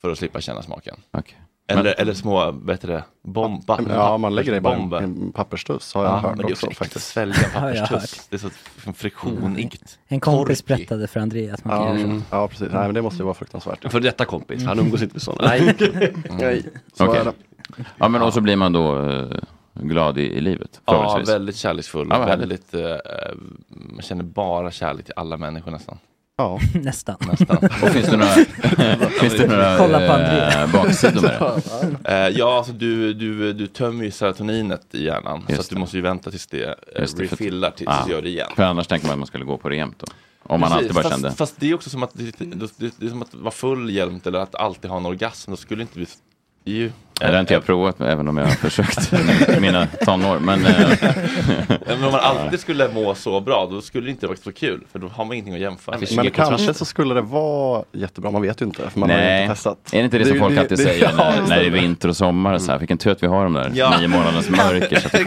Speaker 1: för att slippa känna smaken.
Speaker 11: Okej.
Speaker 1: Eller,
Speaker 6: Men-
Speaker 1: eller små, vad heter det, bomba.
Speaker 6: Ja, man lägger det i bara en,
Speaker 1: Bomber.
Speaker 6: en papperstuss har jag
Speaker 1: Ja,
Speaker 6: hört
Speaker 1: men det är
Speaker 6: också
Speaker 1: också äckligt
Speaker 6: faktiskt. Mm.
Speaker 1: att svälja en
Speaker 5: Har jag hört.
Speaker 1: papperstuss. Det är så f- friktionigt.
Speaker 5: En kompis berättade för Andreas. Man kan
Speaker 6: Ja,
Speaker 5: göra så.
Speaker 6: mm. ja, precis. Nej, men det måste ju vara fruktansvärt.
Speaker 7: För detta kompis,
Speaker 5: han
Speaker 1: *laughs*
Speaker 5: umgås
Speaker 7: inte med sådana.
Speaker 6: Nej. Nej, så
Speaker 11: Mm. Okej.
Speaker 6: är det.
Speaker 11: Ja, men och så blir man då eh, glad i, i livet.
Speaker 1: Ja,
Speaker 11: förhoppningsvis.
Speaker 1: väldigt kärleksfull.
Speaker 11: Ja, vad härligt.
Speaker 1: väldigt, eh, man känner bara kärlek till alla människor nästan.
Speaker 9: Ja.
Speaker 5: *laughs* Nästan.
Speaker 1: Nästan.
Speaker 11: Och finns
Speaker 1: *laughs*
Speaker 11: det några- finns det några, Kolla på André. eh, baksidor med
Speaker 1: det? ja, alltså du, du, du tömmer ju serotoninet i hjärnan. så att du måste ju vänta tills det, eh,
Speaker 11: Just det, för-
Speaker 1: refillar, tills
Speaker 11: Ah,
Speaker 1: det gör det igen.
Speaker 11: För annars tänker man att man skulle gå på det jämt då. Om man
Speaker 1: Precis,
Speaker 11: alltid bara
Speaker 1: fast,
Speaker 11: kände.
Speaker 1: Fast det är också som att, det, det, det, det är som att vara full jämt eller att alltid ha en orgasm. Då skulle inte vi... det är Ju,
Speaker 11: Det har inte jag provat, även om jag har försökt i mina tonår. Men, eh,
Speaker 1: Ja, men om man alltid skulle må så bra, då skulle det inte vara så kul. För då har man ingenting att jämföra med.
Speaker 9: Men kanske så skulle det vara jättebra, man vet ju inte. För man har ju
Speaker 11: Nej,
Speaker 9: inte testat.
Speaker 11: är det inte det, som folk alltid säger
Speaker 9: *laughs* Ja,
Speaker 11: när,
Speaker 9: just Mm.
Speaker 11: när det är vinter och sommar? Så här, vilken tur att vi har de där
Speaker 9: Ja.
Speaker 11: nio månadernas mörker. Så att det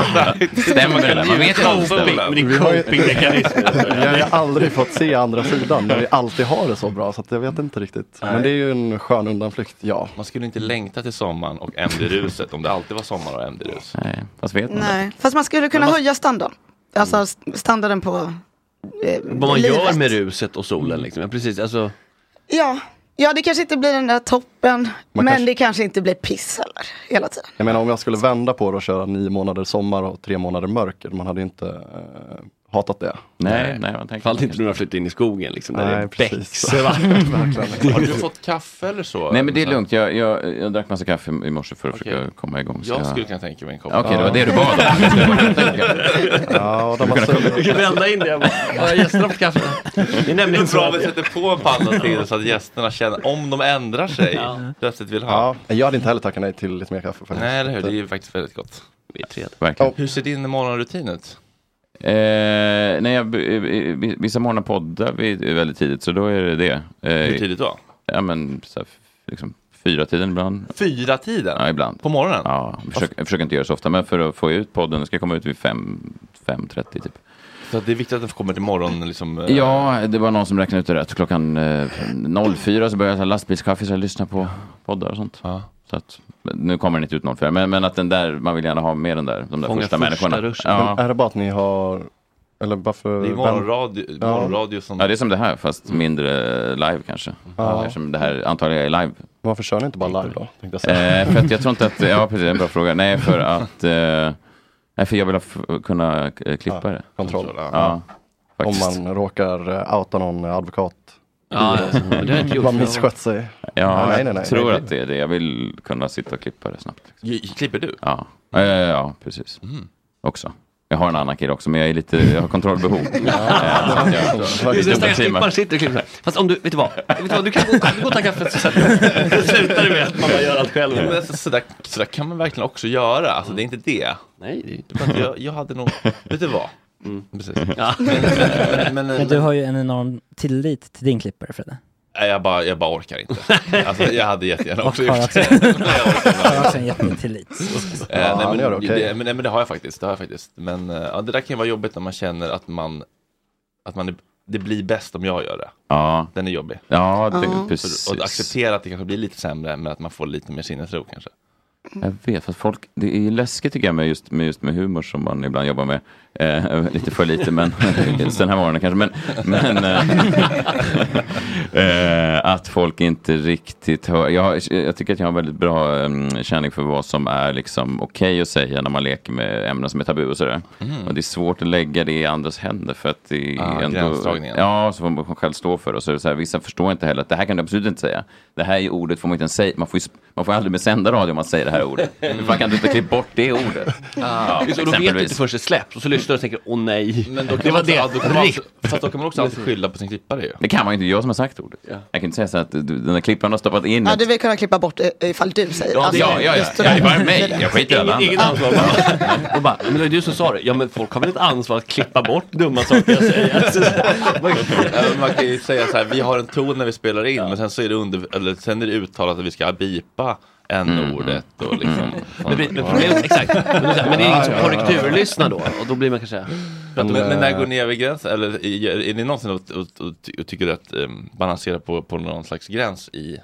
Speaker 9: Exakt.
Speaker 11: stämmer det där? Man vet inte. om det stämmer.
Speaker 9: Vi har ju- Vi har ju aldrig fått se andra sidan när vi alltid har det så bra så att jag vet inte riktigt. Men
Speaker 1: Nej.
Speaker 9: det är ju en skön undanflykt, ja.
Speaker 1: Man skulle inte längta till sommaren och MD-ruset om det alltid var sommar och MD-rus.
Speaker 11: Nej, fast vet
Speaker 10: Nej, fast man skulle kunna höja standarden. Alltså st- standarden på eh,
Speaker 7: Vad man
Speaker 10: livet.
Speaker 7: gör med ruset och solen liksom. Ja, precis. Alltså,
Speaker 10: Ja. ja, det kanske inte blir den där toppen,
Speaker 9: Man
Speaker 10: men
Speaker 9: kanske-
Speaker 10: det kanske inte blir piss heller hela tiden.
Speaker 9: Jag menar om jag skulle vända på det och köra nio månader sommar och tre månader mörker, man hade ju inte eh, hatat det.
Speaker 11: Nej, nej, man tänker
Speaker 7: Falt inte när du flyttade in i skogen liksom. Där
Speaker 9: Nej,
Speaker 7: det är
Speaker 9: precis. *laughs*
Speaker 7: becksvart.
Speaker 1: Har du fått kaffe eller så?
Speaker 11: Nej men det är lugnt, jag, jag, jag drack massa kaffe i morse för att försöka komma igång. så
Speaker 1: Jag skulle kunna tänka mig en kopp.
Speaker 11: Okej, det var
Speaker 1: Ja.
Speaker 11: det du bad om.
Speaker 9: Ja, och de har
Speaker 11: Skulle kunna-
Speaker 7: Du kan vända in det. Jag bara, "Har jag gästerna på kaffe.
Speaker 1: Det är nämligen
Speaker 7: nämligen
Speaker 1: bra
Speaker 7: så
Speaker 1: att vi
Speaker 7: att-
Speaker 1: sätter på en panna till så att gästerna känner, om de ändrar sig, plötsligt vill ha.
Speaker 9: Ja, jag hade inte heller tackat nej till lite mer kaffe faktiskt.
Speaker 1: Nej, eller hur? Det är ju faktiskt väldigt gott. Vi är tre.
Speaker 11: Verkligen.
Speaker 1: Hur ser din morgonrutin ut?
Speaker 11: Eh, nej, jag, eh, eh, vissa morgnar poddar vi väldigt tidigt, så då är det det. Eh,
Speaker 1: Hur tidigt då?
Speaker 11: Ja, men så här, liksom, fyra tiden ibland.
Speaker 1: Fyra tiden?
Speaker 11: Ja, ibland. På
Speaker 1: morgonen?
Speaker 11: Ja, jag försöker, jag försöker inte göra så ofta, men för att få ut podden, den ska komma ut vid fem, 5.30 typ.
Speaker 1: Så att det är viktigt att den kommer till morgon liksom. eh,
Speaker 11: Ja, det var någon som räknade ut det rätt. Klockan eh, 04 så började jag så här lastbilschaffisar lyssna på poddar och sånt. Så att, nu kommer den inte ut 04, men, men att den där, man vill gärna ha med den där, de där
Speaker 9: Fånga första
Speaker 11: första, människorna.
Speaker 9: ruschen.
Speaker 11: Ja.
Speaker 9: Men är det bara att ni har, eller varför?
Speaker 1: Det är morgonradio-
Speaker 9: Ja.
Speaker 1: morgonradio som-
Speaker 11: Ja, det är som det här, fast mindre live kanske.
Speaker 9: Ja.
Speaker 11: Eftersom det här antagligen är live. Typ.
Speaker 9: Varför kör ni inte bara live då? tänkte jag säga.
Speaker 11: Eh, för att jag tror inte att, ja precis, det är en bra fråga. Nej, för att, eh, nej, för jag vill ha f- kunna eh, klippa det.
Speaker 9: Kontroll.
Speaker 11: Ja, faktiskt.
Speaker 9: Om man råkar eh, outa någon advokat.
Speaker 11: Ja, ja, det har jag inte gjort
Speaker 9: Man
Speaker 11: förut.
Speaker 9: misskött sig.
Speaker 11: Ja,
Speaker 9: nej, nej, nej,
Speaker 11: jag tror
Speaker 9: nej.
Speaker 11: att det är det. Jag vill kunna sitta och klippa det snabbt. liksom.
Speaker 1: J- Klipper du?
Speaker 11: Ja, ja, ja, ja precis.
Speaker 1: Mm.
Speaker 11: Också. Jag har en annan kille också, men jag, är lite, jag
Speaker 1: *laughs*
Speaker 11: har kontrollbehov. Eh, så att jag-
Speaker 7: Just det,
Speaker 11: dubbelteamar.
Speaker 7: stackars klipparen sitter och klipper så här. Fast om du, vet du vad? Vet du, vad? du kan gå, gå och ta *laughs* kaffet så slutar du med att man bara gör allt själv.
Speaker 1: Men så, så, där, så där kan man verkligen också göra. Alltså det är inte det.
Speaker 7: Nej, det är inte. Mm.
Speaker 1: Men jag, jag hade nog, vet du vad? Precis.
Speaker 7: Ja.
Speaker 1: Men, men, men,
Speaker 5: Men du har ju en enorm tillit till din klippare Fredde.
Speaker 1: Nej, jag bara, jag bara orkar inte. Alltså, jag hade jättegärna
Speaker 5: Och
Speaker 1: också
Speaker 5: har
Speaker 1: gjort
Speaker 5: också-
Speaker 1: det. *laughs* Men jag orkar inte.
Speaker 5: Han har också en jättetillit.
Speaker 1: Eh,
Speaker 5: Ja,
Speaker 1: nej,
Speaker 5: han
Speaker 1: men,
Speaker 5: gör det, okej.
Speaker 1: det, men, nej, men det har jag faktiskt. Det har jag faktiskt. Men eh, ja, det där kan ju vara jobbigt när man känner att man, att man är, det blir bäst om jag gör det.
Speaker 11: Ja.
Speaker 1: Den är jobbig.
Speaker 11: Ja, det-
Speaker 1: För-
Speaker 11: precis.
Speaker 1: Och att acceptera att det kanske blir lite sämre, men att man får lite mer sinnesro kanske.
Speaker 11: Jag vet, fast folk, det är ju läskigt tycker jag med just, med just med humor som man ibland jobbar med. Eh, *laughs* lite för lite, men just den här morgonen kanske. Men, men eh, *laughs* eh, att folk inte riktigt hör. Jag, har- jag tycker att jag har väldigt bra um, känning för vad som är liksom okej att säga när man leker med ämnen som är tabu och sådär.
Speaker 1: Mm.
Speaker 11: Och det är svårt att lägga det i andras händer för att det är
Speaker 1: Ah,
Speaker 11: ändå...
Speaker 1: gränsdragningen.
Speaker 11: Ja, så får man själv stå för det. Och så är det så här, vissa förstår inte heller att det här kan du absolut inte säga. Det här är ordet får man inte ens säga. Man får, ju, sp- man får aldrig med sända radio om man säger det här
Speaker 7: *laughs*
Speaker 11: ordet.
Speaker 7: Mm.
Speaker 11: Man kan du inte klippa bort det ordet.
Speaker 7: Ah. Just, och då vet du inte
Speaker 11: exempelvis.
Speaker 7: först det släpps och så lyssnar du och tänker åh nej.
Speaker 1: Men då kan man, ja, då kan man, också- fast då kan man också alltid skylla på sin klippare ju.
Speaker 11: Det kan man ju inte, jag som har sagt ordet. Jag kan inte säga så att du- den där klipparen har stoppat in
Speaker 10: Ja,
Speaker 11: ett-
Speaker 10: du vill kunna klippa bort i- ifall du säger
Speaker 11: Ja,
Speaker 10: alltså,
Speaker 11: ja, ja, ja.
Speaker 10: just det
Speaker 11: Ja,
Speaker 10: där.
Speaker 11: det är bara mig. Jag skiter i alla andra.
Speaker 7: Inget ansvar bara. Och bara, men det är du som sa det. Ja men folk har väl ett ansvar att klippa bort dumma saker jag säger. Alltså,
Speaker 1: Även man kan ju säga så här, vi har en ton när vi spelar in, men sen så är det, under, eller, sen är det uttalat att vi ska bipa n-ordet och liksom.
Speaker 7: Men, men problemet, exakt. Men, det är så här, men det är ingen som korrekturlyssnar då. Och då blir man kanske...
Speaker 1: Men, men när går ni över gränsen? Eller är är ni någonsin och, och, och, och tycker att um, balansera på, på någon slags gräns i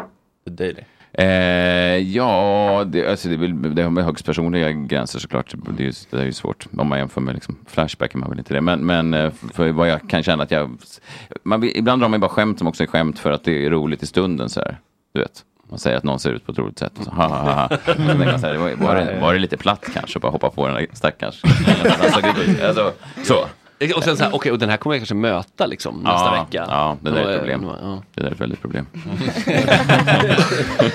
Speaker 1: The Daily?
Speaker 11: Eh, ja, det, alltså det, är väl- det har med högst personliga gränser såklart. Det är, ju- det är ju svårt om man jämför med liksom, Flashback. är Man väl inte det. Men, men eh, för vad jag kan känna att jag... Man, vill- ibland drar man ju bara skämt som också är skämt för att det är roligt i stunden. Så här, du vet. Man säger att någon ser ut på ett roligt sätt. Och så, ha, ha, ha. Jag tänker så här, var, var, det, var det lite platt kanske? Bara hoppa på den där stackars. alltså, så.
Speaker 7: Och sen så här, okej, och den här kommer jag kanske möta liksom nästa
Speaker 11: ja,
Speaker 7: vecka.
Speaker 11: Ja, det där är
Speaker 7: Och, eh,
Speaker 11: ett problem. Det där är ett väldigt problem.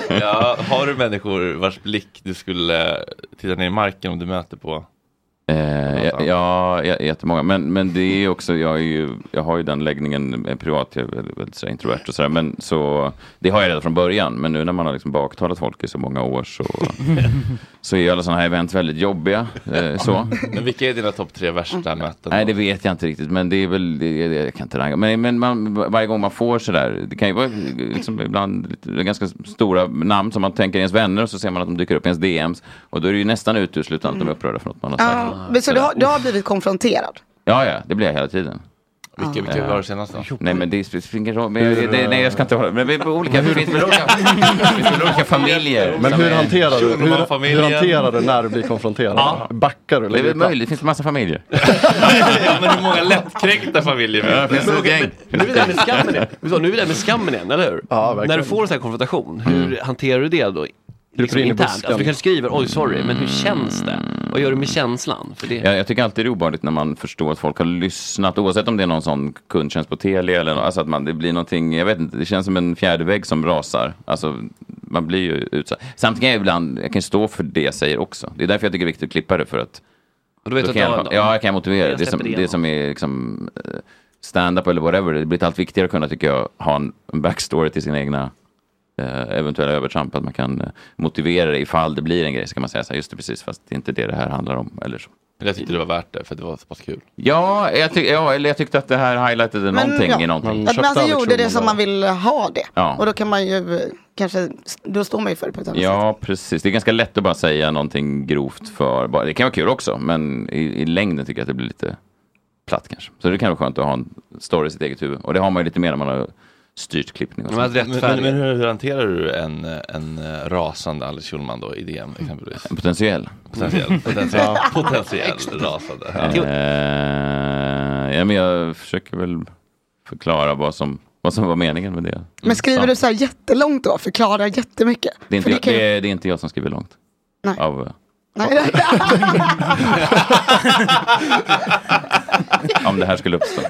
Speaker 1: ja, *laughs* har du människor vars blick du skulle titta ner i marken om du möter på?
Speaker 11: Eh, ja, ja, ja, jättemånga. Men, men det är också, jag, är ju, jag har ju den läggningen eh, privat, jag är väldigt, väldigt sådär introvert och sådär. Men så, det har jag redan från början. Men nu när man har liksom baktalat folk i så många år så, så är ju alla sådana här event väldigt jobbiga. Eh, så.
Speaker 1: Men vilka är dina topp tre värsta möten?
Speaker 11: Nej, det vet jag inte riktigt. Men det är väl, det, det, jag kan inte ranga. Men, men man, varje gång man får sådär, det kan ju vara liksom ibland lite, ganska stora namn som man tänker är ens vänner och så ser man att de dyker upp i ens DMs. Och då är det ju nästan uteslutande att de är upprörda för något man har sagt.
Speaker 10: Ja,
Speaker 7: Ah.
Speaker 10: men så du har, du har blivit konfronterad?
Speaker 11: Ja, ja, det blir jag hela tiden.
Speaker 1: Vilka- vilka var det senast då?
Speaker 11: Nej, men det spelar ingen roll. Men, jag- det, nej, jag ska inte hålla. Men vi är på olika, det finns väl *laughs* olika, det finns väl olika familjer.
Speaker 9: Men
Speaker 11: som
Speaker 9: hur
Speaker 11: är-
Speaker 9: hanterar, du, hur, hur hanterar du när du blir konfronterad?
Speaker 11: Ja.
Speaker 9: Backar du?
Speaker 11: Det är väl möjligt, det finns massa familjer.
Speaker 7: Ja, men hur många lättkränkta familjer
Speaker 11: Ja, det finns ett gäng.
Speaker 7: Nu är vi där med skammen igen. Vi sa, Nu är vi där med skammen igen, eller hur? När du får en sån här konfrontation, hur
Speaker 1: Mm.
Speaker 7: hanterar du det då? Liksom
Speaker 11: in i
Speaker 7: internt.
Speaker 11: busken.
Speaker 7: Alltså, du kanske skriver, oj sorry, men hur känns det? Vad gör du med känslan? För det...
Speaker 11: Jag, jag tycker alltid det är obehagligt när man förstår att folk har lyssnat, oavsett om det är någon sån kundtjänst på Telia eller nå- alltså att man, det blir någonting, jag vet inte, det känns som en fjärdevägg som rasar. Alltså, man blir ju utsatt. Samtidigt kan jag ibland, jag kan stå för det jag säger också. Det är därför jag tycker det är viktigt att klippa det för att...
Speaker 7: Och du vet
Speaker 11: då
Speaker 7: att
Speaker 11: kan
Speaker 7: du
Speaker 11: jag,
Speaker 7: har-
Speaker 11: ja, jag kan motivera det.
Speaker 7: Jag
Speaker 11: Det som,
Speaker 7: släpper
Speaker 11: det
Speaker 7: igenom.
Speaker 11: som är liksom eh, stand-up eller whatever, det blir allt viktigare att kunna, tycker jag, ha en en backstory till sina egna eh, eventuella övertramp, att man kan eh, motivera det ifall det blir en grej, så kan man säga så här, just det, precis, fast det är inte det det här handlar om, eller så.
Speaker 1: Jag tyckte det var värt det för det var så pass kul.
Speaker 11: Ja, jag, tyck, ja eller jag tyckte att det här highlightade någonting
Speaker 10: ja,
Speaker 11: i någonting.
Speaker 10: Att man alltså gjorde det som man vill ha det.
Speaker 11: Ja.
Speaker 10: Och då kan man ju eh, kanske, då står man ju för det på ett annat sätt.
Speaker 11: Ja, precis. Det är ganska lätt att bara säga någonting grovt för, bara, det kan vara kul också, men i, i längden tycker jag att det blir lite platt kanske. Så det kan vara skönt att ha en story i sitt eget huvud. Och det har man ju lite mer när man har styrt klippning och sånt.
Speaker 1: men, alltså men, men hur hur hanterar du en, en eh, rasande Alice Schulman då i DM
Speaker 7: *laughs*
Speaker 1: exempelvis?
Speaker 11: Potentiell.
Speaker 1: Potentiell, potentiell,
Speaker 11: Ja.
Speaker 1: potentiell rasande.
Speaker 11: Eh, ja, men jag försöker väl förklara vad som, vad som var meningen med det.
Speaker 10: Men skriver du så här jättelångt då? Förklarar jättemycket?
Speaker 11: Det är, inte
Speaker 10: För
Speaker 11: jag,
Speaker 10: kan ju-
Speaker 11: det, är, det är inte jag som skriver långt.
Speaker 10: Nej.
Speaker 11: Av,
Speaker 10: Nej.
Speaker 11: *laughs* om det här skulle uppstå. Eh,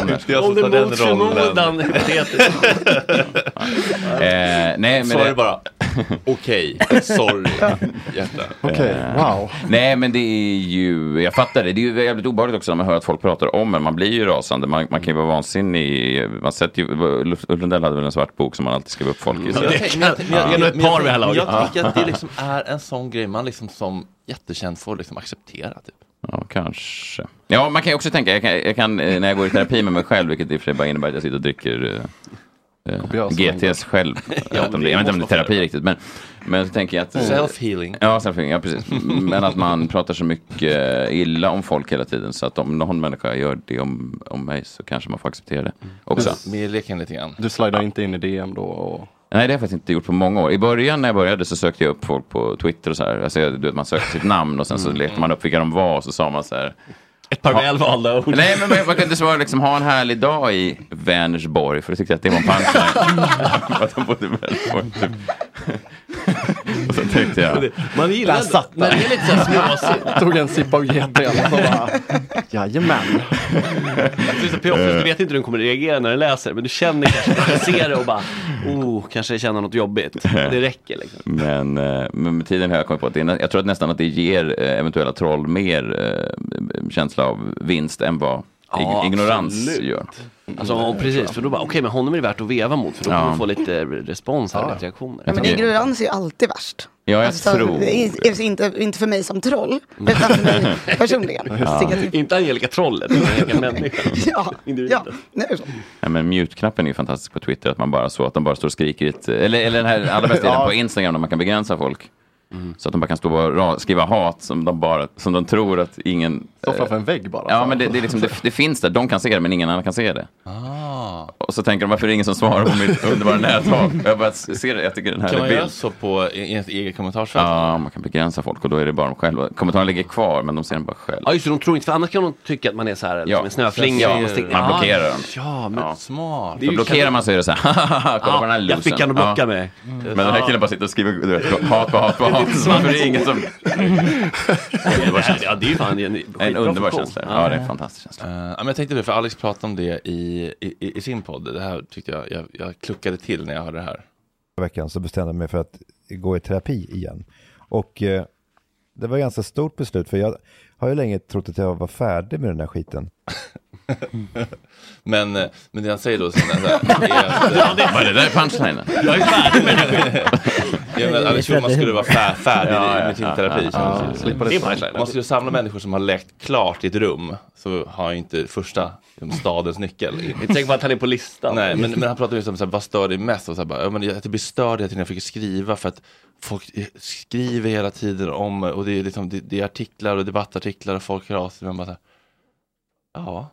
Speaker 11: Om det här skulle-
Speaker 7: Om det mot förmodan, hypotetiskt.
Speaker 11: Eh, nej, men
Speaker 1: Sa
Speaker 11: det-
Speaker 1: du bara, okej,
Speaker 7: *laughs*
Speaker 1: sorry, hjärta.
Speaker 11: Eh, Nej, men det är ju, jag fattar det. Det är ju jävligt obehagligt också när man hör att folk pratar om en. Man blir ju rasande. Man, man kan ju vara vansinnig. Man sätter ju, Ulf Lundell hade väl en svart bok som man alltid skrev upp folk i.
Speaker 1: Men jag tänker- men jag- men jag- men jag- men jag- Jag tycker att det
Speaker 11: Ja.
Speaker 1: liksom är en sån grej man liksom som jättekänd får liksom acceptera. Typ.
Speaker 11: Ja, kanske. Ja, man kan ju också tänka, jag kan, jag kan, eh, när jag går i terapi med mig själv, vilket i och för sig bara innebär att jag sitter och dricker eh, eh,
Speaker 7: Kopiösa
Speaker 11: GTs själv.
Speaker 1: *laughs*
Speaker 11: jag vet inte om det, jag vet inte om det är terapi riktigt, men, men så tänker jag att... eh,
Speaker 1: Self-healing.
Speaker 11: Ja, self-healing, ja precis. Men att man pratar så mycket illa om folk hela tiden, så att om någon människa gör det om, om mig så kanske man får acceptera det också.
Speaker 1: Men jag leker lite grann.
Speaker 9: Du slidar inte in i DM då? Och...
Speaker 11: Nej, det har jag faktiskt inte gjort på många år. I början när jag började så sökte jag upp folk på Twitter och så här. Alltså, jag- du vet, man sökte sitt namn och sen så
Speaker 1: Mm.
Speaker 11: lekte man upp vilka de var och så sa man så här. Ett
Speaker 7: par välvalda ord.
Speaker 11: Nej, men man- man kunde svara liksom ha en härlig dag i Vänersborg. För då tyckte jag att det var en punchline. *laughs* att de bodde i Vänersborg. Typ. *laughs* och så tänkte jag.
Speaker 7: Man gillar
Speaker 9: Där satt
Speaker 7: när det är lite så här småsint.
Speaker 9: *laughs* Tog en sipp av GT och så bara, jajamän.
Speaker 7: Det är så piofft, Du vet inte hur den kommer reagera när den läser, men du känner kanske, du ser det och bara, oh, kanske jag känner något jobbigt. Det räcker liksom.
Speaker 11: Men, eh, men med tiden har jag kommit på att det är, nä- jag tror att nästan att det ger eh, eventuella troll mer eh, känsla av vinst än vad ig- ignorans
Speaker 7: absolut.
Speaker 11: gör.
Speaker 7: Alltså, och precis, för då bara, okej, men honom är det värt att veva mot, för då
Speaker 11: Ja.
Speaker 7: kommer du få lite respons här, lite reaktioner.
Speaker 11: Jag
Speaker 10: Men ignorans är ju alltid värst.
Speaker 11: Ja, jag
Speaker 10: Alltså,
Speaker 11: tror
Speaker 10: det är- är Inte, inte för mig som troll, utan för
Speaker 11: *laughs*
Speaker 10: mig personligen. Tycker typ. att-
Speaker 7: Inte Angelica Trollet, utan Angelica Människan.
Speaker 10: Ja, ja. Nej, så.
Speaker 11: Ja, men mute-knappen är ju fantastisk på Twitter, att man bara så att de bara står och skriker. i ett- Eller, eller den här allra bästa delen
Speaker 7: Ja.
Speaker 11: på Instagram, där man kan begränsa folk.
Speaker 1: Mm.
Speaker 11: Så att de bara kan stå och ra- skriva hat som de, bara, som de tror att ingen...
Speaker 9: Står
Speaker 11: eh,
Speaker 9: framför en vägg bara.
Speaker 11: Ja, men det, det, är liksom, det, det finns där. De kan se det, men ingen annan kan se det.
Speaker 1: Ah.
Speaker 11: Och så tänker de, varför är det ingen som svarar på mitt underbara näthat? Jag bara ser det, jag tycker den här
Speaker 1: Kan
Speaker 11: är
Speaker 1: man
Speaker 11: bild.
Speaker 1: göra så på i ett eget kommentarsfält?
Speaker 11: Ja, man kan begränsa folk och då är det bara de själva. Kommentarerna ligger kvar, men de ser den bara själv.
Speaker 7: Ja, just det, de tror inte, för annars kan de tycka att man är så här, som en snöflinga.
Speaker 11: Ja,
Speaker 7: man sticker-
Speaker 11: man blockerar dem.
Speaker 7: Ja, men
Speaker 11: Ja.
Speaker 7: smart.
Speaker 11: Då blockerar man så är det
Speaker 7: *laughs*
Speaker 11: så här, haha, kolla
Speaker 7: Ja,
Speaker 11: på den här
Speaker 7: jag
Speaker 11: losern.
Speaker 7: fick han att blocka
Speaker 11: Ja.
Speaker 7: mig.
Speaker 1: Mm.
Speaker 11: Men den här killen bara sitter och skriver du vet, hat på hat på
Speaker 7: Det är
Speaker 11: hat.
Speaker 7: lite
Speaker 11: Så
Speaker 7: smart.
Speaker 11: varför är det ingen som...
Speaker 1: Underbar känsla.
Speaker 7: Ja, det är ju fan en
Speaker 11: En underbar känsla. Ja, det är en fantastisk
Speaker 1: känsla. Eh, men jag tänkte på det, för Alex pratade om det i, i, i- i sin podd. Det här tyckte jag, jag, jag kluckade till när jag hörde det här.
Speaker 14: förra veckan så bestämde jag mig för att gå i terapi igen. Och eh, det var ett ganska stort beslut för jag har ju länge trott att jag var färdig med den här skiten.
Speaker 1: *laughs* Men, eh, men det han säger då sen är
Speaker 11: *laughs*
Speaker 1: att... eh, Ja,
Speaker 11: det- Var det där
Speaker 1: *laughs*
Speaker 11: punchlinen?
Speaker 1: Jag är färdig med det. Ja, men Alex Schulman skulle vara fär, färdig
Speaker 11: Ja, ja,
Speaker 1: med sin
Speaker 11: ja,
Speaker 1: terapi.
Speaker 11: ja,
Speaker 1: känns
Speaker 11: ja.
Speaker 1: det som.
Speaker 11: Slippa det
Speaker 1: Det är
Speaker 11: punchlinen.
Speaker 1: Man måste ju samla människor som har läkt klart i ett rum. Så har ju inte första liksom, stadens nyckel.
Speaker 7: Inte säker på att han är på listan.
Speaker 1: Nej, men, men han pratar ju om så här, vad stör dig mest? Och så här, bara, ja, men jag- att det blir störd hela tiden jag fick skriva för att folk eh, skriver hela tiden om och det är, liksom, det, det är artiklar och debattartiklar och folk hör av sig. Man bara så här, ja,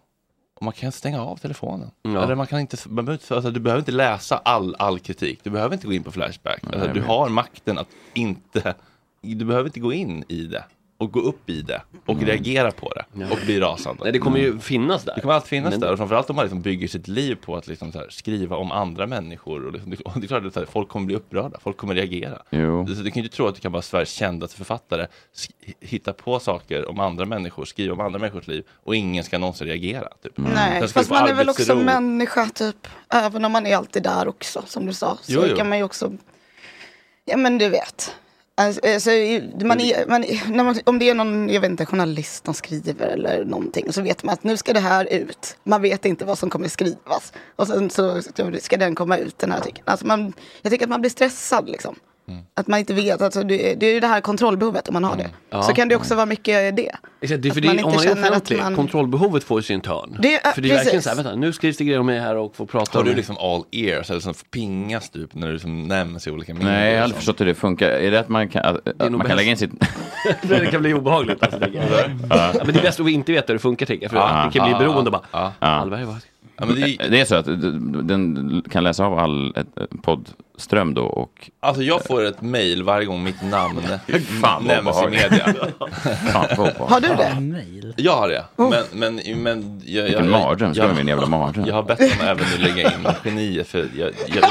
Speaker 1: och man kan stänga av telefonen.
Speaker 7: Ja.
Speaker 1: Eller man kan inte, man behöver, inte- alltså, du behöver inte läsa all, all kritik. Du behöver inte gå in på Flashback.
Speaker 11: Nej,
Speaker 1: Alltså,
Speaker 11: jag
Speaker 1: du
Speaker 11: vet.
Speaker 1: har makten att inte, du behöver inte gå in i det och gå upp i det och
Speaker 7: Mm.
Speaker 1: reagera på det och bli rasande.
Speaker 7: Nej, det kommer ju
Speaker 1: Mm.
Speaker 7: finnas där.
Speaker 1: Det kommer alltid finnas
Speaker 7: Men-
Speaker 1: där och framförallt om man liksom bygger sitt liv på att liksom så här skriva om andra människor. Och liksom, *laughs* och det är klart att så här, folk kommer bli upprörda, folk kommer reagera.
Speaker 11: Jo.
Speaker 1: Du, du kan ju inte tro att du kan vara Sveriges kändaste författare, sk- hitta på saker om andra människor, skriva om andra människors liv och ingen ska någonsin reagera. Typ.
Speaker 11: Mm.
Speaker 10: Nej,
Speaker 1: Den ska
Speaker 10: fast
Speaker 1: få
Speaker 10: man är väl också
Speaker 1: arbetsro.
Speaker 10: människa typ. Även om man är alltid där också, som du sa. Så
Speaker 1: Jo, jo.
Speaker 10: kan man ju också, ja men du vet. Alltså, alltså, man är, man är, när man, om det är någon, jag vet inte, journalist som skriver eller någonting. Så vet man att nu ska det här ut. Man vet inte vad som kommer skrivas. Och sen så ska den komma ut, den här artikeln. Alltså, man, jag tycker att man blir stressad liksom.
Speaker 9: Mm.
Speaker 10: Att man inte vet, alltså, det, är- det är ju det här kontrollbehovet om man har det.
Speaker 7: Ja.
Speaker 10: Så kan det
Speaker 9: Mm.
Speaker 10: också vara mycket det.
Speaker 7: Exakt, det är för
Speaker 10: Att
Speaker 7: det,
Speaker 10: man inte
Speaker 7: om man är
Speaker 10: känner att
Speaker 7: offentlig,
Speaker 10: man-
Speaker 7: kontrollbehovet får ju sin törn.
Speaker 10: Det är-
Speaker 7: för det är verkligen
Speaker 10: precis.
Speaker 7: så här, vänta, nu skrivs det grejer om mig här och får prata
Speaker 1: Har
Speaker 7: om
Speaker 1: du
Speaker 7: mig.
Speaker 1: liksom all ears eller liksom pingas typ när du liksom nämns i olika medier?
Speaker 11: Nej, jag har
Speaker 1: och
Speaker 11: aldrig
Speaker 1: sånt?
Speaker 11: förstått hur det funkar. Är det att man kan, att,
Speaker 1: är
Speaker 11: att
Speaker 1: nog
Speaker 11: man kan
Speaker 1: bäst.
Speaker 11: lägga in sitt...
Speaker 7: det kan bli obehagligt. Alltså, tänker jag. ja. Men det är bäst att vi inte vet hur det funkar, tänker jag. För
Speaker 11: Ja.
Speaker 7: vi kan bli
Speaker 11: Ja.
Speaker 7: beroende och bara,
Speaker 11: Ja.
Speaker 7: Hallberg, vad...
Speaker 1: men det
Speaker 11: Eh, det... är så att d- den kan läsa av all ett, ett poddström då och...
Speaker 1: Alltså jag får ett mail varje gång mitt namn
Speaker 11: vad
Speaker 1: nämns i
Speaker 11: obehagligt.
Speaker 1: media.
Speaker 11: Fan, vad obehagligt. Har du det?
Speaker 1: Mail? Jag har det. Men, men, men jag, jag,
Speaker 11: Vilken mardröm, skriv om min jävla mardröm.
Speaker 1: Jag har bett dem även att lägga in genier för jag... jag,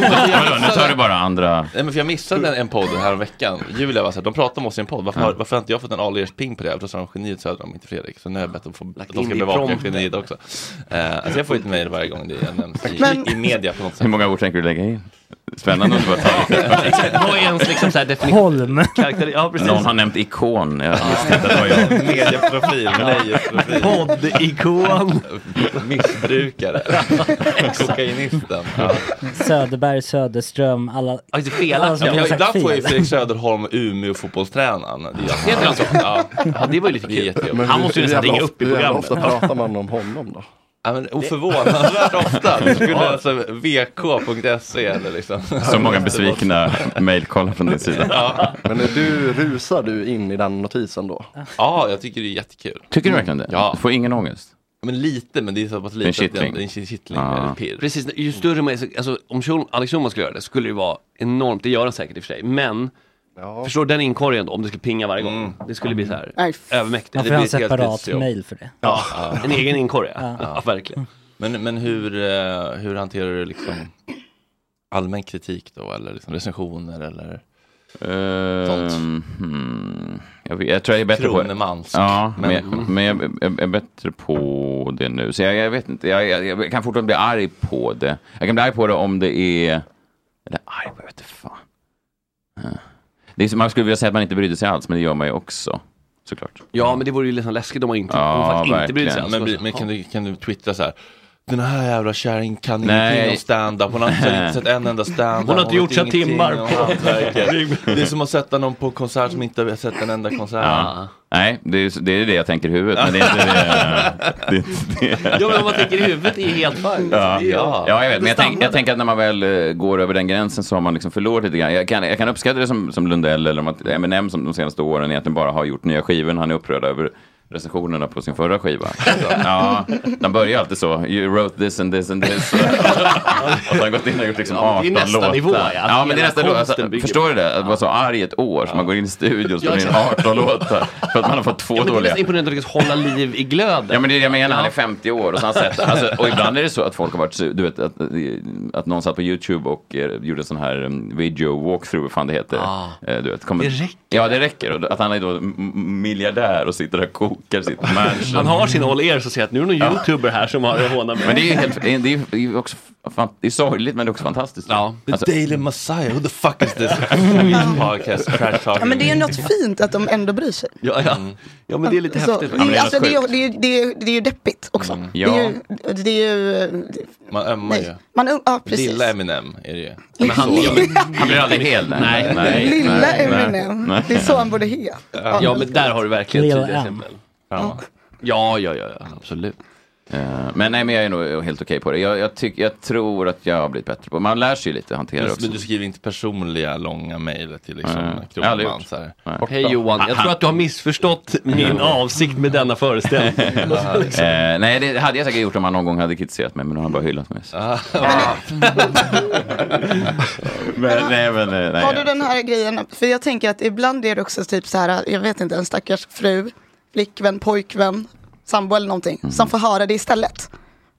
Speaker 11: Vadå, nu tar du bara andra...
Speaker 1: Nej men för jag missade en- en podd här veckan. Julia var såhär, de pratar om oss i en podd. Varför, har, varför har inte jag fått en all ears ping på det? Då sa de geniet Söderholm, inte Fredrik. Så nu har jag bett dem få, att de
Speaker 7: in
Speaker 1: ska
Speaker 7: det i
Speaker 1: bevaka
Speaker 7: prompten.
Speaker 1: geniet också. Eh, alltså jag får ett mail varje gång det jag nämns i,
Speaker 7: Men-
Speaker 1: i, i media på något sätt.
Speaker 11: Hur många ord tänker du lägga in? Spännande att du bara
Speaker 7: Exakt, vad är ens liksom så här definition?
Speaker 5: Holm.
Speaker 7: Karaktär, ja, precis.
Speaker 11: Någon har nämnt ikon. Jag visste inte att det var jag.
Speaker 1: Mediaprofil,
Speaker 7: *laughs*
Speaker 1: nöjesprofil.
Speaker 7: Poddikon.
Speaker 1: *laughs* Missbrukare. Kokainisten. Ja.
Speaker 5: Söderberg, Söderström, alla... alla som
Speaker 1: Ja,
Speaker 5: har sagt
Speaker 1: ibland får ju
Speaker 5: fel.
Speaker 1: Fredrik Söderholm Umeå fotbollstränaren. Heter
Speaker 7: han så?
Speaker 1: Ja. det var ju lite
Speaker 7: kul.
Speaker 1: jättejobbigt.
Speaker 7: Men Han hur- måste ju hur nästan jävla ringa upp i
Speaker 6: Hur jävla
Speaker 7: programmet.
Speaker 6: ofta pratar man om honom då?
Speaker 1: Ja, men oförvånansvärt ofta. Du skulle alltså vk.se eller liksom.
Speaker 11: Så många besvikna mejlkollar från din sida.
Speaker 1: Ja.
Speaker 6: Men är du, rusar du in i den notisen då?
Speaker 1: Ja, jag tycker det är jättekul.
Speaker 11: Tycker du verkligen det? Du får ingen ångest?
Speaker 1: Men lite, men det är så pass lite.
Speaker 11: En
Speaker 1: att det-
Speaker 11: kittling.
Speaker 1: det är En kittling.
Speaker 11: Ja.
Speaker 1: eller pirr.
Speaker 7: Precis, ju större man är, så- alltså om Schul- Alex Schulman skulle göra det skulle det vara enormt, det gör han säkert i och för sig, men Förstår den inkorgen då, om det skulle pinga varje gång?
Speaker 11: Mm.
Speaker 7: Det skulle bli så här
Speaker 5: Nej, f-
Speaker 7: övermäktigt.
Speaker 5: Man
Speaker 7: Det
Speaker 5: får ha
Speaker 7: blir
Speaker 5: en
Speaker 7: ett helt
Speaker 5: separat
Speaker 7: tidsjobb.
Speaker 5: mail för det.
Speaker 7: Ja,
Speaker 1: Ja.
Speaker 7: en egen inkorg ja.
Speaker 5: Ja.
Speaker 7: Ja. verkligen.
Speaker 1: Men, men hur, eh, hur hanterar du liksom allmän kritik då? Eller liksom recensioner eller? Sånt.
Speaker 11: Ehm, hmm, jag, vet, jag tror jag är bättre på
Speaker 1: Kronemansk.
Speaker 11: Ja, men, jag,
Speaker 1: Men-
Speaker 11: men jag, jag, är bättre på det nu. Så jag, jag vet inte, jag, jag, jag kan fortfarande bli arg på det. Jag kan bli arg på det om det är... Eller arg på, jag vet inte fan. Eh, Det är, som- man skulle vilja säga att man inte brydde sig alls, men det gör man ju också. Såklart.
Speaker 7: Ja, men det vore ju liksom läskigt om man inte,
Speaker 11: Ja,
Speaker 7: om man faktiskt inte brydde sig.
Speaker 11: verkligen.
Speaker 7: alls.
Speaker 1: Men, blir- men kan, du, kan du twittra så här? Den här jävla kärringen kan
Speaker 11: Nej.
Speaker 1: ingenting om stand-up. Hon
Speaker 7: *laughs*
Speaker 1: har inte
Speaker 11: Nej.
Speaker 1: sett en enda stand-up.
Speaker 7: Hon har inte gjort
Speaker 1: vet
Speaker 7: sina
Speaker 1: ingenting
Speaker 7: timmar *laughs*
Speaker 1: om
Speaker 7: på-
Speaker 1: hantverket. Det är som att sätta någon på konsert som inte har sett en enda konsert.
Speaker 11: Ja. Nej, det är, det är det jag tänker i huvudet. Men det är inte det. det, är inte det.
Speaker 7: Ja, men om man tänker i huvudet är ju helt fine.
Speaker 11: Ja,
Speaker 7: Det är-
Speaker 11: ja. jag vet. Men jag, tänk, jag tänker att när man väl eh, går över den gränsen så har man liksom förlorat lite grann. Jag kan, jag kan uppskatta det som, som Lundell eller om att Eminem som de senaste åren egentligen bara har gjort nya skivor. Han är upprörd över recensionerna på sin förra skiva. Så, ja, de börjar alltid så. You wrote this and this
Speaker 7: *laughs*
Speaker 11: and this. Och så har han gått in och gjort liksom
Speaker 7: Ja,
Speaker 11: 18
Speaker 7: men det är nästa
Speaker 11: låtar.
Speaker 7: nivå, ja. Alltså,
Speaker 11: ja, men det är
Speaker 7: hela
Speaker 11: nästa nivå. Alltså,
Speaker 7: konsten bygger
Speaker 11: förstår du
Speaker 7: på-
Speaker 11: det? Att vara så arg i ett år så man går in i studion och spelar in
Speaker 7: Ja, exakt.
Speaker 11: 18 låtar. För att man har fått två
Speaker 7: Ja, men det är
Speaker 11: dåliga.
Speaker 7: nästan imponerande att lyckas hålla liv i glöden.
Speaker 11: Ja men det är det jag menar, han är 50 år och så har han sett, alltså, och ibland är det så att folk har varit, su- du vet att, att någon satt på YouTube och eh, gjorde en sån här um, video walkthrough, vad fan det heter.
Speaker 7: Ah.
Speaker 11: Eh, Du vet,
Speaker 7: Det räcker.
Speaker 11: Ja det räcker, och att han är då m- m- miljardär och sitter där och kokar sitt mansion.
Speaker 7: Han har sin all er som säger att nu är det någon
Speaker 11: Ja.
Speaker 7: youtuber här som har hånat mig.
Speaker 11: Men det är ju helt, det är- det är ju också, fan, det är sorgligt men det är också fantastiskt. Alltså, Ja.
Speaker 7: The Daily Messiah, who the fuck is *laughs* this?
Speaker 11: podcast,
Speaker 7: trash
Speaker 10: Ja, men det är ju något fint att de ändå bryr sig.
Speaker 7: Ja, ja.
Speaker 1: Mm.
Speaker 7: ja, men det är lite
Speaker 10: Så,
Speaker 7: häftigt.
Speaker 10: det, är, alltså, det, är, ju- det, är, ju- det, är, ju- det är ju deppigt också.
Speaker 1: Ja.
Speaker 10: Det är ju, det är ju eh,
Speaker 1: Man ömmar ju.
Speaker 10: man, um- ja, precis.
Speaker 1: Lilla Eminem är det ju.
Speaker 10: Men han-
Speaker 1: Så-
Speaker 10: ja, men-
Speaker 11: Han blir aldrig
Speaker 10: *laughs*
Speaker 11: hel. Nej,
Speaker 7: nej,
Speaker 1: nej.
Speaker 10: Lilla
Speaker 1: nej, nej.
Speaker 10: Eminem.
Speaker 1: Nej.
Speaker 10: Det är så han borde heta.
Speaker 7: Ja, men där har du verkligen
Speaker 11: Lil
Speaker 7: tydliga
Speaker 11: M.
Speaker 7: exempel.
Speaker 11: Ja.
Speaker 7: Ja, ja, ja, ja, absolut.
Speaker 11: Eh, Men nej men jag är nog helt okej på det. Jag, jag, tycker, jag tror att jag har blivit bättre på det. Man lär sig ju lite att hantera det
Speaker 1: Men
Speaker 11: också.
Speaker 1: du skriver inte personliga långa mejl till liksom
Speaker 11: Nej. Aldrig
Speaker 1: Kronman
Speaker 11: gjort.
Speaker 1: så här.
Speaker 11: Nej.
Speaker 7: Hej Johan, jag tror att du har missförstått min avsikt med denna föreställning.
Speaker 11: Eh, nej, det hade jag säkert gjort om han någon gång hade kritiserat mig, men nu har han bara hyllat mig. så.
Speaker 7: Ah.
Speaker 11: *laughs* men, nej, men, eh, nej,
Speaker 10: har du den här grejen, för jag tänker att ibland är det också typ så här, jag vet inte, en stackars fru, flickvän, pojkvän, sambo eller någonting,
Speaker 11: Mm.
Speaker 10: som får höra det istället.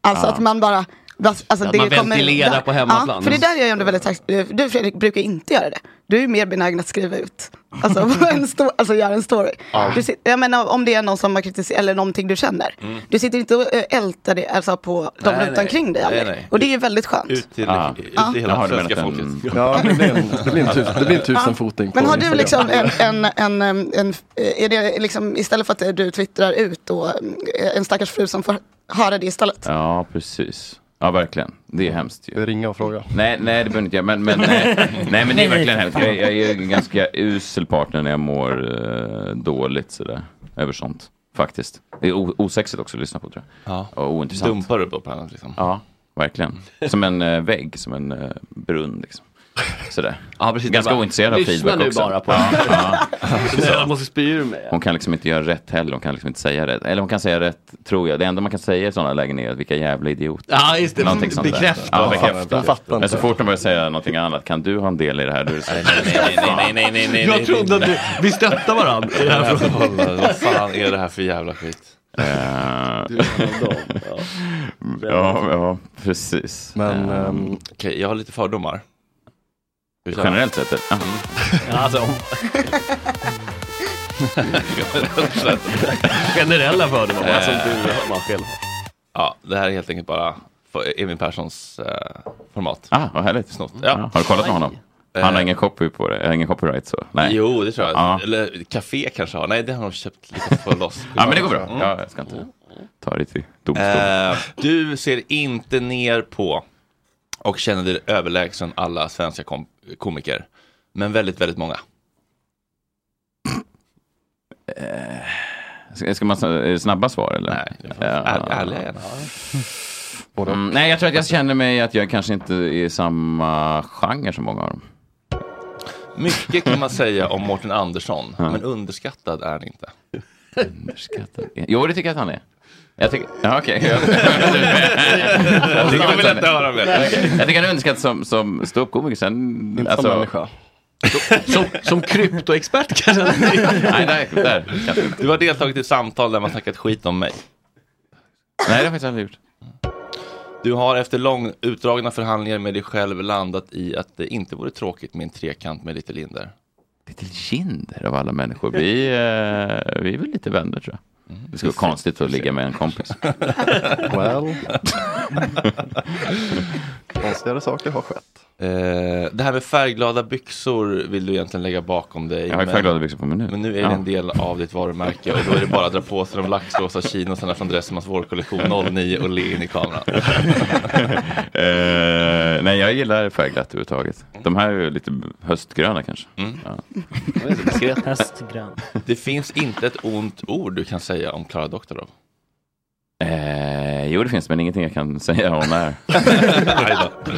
Speaker 10: Alltså
Speaker 11: Ah.
Speaker 7: Ja.
Speaker 10: att man bara, alltså
Speaker 7: Att man ventilerar
Speaker 10: där-
Speaker 7: på hemmaplan.
Speaker 10: Ja, för det där är jag ju ändå väldigt tacksam, du Fredrik brukar inte göra det. Du är ju mer benägen att skriva ut, alltså, *laughs* en sto- alltså göra en story.
Speaker 15: Ja.
Speaker 10: Du sit- jag menar om det är någon som har kritiserat, eller någonting du känner.
Speaker 1: Mm.
Speaker 10: Du sitter inte och eh, ältar det alltså, på de
Speaker 1: Nej, nej.
Speaker 10: runt omkring dig.
Speaker 1: Nej,
Speaker 10: aldrig.
Speaker 1: nej.
Speaker 10: Och det är ju väldigt
Speaker 1: *laughs*
Speaker 10: skönt.
Speaker 1: Ut till,
Speaker 11: Ja.
Speaker 1: ut till
Speaker 10: Ja.
Speaker 1: hela
Speaker 11: Jaha, du
Speaker 1: svenska
Speaker 11: menar
Speaker 1: folket.
Speaker 11: den-
Speaker 6: Ja, det blir en, det blir en, tus, det blir en tusenfoting. på
Speaker 10: Men har du
Speaker 6: Instagram.
Speaker 10: liksom en, en, en, en, en är det liksom, istället för att du twittrar ut då, eh, en stackars fru som får höra det istället?
Speaker 11: Ja, precis. Ja, verkligen. Det är hemskt ju.
Speaker 6: Ringa och fråga.
Speaker 11: Nej, nej det behöver inte jag. Men, men, nej, *laughs* nej, men det är verkligen hemskt. Jag, jag är ju en ganska usel partner när jag mår eh, dåligt sådär. Över sånt. Faktiskt. Det är o- osexigt också att lyssna på tror jag.
Speaker 1: Ja.
Speaker 11: Och ointressant.
Speaker 1: Dumpar du på planet liksom?
Speaker 11: Ja, verkligen. Som en eh, vägg, som en eh, brunn liksom. Sådär. Ganska
Speaker 7: Bara,
Speaker 11: ointresserad av feedback också.
Speaker 7: Lyssna nu bara på
Speaker 11: Ja, ja.
Speaker 7: Jag måste spy ur mig.
Speaker 11: Hon kan liksom inte göra rätt heller, hon kan liksom inte säga rätt. Eller hon kan säga rätt, tror jag. Det enda man kan säga i sådana lägen är att vilka jävla idioter.
Speaker 7: Ja, just det.
Speaker 11: Någonting sånt där.
Speaker 7: Bekräfta.
Speaker 11: Ja,
Speaker 7: Jag
Speaker 11: bekräfta.
Speaker 7: fattar inte.
Speaker 11: Men så fort de börjar säga någonting annat, kan du ha en del i det här? Då är det så här,
Speaker 1: Nej, nej, nej, nej, nej.
Speaker 7: Jag trodde att vi, vi stöttar varandra i den här frågan.
Speaker 1: *laughs* Vad fan är det här för jävla skit?
Speaker 11: Eh, ja, ja, precis.
Speaker 1: Men,
Speaker 11: Eh,
Speaker 1: Ehm, Okej, jag har lite fördomar.
Speaker 11: Generellt sett? eh, ah, eller?
Speaker 1: Mm.
Speaker 7: Ja, alltså, om... *laughs* Generella fördomar, bara som du har, man själv
Speaker 1: Ja, det här är helt enkelt bara för- Emil Perssons eh, format.
Speaker 11: Ah, vad härligt.
Speaker 1: Snott.
Speaker 11: Ja. Har du kollat med honom? Han har
Speaker 1: Eh.
Speaker 11: ingen copy på det, eh, ingen copyright så? Nej.
Speaker 1: Jo, det tror jag.
Speaker 11: Ja.
Speaker 1: Eller café kanske har. Nej, det har de köpt lite för loss.
Speaker 11: *laughs* Ja, men det går bra.
Speaker 1: Mm.
Speaker 11: Ja, jag ska inte ta det till domstol.
Speaker 1: Eh, du ser inte ner på och känner dig överlägsen alla svenska kom- komiker. Men väldigt, väldigt många.
Speaker 11: Ska, ska man s- eh, snabba svar eller? Nej,
Speaker 1: ärliga gärna.
Speaker 11: Mm, nej, jag tror att jag känner mig att jag kanske inte är i samma genre som många av dem.
Speaker 1: Mycket kan man säga om Mårten Andersson,
Speaker 11: Ja.
Speaker 1: men underskattad är han inte.
Speaker 11: Underskattad. Jo, det tycker jag att han är. *laughs* Jag tycker, ja, okej.
Speaker 1: Det kan vi väl inte höra mer. *laughs*
Speaker 11: Okej. Jag tycker han är underskattad som, som ståuppkomiker. Sen, alltså-
Speaker 7: Inte som människa. Som, som kryptoexpert kanske?
Speaker 11: *laughs* Nej, där, där.
Speaker 1: Du har deltagit i samtal där man snackat skit om mig.
Speaker 11: Nej, det har jag faktiskt aldrig gjort.
Speaker 1: Du har efter lång utdragna förhandlingar med dig själv landat i att det inte vore tråkigt med en trekant med lite linder.
Speaker 11: Till Kinder av alla
Speaker 1: *laughs*
Speaker 11: människor. Vi, eh, vi är väl lite vänner tror jag.
Speaker 1: Mm.
Speaker 11: Det skulle vara konstigt att ligga med en kompis.
Speaker 1: *laughs*
Speaker 11: *laughs*
Speaker 6: Well. Konstigare saker har skett.
Speaker 1: Eh, det här med färgglada byxor vill du egentligen lägga bakom dig.
Speaker 11: Jag har ju
Speaker 1: men-
Speaker 11: färgglada byxor på mig nu.
Speaker 1: Men nu är det
Speaker 11: Ja.
Speaker 1: en del av ditt varumärke och då är det bara att dra på sig de laxrosa chinosarna från Dressmans vårkollektion 09 och le in i kameran.
Speaker 11: *laughs* Eh, nej, jag gillar färgglatt överhuvudtaget. De här är ju lite höstgröna kanske.
Speaker 1: Mm.
Speaker 11: Ja.
Speaker 5: Höstgrön.
Speaker 1: Det finns inte ett ont ord du kan säga om Klara Doktorov.
Speaker 11: Eh, jo, det finns, men ingenting jag kan *laughs* säga om det här.
Speaker 1: Nej då.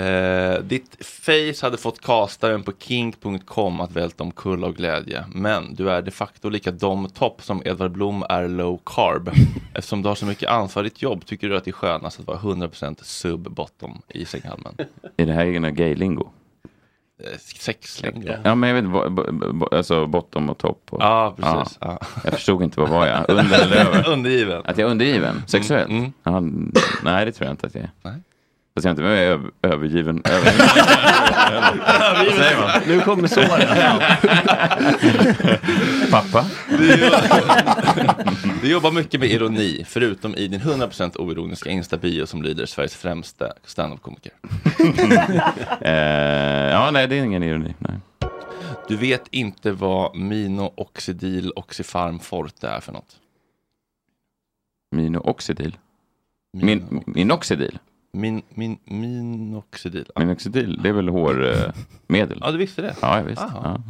Speaker 1: Eh, ditt face hade fått kastaren på kink.com att välta omkull av glädje. Men du är de facto lika dom topp som Edvard Blom är low carb. Eftersom du har så mycket ansvar i ditt jobb tycker du att det är skönast att vara 100% sub bottom i sänghalmen.
Speaker 11: Är det här egna gay-lingo?
Speaker 1: Eh, Sexlingo.
Speaker 11: Ja, men jag vet bo, bo, bo, alltså bottom och topp. och-
Speaker 1: Ja, precis. Ja.
Speaker 11: Jag förstod inte, vad var jag? Under eller över?
Speaker 1: Undergiven.
Speaker 11: Att jag är undergiven? Sexuellt? Ja, n- nej, det tror jag inte att jag är.
Speaker 1: Nej.
Speaker 11: Fast jag är inte jag är över, övergiven. Över, vad säger man?
Speaker 7: Nu kommer såren.
Speaker 11: *laughs* Pappa?
Speaker 1: Du, du jobbar mycket med ironi, förutom i din 100% oironiska instabio som lyder Sveriges främsta standup-komiker.
Speaker 11: Eh, ja, nej, det är ingen ironi. Nej.
Speaker 1: Du vet inte vad minooxidil oxifarm forte är för något?
Speaker 11: Minooxidil? Min, minoxidil?
Speaker 1: Min, min, minoxidil.
Speaker 11: Minoxidil, det är väl eh, hårmedel?
Speaker 1: Ja, du visste det?
Speaker 11: Ja, jag visste.
Speaker 1: Jaha.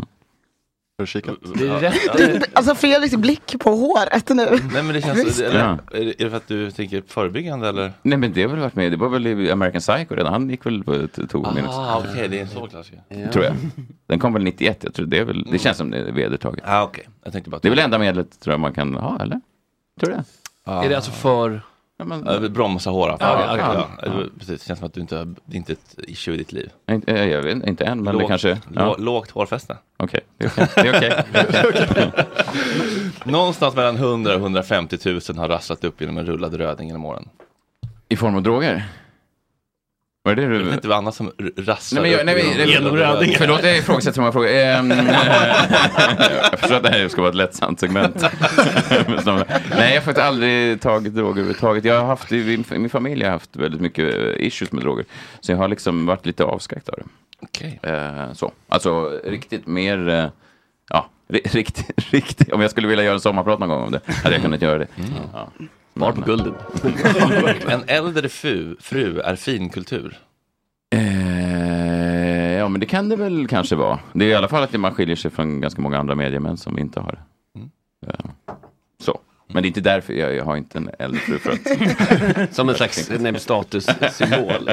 Speaker 11: Har du
Speaker 6: kikat?
Speaker 1: Det är rätt.
Speaker 10: Alltså Fredriks blick på håret nu.
Speaker 1: Nej men det känns, eller,
Speaker 11: Ja.
Speaker 1: är, det, är det för att du tänker förebyggande eller?
Speaker 11: Nej, men det har väl varit med. Det var väl i American Psycho redan. Han gick väl på t- tog minoxidil.
Speaker 1: Ah, okej, det är en så klassiker.
Speaker 11: Tror jag. Den kom väl 91, jag tror det, är väl, det känns som det är vedertaget.
Speaker 1: Ah, okay. jag tänkte bara
Speaker 11: Det är väl enda medlet tror jag man kan ha, eller? Tror du det?
Speaker 7: Är det alltså för...
Speaker 11: Ja, men-
Speaker 1: Ah. Ja, Bromsa håravfall.
Speaker 7: Ja, okej.
Speaker 1: ja, ja. Precis, det känns som att du inte har, det är inte ett issue i ditt liv.
Speaker 11: Nej, inte- eh, Jag vet inte än, men det
Speaker 1: Lågt-
Speaker 11: kanske...
Speaker 1: lå- Lågt hårfäste.
Speaker 11: Okej, det är okej. Det är okej.
Speaker 1: Någonstans mellan 100 och 150 000 har rasslat upp genom en rullad röding genom åren.
Speaker 11: I form av droger? Var det det du...
Speaker 1: Det är inte vad annat som r- rasslar
Speaker 11: Nej, men jag,
Speaker 1: upp
Speaker 11: nej, men,
Speaker 1: genom
Speaker 11: förlåt,
Speaker 1: rullad röding.
Speaker 11: förlåt, jag ifrågasätter så många frågor. Ehm, *laughs* eh, jag förstår att det här ska vara ett lättsamt segment. *laughs* Men snarare- nej, jag har faktiskt aldrig tagit droger överhuvudtaget. Jag har haft, i min, min familj har haft väldigt mycket eh, issues med droger. Så jag har liksom varit lite avskräckt av det.
Speaker 1: Okej.
Speaker 11: Eh, så. Alltså riktigt mer, eh, ja, *laughs* ri- riktigt, riktigt. Om jag skulle vilja göra en sommarprat någon gång om det, hade jag kunnat göra det. Ja.
Speaker 7: Mm. Var på guldet.
Speaker 1: *laughs* en äldre fru, fru är finkultur.
Speaker 11: Eh, ja, men det kan det väl kanske vara. Det är i alla fall att man skiljer sig från ganska många andra mediemän som inte har det.
Speaker 7: Mm.
Speaker 11: Eh, så. Men det är inte därför jag, jag har inte en äldre fru för att...
Speaker 7: Som en slags, nej, statussymbol.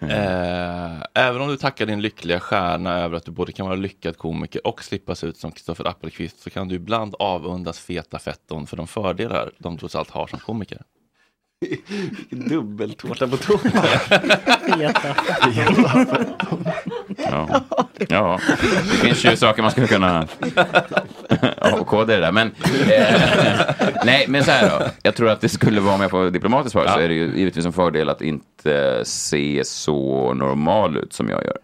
Speaker 1: Eh, även om du tackar din lyckliga stjärna över att du både kan vara lyckad komiker och slippa se ut som Kristoffer Appelqvist så kan du ibland avundas feta fetton för de fördelar de trots allt har som komiker.
Speaker 7: Dubbeltårta på tårta.
Speaker 5: Feta.
Speaker 11: Ja. ja, det finns ju saker man skulle *laughs* kunna avkoda i det där. Men, eh, nej, men så här då. Jag tror att det skulle vara, om jag får diplomatiskt svar, så är det ju givetvis en fördel att inte se så normal ut som jag gör.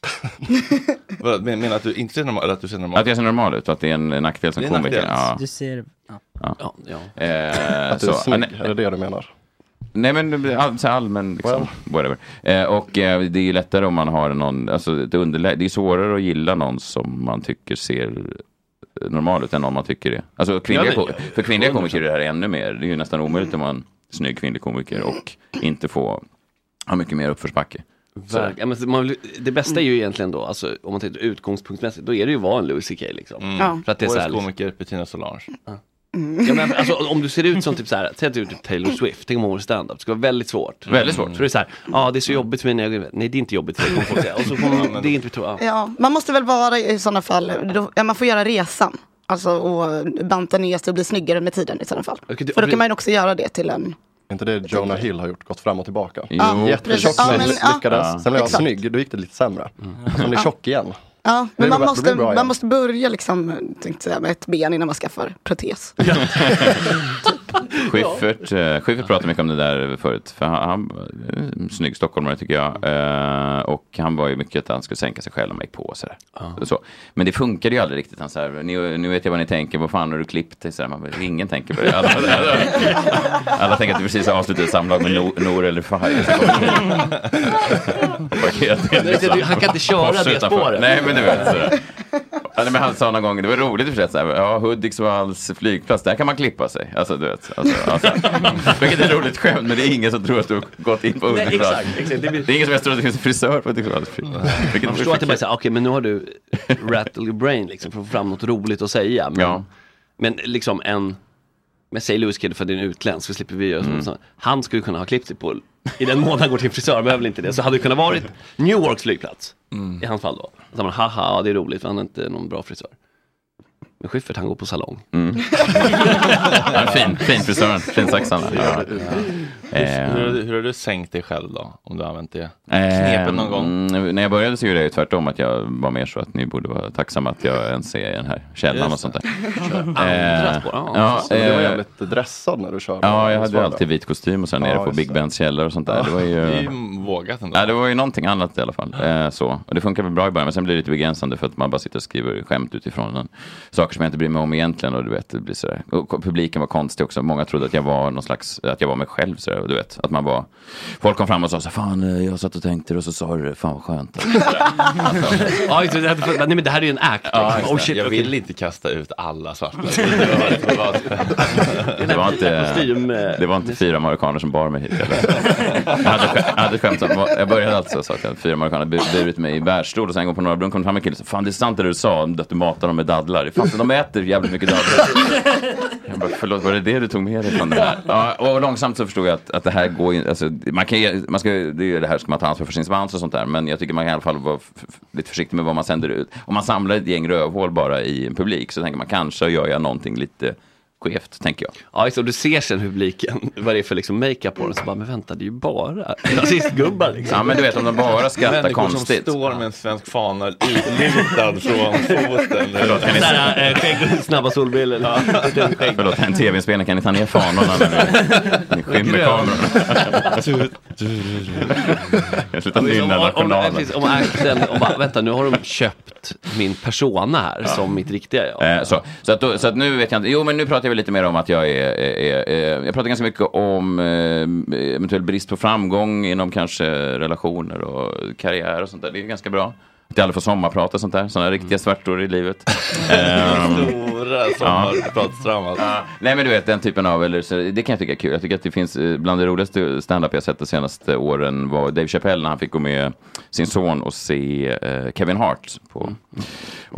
Speaker 1: *laughs* Vad, men- Menar att du inte ser normal, eller att du ser normal?
Speaker 11: Att jag ser normal ut och att det är en nackdel som
Speaker 1: Det är en
Speaker 11: komiker.
Speaker 1: nackdel.
Speaker 11: Ja.
Speaker 5: Du ser... Ja.
Speaker 11: Ja.
Speaker 1: ja.
Speaker 11: Eh,
Speaker 6: Att du är
Speaker 11: så,
Speaker 6: snygg,
Speaker 11: nej,
Speaker 6: är det det du menar?
Speaker 11: Nej men det- all, så här allmän liksom, whatever. Eh, och eh, det är ju lättare om man har någon, alltså det, underlä- det är svårare att gilla någon som man tycker ser eh, normal ut än någon man tycker är. Alltså kvinnliga,
Speaker 1: Ja,
Speaker 11: ko-
Speaker 1: det-
Speaker 11: för kvinnliga komiker är det här ännu mer, det är ju nästan omöjligt om man är en snygg kvinnlig komiker och inte få ha mycket mer uppförsbacke. Så-
Speaker 7: Verk- Ja, men man, vill- det bästa är ju egentligen då, alltså, om man tittar utgångspunktmässigt, då är det ju att vara en Louis CK liksom.
Speaker 1: Mm. Ja.
Speaker 7: För att det är så
Speaker 1: Årets
Speaker 7: här,
Speaker 1: komiker Petina Solange.
Speaker 7: Ja, men, alltså, om du ser ut som typ så här, säg att du är typ Taylor Swift, tänk om hon var stand-up, det skulle vara väldigt svårt.
Speaker 11: Väldigt svårt.
Speaker 7: Så det är så här, ja det är så jobbigt för mig när jag går in." Nej det är inte jobbigt för dig, kommer folk säga. Och så kommer man, det är inte vi tror, ja.
Speaker 10: Ja, man måste väl vara i sådana fall, då, ja, man får göra resan. Alltså och banta ner sig och bli snyggare med tiden i sådana fall. För då kan man ju också göra det till en...
Speaker 6: Är inte det Jonah Hill har gjort? Gått fram och tillbaka.
Speaker 11: Jo.
Speaker 6: Jättetjock,
Speaker 10: Ja, men-
Speaker 6: men
Speaker 10: ja.
Speaker 6: lyckades.
Speaker 10: Ja.
Speaker 6: Sen blev han
Speaker 10: Exakt.
Speaker 6: snygg, då gick det lite sämre.
Speaker 1: Mm.
Speaker 6: Sen blev
Speaker 10: Ja.
Speaker 6: tjock igen.
Speaker 10: Ja,
Speaker 6: Det är
Speaker 10: men man
Speaker 6: bra- det
Speaker 10: måste,
Speaker 6: blir bra igen.
Speaker 10: man måste börja liksom, tänkte säga, med ett ben innan man skaffar
Speaker 7: *laughs*
Speaker 10: protes.
Speaker 11: Schyffert, eh, Schyffert pratade mycket om det där förut. För han, han eh, snygg stockholmare tycker jag. Eh, och han var ju mycket att han skulle sänka sig själv om han gick på och sådär. Och så. Men det funkade ju aldrig riktigt. Han så här, nu, nu vet jag vad ni tänker, vad fan har du klippt dig? Så här, man bara, ingen tänker på det. Alla, alla, alla, tänker att du precis har avslutat ett samlag med Nor, Nor
Speaker 7: *laughs*
Speaker 11: eller Fahir.
Speaker 7: Han kan inte köra det spåret.
Speaker 11: Nej, men du vet. Sådär. Ja, nej, men han sa någon gång, det var roligt i och för sig, så här, ja, Hudiksvalls flygplats, där kan man klippa sig. Alltså, du vet. Alltså, alltså. Vilket är ett roligt skämt, men det är ingen som tror att du har gått in på
Speaker 7: Nej,
Speaker 11: Hudiksvall.
Speaker 7: exakt, exakt. Det
Speaker 11: det,
Speaker 7: blir-
Speaker 11: är ingen som ens tror att det finns en frisör på Hudiksvalls flygplats. Vilket
Speaker 7: Man förstår att det bara är
Speaker 11: vore
Speaker 7: så här, okej men nu har du rattle your brain liksom för att få fram något roligt att säga. Men, men liksom en, men säg Lewis Kid för att det är en utländsk så slipper vi göra
Speaker 11: Mm.
Speaker 7: sånt. Så- Han skulle kunna ha klippt sig på, i den mån han går till en frisör behöver väl inte det. Så hade det kunnat varit New Yorks flygplats
Speaker 11: Mm.
Speaker 7: i hans fall då. Så man, haha, ja, det är roligt för han är inte någon bra frisör. Men Schyffert han går på salong.
Speaker 11: Mm.
Speaker 1: *laughs*
Speaker 11: Ja, fin- fin frisör, fin saxan. Ja.
Speaker 1: Hur, hur, har du- hur har du sänkt dig själv då? Om du har använt det
Speaker 11: Eh,
Speaker 1: knepet någon gång?
Speaker 11: mm, När jag började så gjorde jag ju tvärtom, att jag var mer så att ni borde vara tacksamma att jag ens är i den här källan och
Speaker 6: Just
Speaker 11: sånt där.
Speaker 6: Andra
Speaker 11: Eh,
Speaker 6: spår,
Speaker 11: ja,
Speaker 6: Så du var
Speaker 11: eh,
Speaker 6: jävligt dressad när du körde.
Speaker 11: Ja, jag hade ju
Speaker 6: Svarade.
Speaker 11: alltid vit kostym och sen
Speaker 6: Ja,
Speaker 11: nere på
Speaker 6: just
Speaker 11: Big
Speaker 6: det.
Speaker 11: Bens källare och sånt där.
Speaker 6: Ja.
Speaker 11: Det var ju,
Speaker 1: Det är ju vågat ändå.
Speaker 11: Nej, det var ju någonting annat i alla fall. Eh, så. Och det funkar väl bra i början, men sen blir det lite begränsande för att man bara sitter och skriver skämt utifrån en, saker som jag inte bryr mig om egentligen. Och du vet, det blir sådär. Och ko- publiken var konstig också. Många trodde att jag var någon slags, att jag var mig själv. Sådär, och du vet, att man var, folk kom fram och sa så här, fan eh, jag satt och tänkte det och så sa du det, fan vad skönt.
Speaker 7: *laughs* ja, just det, det hade fått- nej men det här är ju en act.
Speaker 1: Ja,
Speaker 7: liksom.
Speaker 1: just det. Jag vill
Speaker 11: inte kasta ut
Speaker 1: *laughs*
Speaker 11: alla svarta.
Speaker 7: Det
Speaker 11: Det var inte,
Speaker 7: kostym, eh,
Speaker 11: det var inte fyra marockaner som bar mig hit. Eller? Jag hade, skä- jag hade skämt om, jag började alltså så att jag hade fyra marockaner bu- burit mig i bärstol och sen en gång på Norra Brunn kom det fram en kille och sa, fan det är sant det du sa om att du matar dem med dadlar. Det är Fan, de äter jävligt mycket dadlar. Jag bara, förlåt, var det det du tog med dig från det här? Ja, och långsamt så förstod jag att, att det här går ju, alltså, man kan, ge- man ska, det är ju det här ska man ta ansvar för sin svans och sånt där, men jag tycker man kan i alla fall vara f- f- lite försiktig med vad man sänder ut. Om man samlar ett gäng rövhål bara i en publik så tänker man kanske gör jag någonting lite skevt, tänker jag.
Speaker 7: Ja, just det. Och du ser sen publiken, vad det är för liksom makeup på den. Så bara, men vänta, det är ju bara rasistgubbar liksom.
Speaker 11: Ja, men du vet, om de bara skrattar
Speaker 1: Människor
Speaker 11: konstigt.
Speaker 1: som står med en svensk fana utlutad från *laughs* foten.
Speaker 11: Förlåt, kan ni- Sådär, *laughs*
Speaker 7: Snabba solbrillor.
Speaker 11: eh, Förlåt, en tv-inspelning, kan ni ta ner fanorna nu? Ni skymmer
Speaker 7: Grön.
Speaker 11: kameran. Jag slutar nynna
Speaker 7: om,
Speaker 11: den här
Speaker 7: om,
Speaker 11: journalen.
Speaker 7: precis, om akten, och bara, vänta, nu har de köpt min persona här som mitt riktiga jag.
Speaker 11: Eh, Så, så, att då, så att nu vet jag inte. Jo, men nu pratar jag väl lite mer om att jag är... är, är jag pratar ganska mycket om eh, eventuell brist på framgång inom kanske relationer och karriär och sånt där. Det är ganska bra. Att jag aldrig får sommarprata och sånt där. Sådana riktiga
Speaker 7: Mm.
Speaker 11: svärtor
Speaker 7: *laughs*
Speaker 11: i livet. Ehm,
Speaker 1: Stora sommarpratstrammar.
Speaker 11: Ja. Nej men du vet den typen av, eller, så, det kan jag tycka är kul. Jag tycker att det finns, eh, bland det roligaste standup jag sett de senaste åren var Dave Chappelle när han fick gå med sin son och se eh, Kevin Hart.
Speaker 7: Mm.
Speaker 11: På,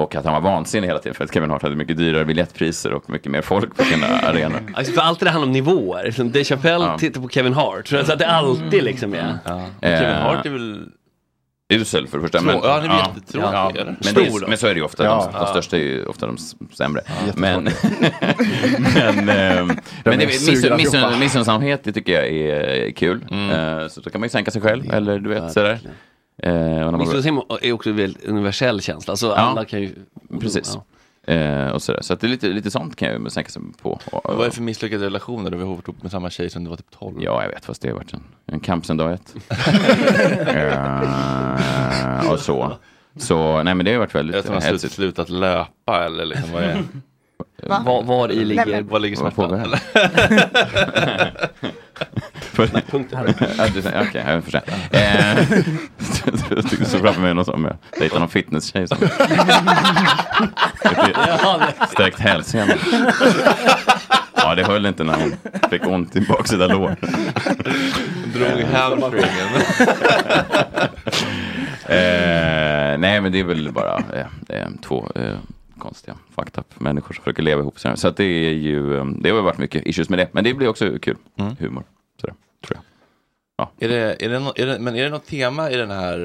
Speaker 11: och att han var vansinnig hela tiden för att Kevin Hart hade mycket dyrare biljettpriser och mycket mer folk på sina arenor.
Speaker 7: Alltså, för allt det där handlar om nivåer. Liksom, Dave Chappelle
Speaker 11: Ja.
Speaker 7: tittar på Kevin Hart. Så att det alltid liksom är...
Speaker 11: Eh,
Speaker 7: Kevin Hart är
Speaker 1: väl...
Speaker 11: Usel för det första.
Speaker 7: Trå-
Speaker 11: Men,
Speaker 7: ja, han är jättetråkig, eller?
Speaker 11: men, det,
Speaker 7: Stor då.
Speaker 11: är- men så är det ju ofta.
Speaker 7: Ja.
Speaker 11: De,
Speaker 7: Ja.
Speaker 11: de största är ju ofta de s- sämre. Men, *laughs* men, ehm, men det,
Speaker 7: är sugna
Speaker 11: missun,
Speaker 7: allihopa.
Speaker 11: missun, missunnsamhet det tycker jag är eh, kul.
Speaker 7: Mm.
Speaker 11: Eh, så då kan man ju sänka sig själv. Eller du vet sådär. Eh, och när man-
Speaker 7: Missunnsamhet är också en väldigt universell känsla. Alltså, alla kan ju...
Speaker 11: Precis.
Speaker 7: Ja.
Speaker 11: Eh, och sådär. Så att det är lite, lite sånt kan jag ju sänka sig på.
Speaker 1: Vad är det för misslyckade relationer? Du har varit ihop med samma tjej som du var typ 12.
Speaker 11: Ja, jag vet. Fast det har varit en, en kamp sedan dag ett. Eh, och så. Så nej men det har ju varit väldigt
Speaker 1: Eller som har slut-
Speaker 11: hetsigt.
Speaker 1: slutat löpa eller liksom vad
Speaker 11: *laughs*
Speaker 1: är
Speaker 7: Va? Var- var i ligger- Nej, men-
Speaker 1: Var ligger
Speaker 11: Vad
Speaker 1: smärtan?
Speaker 11: pågår här?
Speaker 1: Eller?
Speaker 11: *laughs* För-
Speaker 7: punkten.
Speaker 11: Ja, du säger- Okej, jag förstår. Eh, *laughs* jag tycker du såg framför mig någon som jag dejtar någon fitnesstjej som stärkt hälsena. Ja, det höll inte när hon fick ont i baksida lår.
Speaker 1: *laughs* Drog i hamstringen.
Speaker 11: *laughs*
Speaker 1: *laughs*
Speaker 11: eh, nej, men det är väl bara eh, eh, två eh, konstiga fucked up människor som försöker leva ihop. sådär. Så att det är ju, eh, det har ju varit mycket issues med det. Men det blir också kul. Humor. Sådär, tror jag.
Speaker 1: Är det, är det, nå- är det, men är det något tema i den här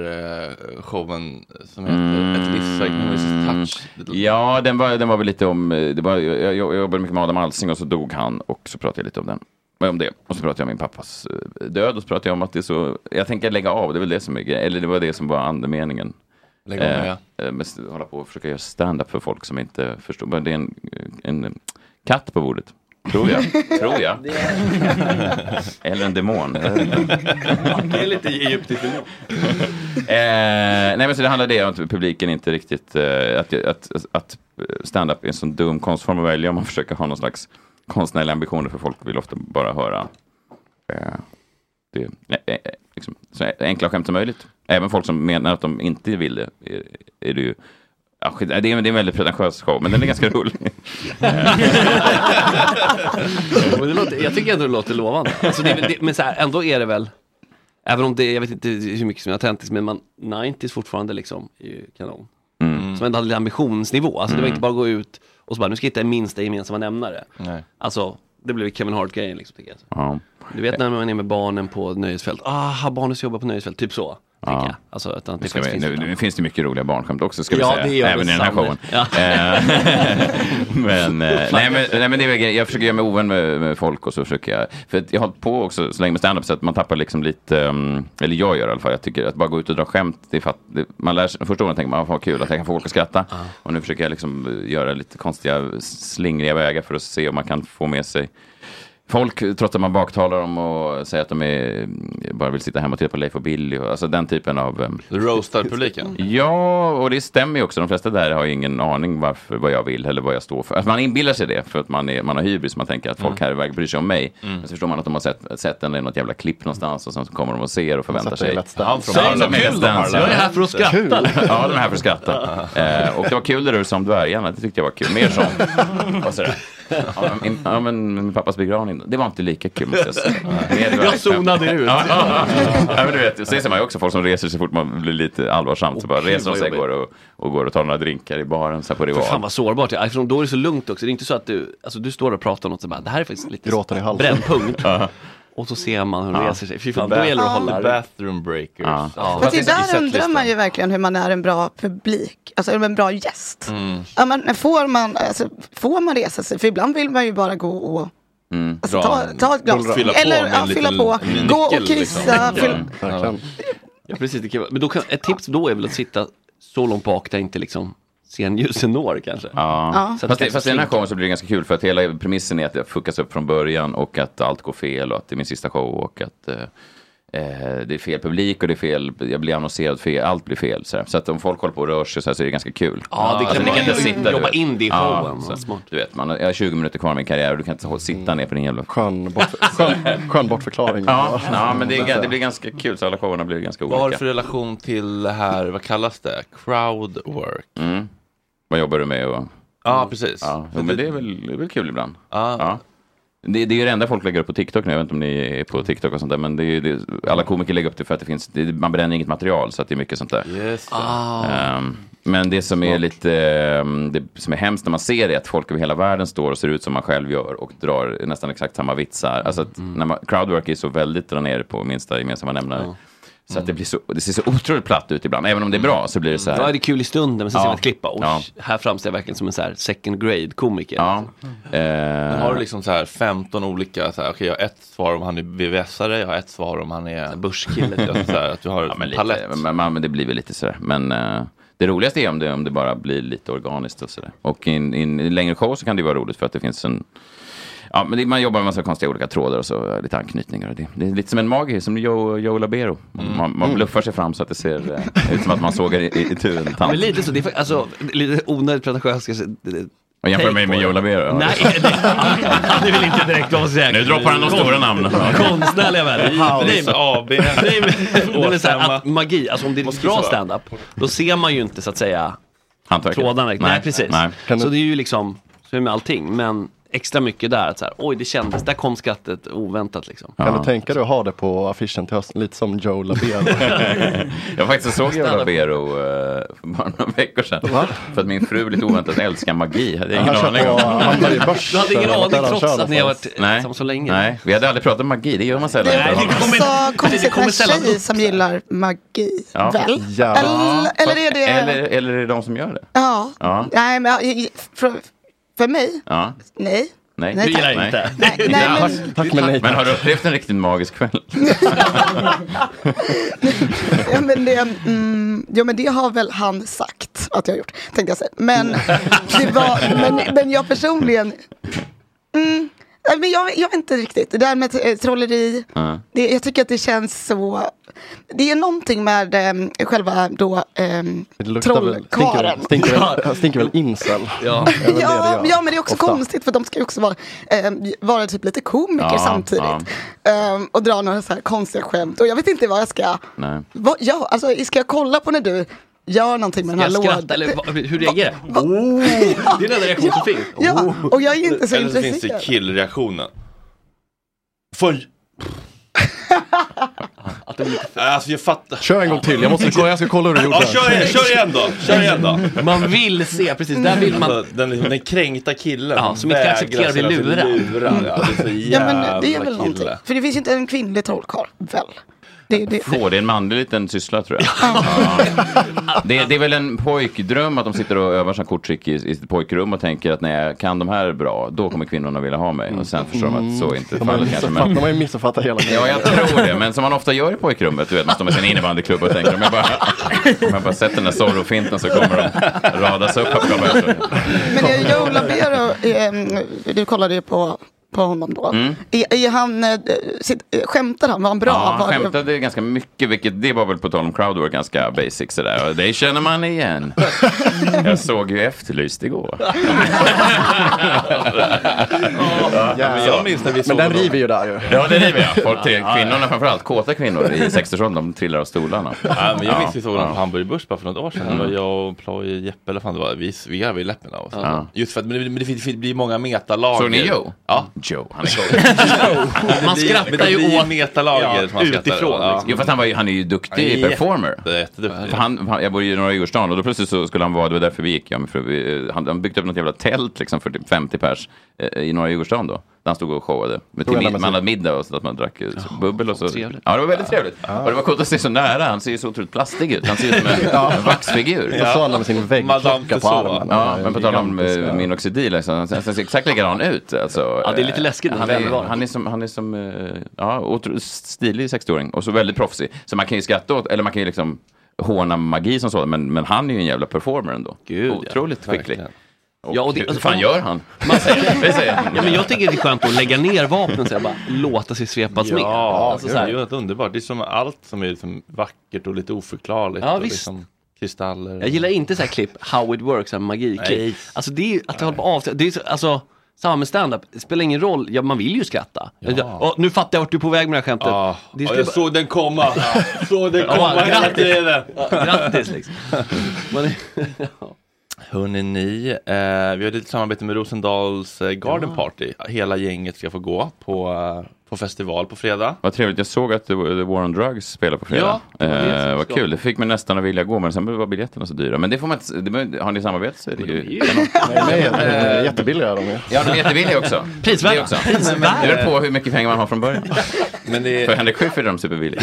Speaker 1: eh, showen som heter Ett livsekonomiskt touch?
Speaker 11: Mm. Ja, den var, den var väl lite om, eh, det var, jag, jag, jag jobbade mycket med Adam Alsing och så dog han och så pratade jag lite om den. Men Om det. Och så pratade jag om min pappas eh, död och så pratade jag om att det är så, jag tänker lägga av, det är väl det som är grejen, eller det var det som var andemeningen.
Speaker 1: Lägga av, ja.
Speaker 11: eh, men s- hålla på och försöka göra stand-up för folk som inte förstår, Men det är en, en katt på bordet.
Speaker 7: *laughs*
Speaker 11: Tror jag. Tror jag.
Speaker 7: Det är-
Speaker 11: Eller
Speaker 7: *laughs*
Speaker 11: en demon.
Speaker 7: Det är lite egyptiskt ändå.
Speaker 11: Eh, nej men så det handlar det om att publiken inte riktigt, eh, att, att, att stand-up är en sån dum konstform att välja om man försöker ha någon slags konstnärliga ambitioner för folk vill ofta bara höra eh, det, nej, eh, liksom, så enkla skämt som möjligt. Även folk som menar att de inte vill det är, är det ju Ja, skit, nej, det, är, en- det är en väldigt pretentiös show, men den är ganska rolig.
Speaker 7: Ja, men det låter, jag tycker ändå det låter lovande. Alltså det, är väl- det, men så här, ändå är det väl, även om det, jag vet inte hur mycket som är autentiskt, men man, 90s fortfarande liksom är ju kanon.
Speaker 1: Mm.
Speaker 7: Som ändå hade lite ambitionsnivå, alltså det var
Speaker 1: Mm.
Speaker 7: inte bara gå ut och så bara, nu ska jag hitta en minsta gemensamma nämnare.
Speaker 1: Nej.
Speaker 7: Alltså, det blev Kevin Hart-grejen liksom. Tycker jag.
Speaker 11: Ja.
Speaker 7: Du vet när man är med barnen på nöjesfält, ah, barnet jobbar på nöjesfält, typ så.
Speaker 11: Ja.
Speaker 7: Alltså, att det
Speaker 11: Nu,
Speaker 7: inte
Speaker 11: ska
Speaker 7: faktiskt
Speaker 11: vi,
Speaker 7: finns
Speaker 11: nu,
Speaker 7: ibland.
Speaker 11: nu finns det mycket roliga barnskämt också, ska vi
Speaker 7: Ja, det
Speaker 11: säga.
Speaker 7: gör det
Speaker 11: Även i den här
Speaker 7: sannolikt.
Speaker 11: showen.
Speaker 7: Ja.
Speaker 11: Eh, *laughs* men, eh, nej, men, nej, men det är väl, grejen. jag försöker göra mig ovän med, med folk och så försöker jag. För att jag har hållit på också så länge med standup så att man tappar liksom lite, ehm, eller jag gör i alla fall, jag tycker att bara gå ut och dra skämt, det är fatt, det, man lär sig, första åren tänker man, "Ah, fan, vad kul att jag kan få folk att skratta. Och nu försöker jag liksom eh, göra lite konstiga, slingriga vägar för att se om man kan få med sig Folk, trots att man baktalar dem och säger att de är, bara vill sitta hemma och titta på Leif och Billy, och, alltså den typen av... ehm,
Speaker 1: Roastar publiken.
Speaker 11: *laughs* Ja, och det stämmer ju också. De flesta där har ju ingen aning varför, vad jag vill eller vad jag står för. Alltså man inbillar sig det för att man, är, man har hybris. Man tänker att
Speaker 1: Mm.
Speaker 11: folk här i väg bryr sig om mig.
Speaker 1: Mm.
Speaker 11: Men så förstår man att de har sett, sett den i något jävla klipp någonstans och sen så kommer de och ser och förväntar
Speaker 1: satt i
Speaker 11: sig.
Speaker 1: Let's Dance. Han från-
Speaker 11: Ja,
Speaker 1: Säg
Speaker 11: de är
Speaker 1: vad
Speaker 11: i
Speaker 1: kul
Speaker 11: Let's
Speaker 1: de har,
Speaker 11: Dance,
Speaker 1: eller? Jag är här för att skratta.
Speaker 11: Kul. Ja, de är här för att skratta. Eh, och det var kul det du som dvärgarna. Det tyckte jag var kul. Mer
Speaker 1: *laughs*
Speaker 11: sånt. Och sådär. Ja, men- Ja, men min pappas begravning, det var inte lika kul måste jag säga. Mer dvärgskämt.
Speaker 7: Jag zonade ut.
Speaker 11: Ja, ja, ja.
Speaker 10: *laughs*
Speaker 11: Ja, men du vet, så ser man ju också folk som reser så fort man blir lite allvarsamt. Så bara
Speaker 7: gud,
Speaker 11: reser de
Speaker 7: vad
Speaker 11: sig
Speaker 7: jobbigt.
Speaker 11: går och, och går och tar några drinkar i baren så här på
Speaker 7: För fan
Speaker 11: Rival.
Speaker 7: vad sårbart det är. Eftersom då är det så lugnt också. Det är inte så att du, alltså du står och pratar om något som bara, det här är faktiskt lite
Speaker 11: Gråter i halsen.
Speaker 7: brännpunkt. och så ser man hur de
Speaker 1: Ja.
Speaker 7: reser sig. Fy fan,
Speaker 1: The
Speaker 7: då gäller det att hålla
Speaker 1: bathroom-
Speaker 7: Bathroom breakers.
Speaker 10: Fast det där undrar man ju verkligen hur man är en bra publik, alltså en bra gäst.
Speaker 1: Mm.
Speaker 10: Ja, men får, man, alltså, får man resa sig? För ibland vill man ju bara gå och
Speaker 11: Mm.
Speaker 10: Alltså, ta- ta ett glas. Fylla på Eller, med en ja, liten- fylla på. en Gå och nyckel, kissa, liksom. fyll-
Speaker 7: Ja, verkligen. Ja, precis. Det kan, vara- men då kan, ett tips då är väl att sitta så långt bak där inte liksom scenljusen når kanske.
Speaker 11: Ja.
Speaker 7: Så att
Speaker 11: Fast, det,
Speaker 7: kanske
Speaker 11: fast i den här
Speaker 7: slinka.
Speaker 11: showen så blir det ganska kul för att hela premissen är att jag fuckas upp från början och att allt går fel och att det är min sista show och att eh, eh, det är fel publik och det är fel, jag blir annonserad fel, allt blir fel. Så, här. så att om folk håller på och rör sig så, här så är det ganska kul.
Speaker 7: Ja, det kan man
Speaker 11: inte
Speaker 7: ju jobba in det i showen.
Speaker 11: så, du vet, man, har- jag har 20 minuter kvar i min karriär och du kan inte hå- sitta ner på din jävla...
Speaker 9: Skön, bort, skön, skön bortförklaring.
Speaker 11: Ja, ja, men det, är- det blir ganska kul så alla showerna blir ganska olika.
Speaker 1: Vad har du för relation till det här, vad kallas det? Crowd work?
Speaker 11: Mm. Vad jobbar du med? Och...
Speaker 7: Mm.
Speaker 1: Ja, precis.
Speaker 11: Ja,
Speaker 1: För
Speaker 11: jo, men
Speaker 1: det-
Speaker 11: det är väl, det är väl kul ibland. Ja. Det, det är ju det enda folk lägger upp på TikTok nu. Jag vet inte om ni är på TikTok och sånt där. Men det är, ju det, alla komiker lägger upp det för att det finns, det, man bränner inget material. Så att det är mycket sånt där.
Speaker 1: Just det.
Speaker 7: Ah.
Speaker 11: Ehm, men det som är lite, ehm, det som är hemskt när man ser det är att folk över hela världen står och ser ut som man själv gör och drar nästan exakt samma vitsar. Alltså att
Speaker 7: Mm.
Speaker 11: när man, crowdwork är så väldigt dra ner på minsta gemensamma nämnare. Så att det, blir så, det ser så otroligt platt ut ibland. Även om det är bra så blir det så här.
Speaker 7: Mm. Ja, det är kul i stunden, men sen ser
Speaker 11: Ja.
Speaker 7: man ett klipp och
Speaker 11: Ja.
Speaker 7: här framstår jag verkligen som en så här second grade komiker. alltså."
Speaker 11: Ehm.
Speaker 1: Men har du liksom så här 15 olika, så här, okej jag har ett svar om han är VVS-are, jag har ett svar om han är
Speaker 7: börskille.
Speaker 1: *laughs* Alltså, så här, att du har
Speaker 11: Ja,
Speaker 1: en
Speaker 11: men, lite,
Speaker 1: palett.
Speaker 11: men, men, men det blir väl lite sådär. Men eh, det roligaste är om det, om det bara blir lite organiskt och sådär. Och i en i en längre show så kan det ju vara roligt för att det finns en... Ja, men det, man jobbar med massa konstiga olika trådar och så eh, lite anknytningar och det. Det är lite som en magiker, som Joe, Joe Labero. Man, man
Speaker 7: Mm.
Speaker 11: bluffar sig fram så att det ser eh, ut som att man sågar i, i, i tur en
Speaker 7: Ja,
Speaker 11: tant.
Speaker 7: men lite så, det är fa- alltså lite onödigt pretentiöst. kanske, eh,
Speaker 11: Och jämför
Speaker 7: take
Speaker 11: mig
Speaker 7: på
Speaker 11: med
Speaker 7: det.
Speaker 11: Joe Labero.
Speaker 7: Nej, *laughs* det, han är väl inte direkt vad man säger.
Speaker 11: Nu droppar han de
Speaker 7: Kon-
Speaker 11: stora namnen.
Speaker 7: Konstnärliga värden.
Speaker 1: House AB.
Speaker 7: Nej, men- *laughs* nej, men så här,
Speaker 1: Åsstämma.
Speaker 7: att magi, alltså om det är riktigt bra
Speaker 1: Moskva.
Speaker 7: standup, då ser man ju inte så att säga
Speaker 11: Hantverket.
Speaker 7: trådarna. Nej,
Speaker 11: Nej,
Speaker 7: precis.
Speaker 11: nej. Kan
Speaker 7: Så
Speaker 11: du-
Speaker 7: det är ju liksom, så är det med allting, men extra mycket där, att så här, oj det kändes, där kom skrattet oväntat liksom.
Speaker 9: Kan du tänka dig att ha det på affischen till hösten? Lite som Joe Labero.
Speaker 11: Jag faktiskt såg Joe Labero eh, för bara några veckor sedan. För att min fru lite oväntat älskar magi. Jag hade jag
Speaker 9: Han
Speaker 11: ingen
Speaker 9: kör
Speaker 11: aning
Speaker 9: på
Speaker 11: om.
Speaker 9: Hamburger Börs,
Speaker 7: Du hade ingen
Speaker 9: eller
Speaker 7: aning
Speaker 9: vad där han
Speaker 7: trots
Speaker 9: kör
Speaker 7: att ni har
Speaker 9: någonstans.
Speaker 7: varit nej. så länge. *laughs*
Speaker 11: Nej, vi hade aldrig pratat om magi. Det gör man sällan.
Speaker 10: Alltså, Så
Speaker 7: det
Speaker 10: konstigt
Speaker 7: kommer
Speaker 10: med
Speaker 7: sällan
Speaker 10: tjej
Speaker 7: upp
Speaker 10: som gillar magi,
Speaker 11: Ja.
Speaker 10: väl?
Speaker 11: Jävlar.
Speaker 10: Eller, eller är det...
Speaker 11: Eller, eller är det de som gör det?
Speaker 10: Ja.
Speaker 11: Ja.
Speaker 10: Nej, men ja, för, för mig,
Speaker 11: ja.
Speaker 10: nej.
Speaker 11: Nej.
Speaker 10: Nej, Du gillar tack.
Speaker 11: inte?
Speaker 10: Nej,
Speaker 11: *laughs*
Speaker 10: nej, men-
Speaker 11: tack, tack, men, nej, men har du upplevt en riktigt magisk kväll?
Speaker 10: *laughs* Ja, men det, mm, jo, men det har väl han sagt att jag har gjort, tänkte jag säga. Men, det var, men, men jag personligen, mm, Nej, men jag, jag vet inte riktigt. Det där med eh, trolleri.
Speaker 11: Ja.
Speaker 10: Det, jag tycker att det känns så... Det är någonting med ehm, själva då ehm,
Speaker 6: Det luktar väl, stinker
Speaker 10: trollkaren.
Speaker 6: väl,
Speaker 10: *laughs*
Speaker 6: stinker väl, stinker väl incel?
Speaker 7: Ja.
Speaker 6: Det är väl det det
Speaker 10: Ja,
Speaker 6: gör.
Speaker 10: men- ja, men det är också
Speaker 6: Ofta.
Speaker 10: konstigt för de ska ju också vara, ehm, vara typ lite komiker
Speaker 6: Ja,
Speaker 10: samtidigt. Ehm, och dra några så här konstiga skämt. Och jag vet inte vad jag ska...
Speaker 11: Nej.
Speaker 10: Vad, ja, alltså, ska jag kolla på när du gör någonting med den här
Speaker 7: Jag
Speaker 10: lådan?
Speaker 7: skrattar eller vad- hur reagerar jag? Oh, det är den enda reaktion som finns. Oh!
Speaker 10: Ja, och jag är inte så
Speaker 1: Eller så finns det
Speaker 10: intresserad.
Speaker 1: killreaktionen. *laughs* Foj!
Speaker 7: Att det blir lite
Speaker 1: Alltså jag fattar.
Speaker 6: Kör en gång till, jag måste kolla, jag ska kolla hur du gjorde.
Speaker 1: Ja, kör, igen, kör igen då! Kör igen då!
Speaker 7: Man vill se, precis, där vill man-
Speaker 1: Alltså, den, den kränkta killen
Speaker 7: Ja, som inte
Speaker 1: vägrar
Speaker 7: accepterar att bli
Speaker 1: ställa sig
Speaker 7: lurad.
Speaker 1: lurad. Ja, det är så
Speaker 10: Ja, men det är väl
Speaker 1: jävla
Speaker 10: någonting.
Speaker 1: kille.
Speaker 10: För det finns ju inte en kvinnlig trollkarl, väl? Det, det,
Speaker 11: Få, det är en manlig liten syssla tror
Speaker 10: *laughs*
Speaker 11: jag. Ja. Det, det är väl en pojkdröm att de sitter och övar sina korttrick i, i sitt pojkrum och tänker att när jag kan de här bra, då kommer kvinnorna vilja ha mig. Och sen förstår de att så är inte
Speaker 6: De har
Speaker 11: fallet kanske.
Speaker 6: missuppfattat,
Speaker 11: Men...
Speaker 6: de har ju missuppfattat hela grejen.
Speaker 11: Ja, jag tror det. Men som man ofta gör i pojkrummet, du vet, man står med sin innebandyklubba och tänker om jag bara, om jag bara sätter den där Zorro-finten så kommer de radas upp. här på gubben."
Speaker 10: Men eh, Joe Labero, ehm, du kollade ju på, på honom då.
Speaker 11: Mm.
Speaker 10: Är, är han, eh, sitt, eh, skämtar han? Var han bra?
Speaker 11: Ja, han
Speaker 10: Var-
Speaker 11: skämtade ganska mycket, vilket det var väl på tal om crowdwork ganska basic sådär. Och det känner man igen. Jag såg ju Efterlyst igår.
Speaker 6: Jävlar.
Speaker 11: jag minns när vi
Speaker 6: Men
Speaker 11: såg
Speaker 6: den
Speaker 11: honom.
Speaker 6: river ju där ju.
Speaker 11: Ja, det river jag. Folk, till, kvinnorna framförallt, kåta kvinnor i 60-årsåldern, de trillar av stolarna.
Speaker 1: Ja, men jag minns vi såg honom på
Speaker 11: ja.
Speaker 1: Hamburg Börs bara för något år sedan.
Speaker 11: Mm.
Speaker 1: Det var Jag och Ploy och Jeppe eller vad fan det var. Vi, vi garvade i läppen av oss.
Speaker 11: Ja.
Speaker 1: Just för att men det, men det, finns- det blir många metalager.
Speaker 11: Såg ni Joe?
Speaker 1: Ja.
Speaker 11: Joe, han
Speaker 1: *laughs*
Speaker 11: är cool.
Speaker 1: Men det blir- men det blir metalager som man skrattar åt. Ja.
Speaker 11: Jo, fast han, var ju, han är ju duktig
Speaker 1: Han är
Speaker 11: performer.
Speaker 1: jätteduktig.
Speaker 11: För han, han, jag bor ju i Norra Djurgårdsstaden och då plötsligt så skulle han vara, det var därför vi gick, ja, men för, vi- han, han byggde upp något jävla tält liksom för typ 50 pers eh, i Norra Djurgårdsstaden då. Där han stod och showade. Med
Speaker 7: Tog
Speaker 11: till,
Speaker 7: han med
Speaker 11: man
Speaker 7: sig-
Speaker 11: hade middag och så att man drack eh, bubbel och så.
Speaker 7: trevligt.
Speaker 11: Ja, det var väldigt trevligt. Och det var coolt att se så nära, han ser ju så otroligt plastig ut. Han ser ut som en,
Speaker 6: Ja.
Speaker 11: en vaxfigur.
Speaker 6: Och så har han med sin väggklocka på armen.
Speaker 11: Ja, men på tal om
Speaker 6: Gigantiska.
Speaker 11: eh, minoxidil, liksom. han ser han ser exakt likadan ut. Alltså,
Speaker 7: Ja, det är lite
Speaker 11: Eh,
Speaker 7: läskigt när
Speaker 11: Han
Speaker 7: det
Speaker 11: är,
Speaker 7: väl var.
Speaker 11: han är som, han är som eh, ja, otro- stilig 60-åring och så väldigt proffsig. Så man kan ju skratta åt, eller man kan ju liksom håna magi som sådant, men, men han är ju en jävla performer ändå. Otroligt skicklig.
Speaker 7: Ja, och det-
Speaker 11: hur
Speaker 7: alltså,
Speaker 11: fan
Speaker 7: om-
Speaker 11: gör han?
Speaker 7: Man
Speaker 11: *laughs*
Speaker 7: säger,
Speaker 11: Vi säger.
Speaker 7: Ja, men jag tycker det är skönt att lägga ner vapnen och så här bara låta sig svepas med.
Speaker 1: Ja,
Speaker 7: Alltså,
Speaker 1: det
Speaker 7: så
Speaker 1: är
Speaker 7: här.
Speaker 1: ju något underbart. Det är som allt som är liksom vackert och lite oförklarligt.
Speaker 7: Ja,
Speaker 1: och
Speaker 7: visst.
Speaker 1: Liksom kristaller.
Speaker 7: Jag gillar inte så här klipp, how it works, så här
Speaker 1: Nej.
Speaker 7: magiklipp. Alltså det är ju att hålla på avstånd. Det är så, alltså, samma med standup, det spelar ingen roll, ja, man vill ju skratta. Ja. Och, nu fattar jag vart du är på väg med det här skämtet.
Speaker 1: Ja,
Speaker 7: Det
Speaker 1: ja,
Speaker 7: skulle
Speaker 1: jag
Speaker 7: bara-
Speaker 1: såg den komma. Såg den
Speaker 7: Ja,
Speaker 1: komma hela
Speaker 7: grattis.
Speaker 1: tiden.
Speaker 7: Ja, *laughs* grattis,
Speaker 1: *laughs*
Speaker 7: liksom. Man-
Speaker 1: Hörrni ni, eh, vi har lite samarbete med Rosendals eh, Garden Party. Hela gänget ska få gå på, eh, på festival på fredag.
Speaker 11: Vad trevligt, jag såg att The The War on Drugs spelar på fredag.
Speaker 1: Ja, det var det som
Speaker 11: eh, vad
Speaker 1: ska.
Speaker 11: kul, det fick mig nästan att vilja gå, men sen var biljetterna så dyra. Men det får man inte, det, behöver- har ni samarbete så är det ju kanon.
Speaker 7: *laughs*
Speaker 6: Nej, de är jättebilliga de är.
Speaker 11: Ja, de är jättevilliga också.
Speaker 6: Prisvärda.
Speaker 11: Det också.
Speaker 6: Prisvärda.
Speaker 11: Det beror på hur mycket pengar man har från början. För Henrik Schyffert är de superbilliga.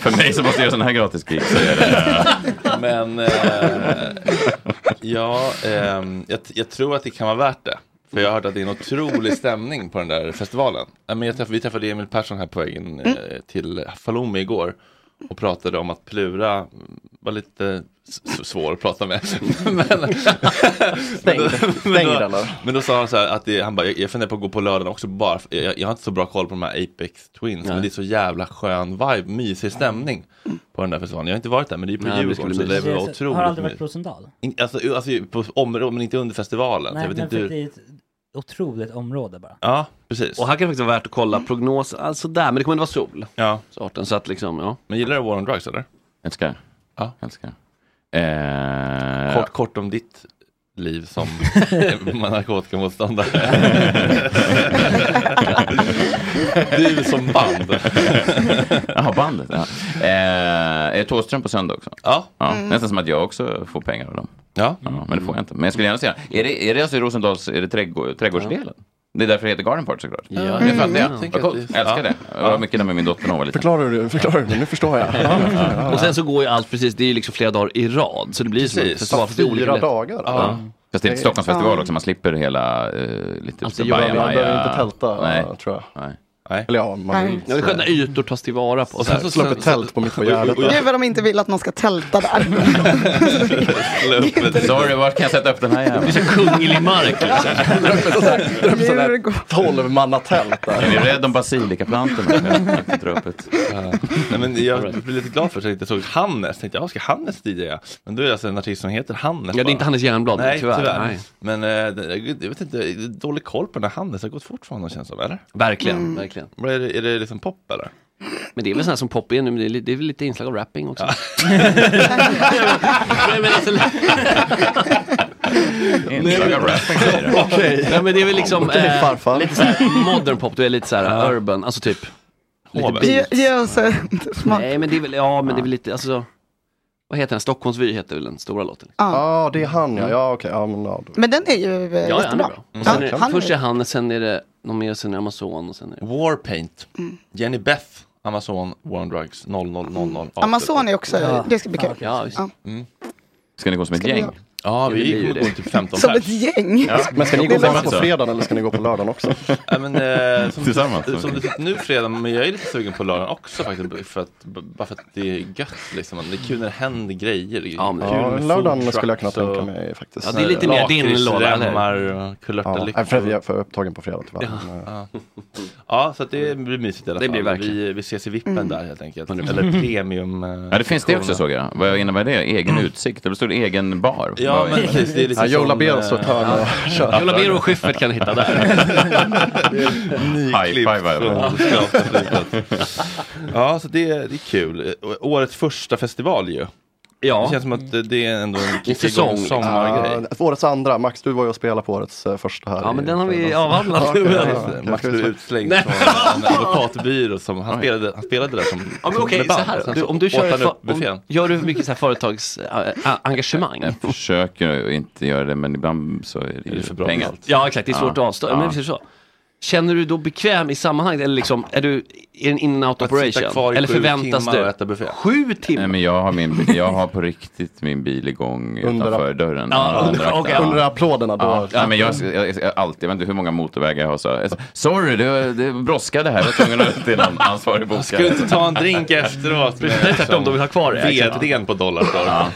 Speaker 11: För mig som måste göra sådana här gratis gig så är det...
Speaker 1: Men eh, ja, ehm, jag, jag tror att det kan vara värt det. För jag har hört att det är
Speaker 7: *laughs*
Speaker 1: en otrolig stämning på den där festivalen. Ja, Men jag träffade, vi träffade Emil Persson här på vägen eh,
Speaker 7: Mm.
Speaker 1: till Falumi igår. Och pratade om att Plura var lite s- s- svår att
Speaker 7: *laughs*
Speaker 1: prata med. men, men, då, men,
Speaker 6: Stängd,
Speaker 1: då,
Speaker 6: eller?
Speaker 1: men då sa han så här att det, han bara, jag jag funderar på att gå på lördagen också bara. för- Jag, jag har inte så bra koll på de här Apex Twins. Men det är så jävla skön vibe, mysig stämning på den där festivalen. Jag har inte varit där men det är ju på
Speaker 7: Mm. Nej, men det skulle
Speaker 1: Djurgården så
Speaker 7: bli
Speaker 1: det var
Speaker 7: mysigt.
Speaker 1: otroligt
Speaker 5: Har aldrig
Speaker 1: mysigt.
Speaker 5: varit på Rosendal?
Speaker 1: In, alltså, alltså på området, men inte under festivalen.
Speaker 5: Nej,
Speaker 1: jag vet
Speaker 5: men
Speaker 1: inte
Speaker 5: för
Speaker 1: hur...
Speaker 5: det är ett otroligt område bara.
Speaker 1: Ja, precis.
Speaker 7: Och här kan det faktiskt vara värt att kolla prognosen, alltså där, men det kommer inte vara sol.
Speaker 1: Ja.
Speaker 7: Sorten, så att liksom, ja.
Speaker 1: Men gillar du War on Drugs eller?
Speaker 11: Älskar.
Speaker 1: Ja.
Speaker 11: Älskar. Eh,
Speaker 1: Kort, kort om ditt liv som narkotikamotståndare. du som band.
Speaker 11: Jaha, bandet. *laughs* Ja. Eh, är Thåström på söndag också?
Speaker 1: Ja.
Speaker 5: Mm.
Speaker 11: Nästan som att jag också får pengar av dem.
Speaker 1: Ja.
Speaker 11: Men det får jag inte. Men jag skulle gärna se det. Är det, är det alltså i Rosendals, är det trädgård, trädgårdsdelen? Det är därför det heter Garden Party såklart.
Speaker 6: Ja.
Speaker 11: Det
Speaker 6: Mm.
Speaker 11: fattar jag.
Speaker 6: Jag tänker
Speaker 11: Vad coolt.
Speaker 6: att det-
Speaker 11: Älskar det. Jag var mycket där med min dotter när hon var liten.
Speaker 6: Förklarar du, förklarar du, nu förstår jag.
Speaker 7: Och sen så går ju allt precis, det är ju liksom flera dagar i rad. Så det blir ju som en
Speaker 6: Precis.
Speaker 7: festival. fast det är olika
Speaker 6: Fyra
Speaker 7: länder.
Speaker 6: dagar,
Speaker 7: Ja.
Speaker 6: alltså.
Speaker 11: Fast det är ett Stockholmsfestival också, man slipper liksom. hela eh, lite
Speaker 7: Alltså,
Speaker 11: så
Speaker 7: jag-
Speaker 11: bajamaja-
Speaker 6: typ.
Speaker 7: jag behöver inte tälta,
Speaker 11: Nej.
Speaker 6: tror jag.
Speaker 11: Nej.
Speaker 1: Nej.
Speaker 6: Eller ja, man
Speaker 10: Nej.
Speaker 6: vill
Speaker 7: Ja, det är skönt när ytor tas tillvara på.
Speaker 6: Och sen
Speaker 7: här.
Speaker 6: så slå upp ett tält på mitt på Gärdet.
Speaker 10: Nu vad de inte vill att någon ska tälta där.
Speaker 11: Sorry, var kan jag sätta upp den här jäveln?
Speaker 7: Det blir så kunglig mark. liksom.
Speaker 6: Tolvmannatält där.
Speaker 11: Är ni rädd om basilikaplantorna? Jag drar upp ett.
Speaker 1: Nej, men jag blev lite glad för att jag inte såg Hannes. Tänkte jag, ska Hannes DJa? Men då är det alltså en artist som heter Hannes.
Speaker 7: Ja, det är
Speaker 1: bara.
Speaker 7: inte Hannes Jernblad,
Speaker 1: Nej,
Speaker 7: tyvärr.
Speaker 1: tyvärr.
Speaker 7: Nej.
Speaker 1: Men eh, det- jag jag vet inte, det är dålig koll på den här Hannes. Det har gått fort för honom känns det som, eller?
Speaker 7: Verkligen, Mm. verkligen.
Speaker 1: Vad är, det, är det liksom pop eller?
Speaker 7: Men det är väl sån här som pop är nu, men det är, li- det är väl lite inslag av rapping också. *laughs* Nej, men
Speaker 1: *laughs*
Speaker 7: alltså-
Speaker 11: Inslag av rapping, säger
Speaker 6: *laughs*
Speaker 11: du.
Speaker 7: Okej. Nej, men det är väl liksom
Speaker 11: Okej,
Speaker 7: eh,
Speaker 11: farfar.
Speaker 7: lite så här modern pop, du är lite så här urban, alltså typ. Lite
Speaker 10: Ge,
Speaker 7: beat.
Speaker 10: ge oss eh, smak.
Speaker 7: Nej, men det är väl, ja, men det är väl lite, alltså. Vad heter den? Stockholmsvy heter väl den stora låten.
Speaker 6: Ja, ah, det är han ja. Ja, okej. Ja, men, ja, då.
Speaker 10: Men den är ju eh,
Speaker 7: Ja, ja, han är
Speaker 10: jättebra.
Speaker 7: bra.
Speaker 10: Ja,
Speaker 7: Och sen är,
Speaker 10: han är-
Speaker 7: först är han, sen är det någon mer, sen är det Amazon och sen är det...
Speaker 1: Warpaint. Jenny Beth. Amazon, War on Drugs, 0000.
Speaker 10: Amazon är också- Eh, det ska bli kul.
Speaker 1: Ja,
Speaker 10: Ja.
Speaker 1: Mm.
Speaker 11: Ska ni gå som ett
Speaker 1: Ska
Speaker 11: gäng?
Speaker 1: vi göra? Ja, vi
Speaker 11: det blir ju
Speaker 1: går- går
Speaker 11: det.
Speaker 1: typ 15
Speaker 10: Som
Speaker 1: pers.
Speaker 10: ett gäng.
Speaker 1: Ja.
Speaker 6: Men ska ni gå
Speaker 1: Det var
Speaker 6: bara på
Speaker 1: så.
Speaker 6: fredagen eller ska ni gå på lördagen också?
Speaker 1: Ja, men,
Speaker 7: *laughs*
Speaker 1: eh, som,
Speaker 11: Tillsammans,
Speaker 1: Som
Speaker 11: okej.
Speaker 1: det ser ut nu fredag, men jag är lite sugen på lördagen också faktiskt. För att, b- bara för att det är gött liksom. Det är kul när det händer grejer. Det är
Speaker 6: Ja, men-
Speaker 1: kul
Speaker 6: Ja,
Speaker 1: med
Speaker 6: lördagen
Speaker 1: food
Speaker 6: skulle jag
Speaker 1: trucks
Speaker 6: kunna tänka
Speaker 1: och-
Speaker 6: mig faktiskt.
Speaker 7: Ja, det är lite mer din
Speaker 1: Lakrits,
Speaker 7: låda, eller?
Speaker 1: remmar och
Speaker 6: Ja,
Speaker 1: kulörtalyckor.
Speaker 6: nej, för jag är för upptagen på fredag tyvärr.
Speaker 1: Ja. Ja, så att det blir mysigt i alla
Speaker 7: Det
Speaker 1: fall.
Speaker 7: blir verkligen.
Speaker 1: Vi, vi ses i vippen
Speaker 7: Mm.
Speaker 1: där helt enkelt.
Speaker 7: 100%.
Speaker 1: Eller premium. eh,
Speaker 11: Ja, det finns det också
Speaker 1: versionen.
Speaker 11: såg jag. Vad innebär det? Egen
Speaker 7: Mm.
Speaker 11: utsikt? Det bestod egen bar?
Speaker 1: Ja,
Speaker 11: Vad är
Speaker 1: men precis, det är liksom Ja, Joe som, Labero eh, står ett hörn och kör. Joe Labero och Schyffert kan hitta där. *laughs*
Speaker 11: High five. va? *laughs*
Speaker 1: från Skavsta flygplats. Ja, så det, det är kul. Å- Årets första festival ju.
Speaker 7: Ja.
Speaker 1: Det känns som att eh, det är ändå en kickigång sommargrej.
Speaker 6: Ja, årets andra. Max, du var ju och spelade på årets eh, första här.
Speaker 7: Ja,
Speaker 6: i
Speaker 7: men den har vi
Speaker 6: fredags.
Speaker 7: avhandlat.
Speaker 6: Ja, okej,
Speaker 1: Ja,
Speaker 6: ja,
Speaker 1: just det.
Speaker 6: okej.
Speaker 1: Max
Speaker 6: Ska
Speaker 1: blev
Speaker 6: vi-
Speaker 1: utslängd
Speaker 7: Nej.
Speaker 1: från en advokatbyrå. Som, han, spelade, han spelade där som,
Speaker 7: Ja, men
Speaker 1: som
Speaker 7: okej,
Speaker 1: med
Speaker 7: så
Speaker 1: band.
Speaker 7: här.
Speaker 1: Sen
Speaker 7: Du,
Speaker 1: så
Speaker 7: om du
Speaker 1: åt
Speaker 7: kör
Speaker 1: han
Speaker 7: ett
Speaker 1: upp
Speaker 7: fa-
Speaker 1: buffén.
Speaker 7: om, gör du mycket så här företagsengagemang?
Speaker 11: Jag försöker inte göra det, men ibland så är det ju
Speaker 7: Bra
Speaker 11: pengar.
Speaker 7: betalt. Ja, exakt. Det är svårt
Speaker 11: Ja.
Speaker 7: att avstå. Men precis så. Känner du då bekväm i sammanhanget? Eller liksom, är du är en in-out
Speaker 1: Att sitta kvar
Speaker 7: operation?
Speaker 1: i
Speaker 7: Eller
Speaker 1: sju
Speaker 7: förväntas
Speaker 1: timmar
Speaker 7: du?
Speaker 1: och äta buffé.
Speaker 7: Sju timmar?
Speaker 11: Nej, men jag har, min, jag har på riktigt min bil igång
Speaker 6: Under-
Speaker 11: utanför dörren.
Speaker 6: Ja,
Speaker 11: Ja,
Speaker 6: under- okej. Under applåderna då.
Speaker 11: Ja. Nej, men jag, jag, jag, alltid, jag vet inte hur många motorvägar jag har. Så, jag- sorry, det, det brådskade här. Jag var tvungen att till någon ansvarig bokare.
Speaker 1: Ska du inte ta en drink efteråt?
Speaker 11: Precis, det är tvärtom, de vill ha kvar det.
Speaker 1: Vdn på Dollarstore.
Speaker 11: Ja.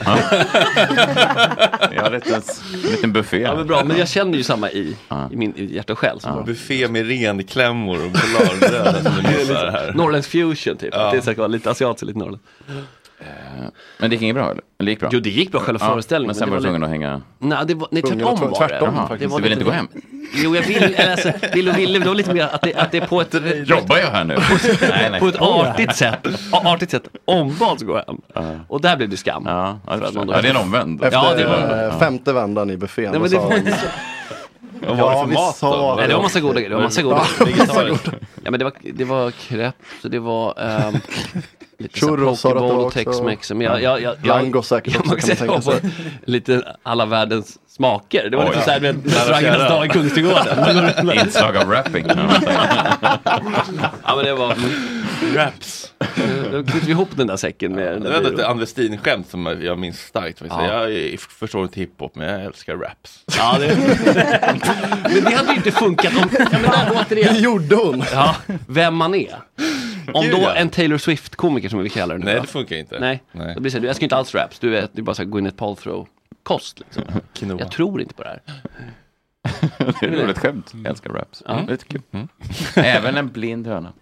Speaker 11: Jag har lite, en liten buffé.
Speaker 7: Ja, men bra. Men jag känner ju samma i, i min i hjärta och själ. Ja.
Speaker 1: Buffé med renklämmor och polarbröd.
Speaker 6: *laughs*
Speaker 1: Alltså, som du
Speaker 11: Alltså,
Speaker 1: missar här.
Speaker 7: Norrländsk fusion typ.
Speaker 1: Ja.
Speaker 7: Det är säkert lite asiatiskt, lite norrländskt.
Speaker 11: Eh, Men det gick inget bra? Eller? Eller Det gick bra?
Speaker 7: Jo, det gick bra, själva föreställningen,
Speaker 11: Men
Speaker 7: men det
Speaker 11: sen var du
Speaker 7: var
Speaker 11: tvungen att hänga?
Speaker 7: Nej, det var, nej
Speaker 11: Tvungen
Speaker 7: tvärtom
Speaker 11: att tro-
Speaker 7: var det.
Speaker 11: tvärtom, faktiskt. Du vill
Speaker 7: lite-
Speaker 11: inte gå hem?
Speaker 7: Jo, jag vill, eller alltså, vill och ville, men det var lite mer att det, att det är på ett...
Speaker 11: Jobbar jag här nu? nej,
Speaker 7: *laughs*
Speaker 11: nej.
Speaker 7: På ett artigt sätt, a- artigt sätt ombads gå hem. Och där blev det skam.
Speaker 11: Ja,
Speaker 7: För att man då-
Speaker 11: Ja, det är en omvänd.
Speaker 6: Efter
Speaker 7: Ja, det var en
Speaker 6: eh,
Speaker 7: omvänd.
Speaker 6: femte vändan i buffén.
Speaker 7: Nej, men
Speaker 6: och
Speaker 7: det
Speaker 6: sa-
Speaker 7: var inte så.
Speaker 6: Vad var det Ja, för vi mat då? sa
Speaker 7: Nej, det var massa goda grejer. Det var massa goda
Speaker 6: Ja,
Speaker 7: massa
Speaker 6: massa
Speaker 7: goda- Ja, men det var, det var crepe, så det var... ehm, lite
Speaker 6: Churros sa
Speaker 7: så här
Speaker 6: du att det
Speaker 7: Pokeball
Speaker 6: var
Speaker 7: och
Speaker 6: också.
Speaker 7: Tex-Mex. Men jag, jag, jag, jag,
Speaker 6: Lango säkert
Speaker 7: jag,
Speaker 6: också,
Speaker 7: man
Speaker 6: kan man
Speaker 7: kan
Speaker 6: tänka sig.
Speaker 7: lite alla världens smaker. Det var
Speaker 11: Oj.
Speaker 7: lite så här, du vet,
Speaker 11: Nära
Speaker 7: restaurangernas
Speaker 11: fjärran.
Speaker 7: dag i Kungsträdgården.
Speaker 11: Inslag av rapping.
Speaker 7: Ja men det var...
Speaker 1: Raps.
Speaker 7: Då knyter vi ihop den där säcken med den
Speaker 1: Det var
Speaker 7: där
Speaker 1: ett
Speaker 7: byrån.
Speaker 1: Ann Westin-skämt som jag minns starkt. faktiskt.
Speaker 7: Ja.
Speaker 1: Jag är- förstår inte hiphop, men jag älskar raps.
Speaker 7: Ja, det...
Speaker 1: *laughs*
Speaker 7: Men det hade ju inte funkat om... Ja, men där, återigen. Det
Speaker 6: gjorde hon!
Speaker 7: Ja, vem man är. Om
Speaker 1: Gud,
Speaker 7: då
Speaker 1: ja.
Speaker 7: en Taylor Swift-komiker som vi kallar den nu
Speaker 1: Nej,
Speaker 7: va?
Speaker 1: det funkar inte.
Speaker 7: Nej,
Speaker 1: Nej.
Speaker 7: då blir det så här, du älskar inte alls raps, du är, du är bara så här Gwyneth Paltrow-kost liksom. Jag tror inte på det här.
Speaker 11: Det är ett roligt skämt. Jag älskar raps.
Speaker 7: Ja.
Speaker 11: Lite kul. Mm. Även en
Speaker 7: *laughs*
Speaker 11: blind höna.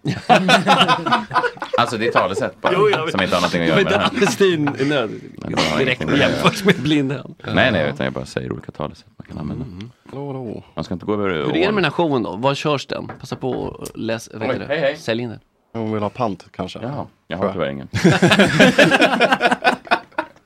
Speaker 11: alltså det är talesätt bara. som inte har någonting att göra med det här.
Speaker 7: Amnestin är nödig.
Speaker 11: Men det har
Speaker 7: Direkt
Speaker 11: ingenting med det att
Speaker 7: jämfört med blindhön.
Speaker 11: göra. Nej, nej, utan jag bara säger olika talesätt man kan använda.
Speaker 1: Mm,
Speaker 11: Man ska inte gå över
Speaker 7: Hur är det med den här showen då? Var körs den? Passa på att läs, vad heter
Speaker 11: Oj,
Speaker 7: det?
Speaker 11: hej, hej.
Speaker 7: Sälj in den.
Speaker 6: Hon vill ha pant kanske. Ja,
Speaker 11: Jag har
Speaker 7: *laughs*
Speaker 11: tyvärr ingen.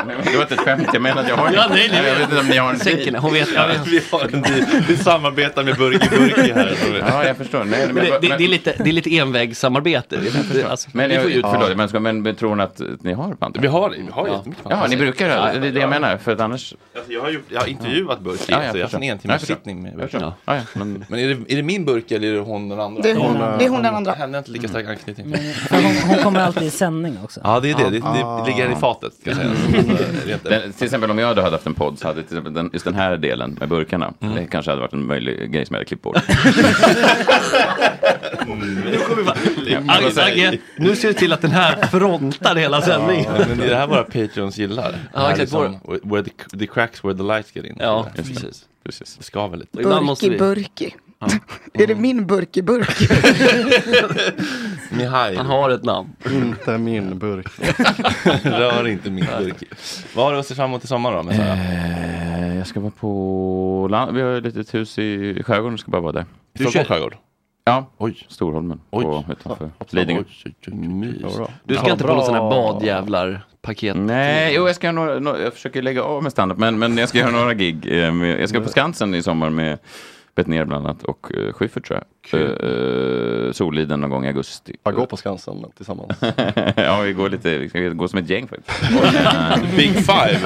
Speaker 11: Men Det var inte ett skämt, jag menar att jag har
Speaker 7: Ja, nej, nej,
Speaker 11: jag vet inte om ni har en
Speaker 7: Säcken, hon vet-
Speaker 1: Ja, vi, har en deal. vi samarbetar med Burger Burger här.
Speaker 11: Ja, jag förstår. Nej,
Speaker 7: Men det, det, det, är lite, det är lite envägssamarbete. Det- Alltså,
Speaker 11: Men,
Speaker 7: vi
Speaker 11: jag,
Speaker 7: får ju ut-
Speaker 11: förlåt, men, ska, men tror hon att ni har band?
Speaker 1: Vi har det, vi har
Speaker 11: ja.
Speaker 1: jättemycket band.
Speaker 11: ja, ni brukar det.
Speaker 1: Ja.
Speaker 11: Det är det jag menar. För att annars...
Speaker 1: Alltså jag, har gjort, jag har intervjuat Burk,
Speaker 7: Ja, ja,
Speaker 1: alltså jag har haft
Speaker 7: förstår.
Speaker 1: en
Speaker 7: Ja,
Speaker 1: entimmars
Speaker 7: förstår.
Speaker 1: sittning med
Speaker 7: Ja, förstår.
Speaker 1: Burk.
Speaker 7: Ja, ja, men-
Speaker 1: Men är det, är det min Burk eller är det hon den andra?
Speaker 10: Det är hon- det är
Speaker 6: eh,
Speaker 10: hon den andra. Mm.
Speaker 1: Henne har inte lika stark anknytning.
Speaker 5: Hon, hon kommer alltid i sändning också.
Speaker 1: Ja, det är det. Det-
Speaker 10: Ah.
Speaker 1: det ligger i fatet, ska jag
Speaker 10: Mm.
Speaker 1: säga. Så, eh, rent-
Speaker 11: Den, till exempel om jag hade haft en podd så hade till exempel den, just den här delen med burkarna, det kanske hade varit en möjlig grej som jag hade klippt bort.
Speaker 1: Nu kommer vi
Speaker 7: Ja, Agge, Agge, nu ser du till att den här frontar hela sändningen.
Speaker 1: Ja, men det är det här våra patreons gillar.
Speaker 7: Ja,
Speaker 1: Det här
Speaker 7: exakt.
Speaker 1: liksom, where- where the, the cracks where the lights get in.
Speaker 7: Ja,
Speaker 1: just
Speaker 7: Mm.
Speaker 1: precis. precis. Det skaver lite.
Speaker 10: Burki burki. *laughs* Är det min burki burki?
Speaker 1: Mihail. Han har ett namn.
Speaker 9: Inte min burk.
Speaker 1: Rör inte min burk. Vad har du att se fram emot i sommar då? Med Sara?
Speaker 11: *laughs* Eh, jag ska vara på land, vi har ju ett litet hus i skärgården, jag ska bara vara där.
Speaker 1: Du Stockholms kör- skärgård?
Speaker 11: Ja, Oj. Storholmen, på, utanför Lidingö.
Speaker 7: Du ska inte på någon sån här badjävlar-paket?
Speaker 11: Mm. Nej, jo, jag ska göra några, några, jag försöker lägga av med standup, men, men jag ska göra några gig. eh, med- Jag ska på Skansen i sommar med Betnér bland annat och eh, Schyffert tror jag. Eh, Soliden någon gång i augusti.
Speaker 9: Jag går på Skansen
Speaker 7: *laughs*
Speaker 9: tillsammans.
Speaker 11: *laughs* ja, vi går lite, vi ska gå som ett
Speaker 1: *laughs*
Speaker 11: gäng faktiskt.
Speaker 1: Big five.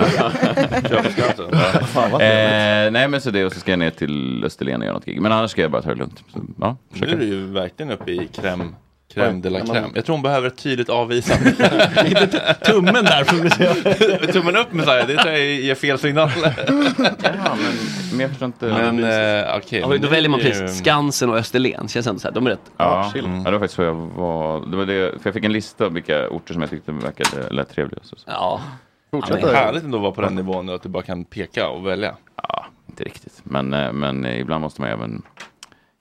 Speaker 1: Kör på Skansen. Fan, vad
Speaker 11: eh, nej, men så det och så ska jag ner till Österlen och göra något gig. Men annars ska jag bara ta det lugnt. Så, ja,
Speaker 1: Nu är
Speaker 11: försöka.
Speaker 1: du ju verkligen uppe i crème, crème de la
Speaker 11: Ja, men-
Speaker 1: crème. Jag tror hon behöver ett tydligt avvisande. Inte t- tummen där. för- *laughs* tummen upp med det tror jag ger fel signal.
Speaker 11: ja, men, men jag förstår inte.
Speaker 1: Men, eh, okej,
Speaker 7: Ja, men då
Speaker 1: nu
Speaker 7: väljer man
Speaker 1: är det ju-
Speaker 7: precis Skansen och Österlen. Känns ändå så här, de är rätt
Speaker 11: Ja,
Speaker 7: chill.
Speaker 11: ja, det var faktiskt så jag var. Det var det, för jag fick en lista av vilka orter som jag tyckte verkade lät trevliga. Så, så.
Speaker 7: Ja.
Speaker 1: Fortsätt. Ja, men härligt ändå att vara på den nivån nu, att du bara kan peka och välja.
Speaker 11: Ja, inte riktigt. Men, eh, men eh, ibland måste man ju även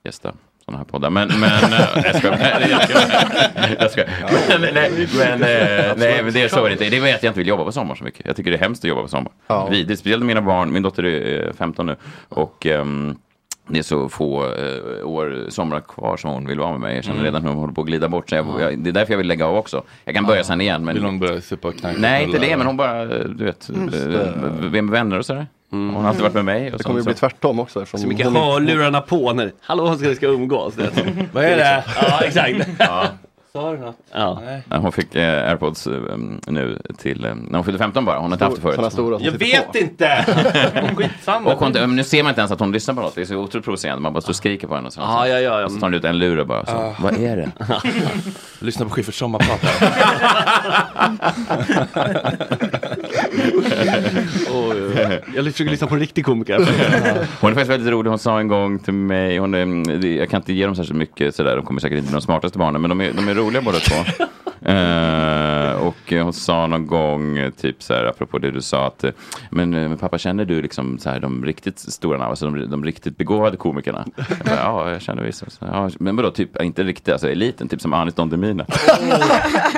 Speaker 11: gästa sådana här poddar. Men, men, eh, jag skojar. Nej, jag skojar. Jag skojar. *laughs* Men, nej, men, eh, nej, men det är så är det inte. Det är att jag inte vill jobba på sommaren så mycket. Jag tycker det är hemskt att jobba på sommaren.
Speaker 9: Ja.
Speaker 11: Vidrigt, speciellt med mina barn. Min dotter är eh, 15 nu. Och ehm, det är så få eh, år, somrar kvar som hon vill vara med mig. Jag känner
Speaker 1: Mm.
Speaker 11: redan hur hon håller på att glida bort. Så jag, jag, det är därför jag vill lägga av också. Jag kan börja sen igen. Men...
Speaker 1: Vill hon börja supa och knarka?
Speaker 11: Nej, inte det,
Speaker 1: Eller-
Speaker 11: men hon bara, du vet,
Speaker 1: Mm.
Speaker 11: eh, vem vänner och sådär.
Speaker 7: Mm.
Speaker 11: Hon har alltid varit med mig. Och
Speaker 9: Det
Speaker 11: sånt,
Speaker 9: kommer ju
Speaker 11: så.
Speaker 9: bli tvärtom också. eftersom
Speaker 7: Alltså. Så mycket
Speaker 9: hon-
Speaker 7: hörlurarna på när, hallå, ska vi ska
Speaker 9: *laughs*
Speaker 7: umgås? Det är-
Speaker 1: Vad är det?
Speaker 7: Ja, exakt.
Speaker 11: Ja.
Speaker 1: Sa du något?
Speaker 11: Ja.
Speaker 1: Nej.
Speaker 11: Nej, Hon fick eh, airpods eh, um, nu till, eh, när hon fyllde 15 bara. Hon har inte haft det förut.
Speaker 9: Sådana stora som
Speaker 1: Jag
Speaker 9: sitter
Speaker 1: vet
Speaker 9: på.
Speaker 7: *laughs*
Speaker 1: inte! Skitsamma.
Speaker 11: Och hon, men nu ser man inte ens att hon lyssnar på något. Det är så otroligt provocerande. Man bara står och skriker på henne. Och så,
Speaker 7: Ja, ja, ja, ja.
Speaker 11: Och så tar hon ut en lur och bara, så,
Speaker 1: Ah.
Speaker 11: vad är det?
Speaker 1: Lyssna på Schyfferts sommarprat.
Speaker 7: Jag försöker lyssna på en
Speaker 6: *laughs*
Speaker 7: riktig komiker.
Speaker 11: Hon är faktiskt väldigt rolig. Hon sa en gång till mig, hon är, mm, det- jag kan inte ge dem särskilt mycket sådär, de kommer säkert inte bli de smartaste barnen, men de är, de är roliga båda två. Eh, och eh, hon sa någon gång, eh, typ så här, apropå det du sa, att eh, men, eh, men pappa känner du liksom så här, de riktigt stora namn, alltså de, de riktigt begåvade komikerna? Jag bara, ja, jag känner vissa. Så, Ja, men vadå, typ, inte riktigt, alltså eliten, typ som Anis Don Demina.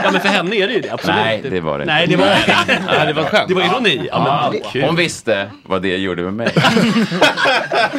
Speaker 7: Ja, men för henne är det ju det. Absolut.
Speaker 11: Nej, det var det inte.
Speaker 7: Nej, det
Speaker 11: *laughs*
Speaker 7: var
Speaker 11: Nej, det var skönt.
Speaker 7: Det var ironi. Ja, men-
Speaker 11: Ja,
Speaker 7: Kul.
Speaker 11: hon visste vad det gjorde
Speaker 7: *laughs*
Speaker 11: med mig. Och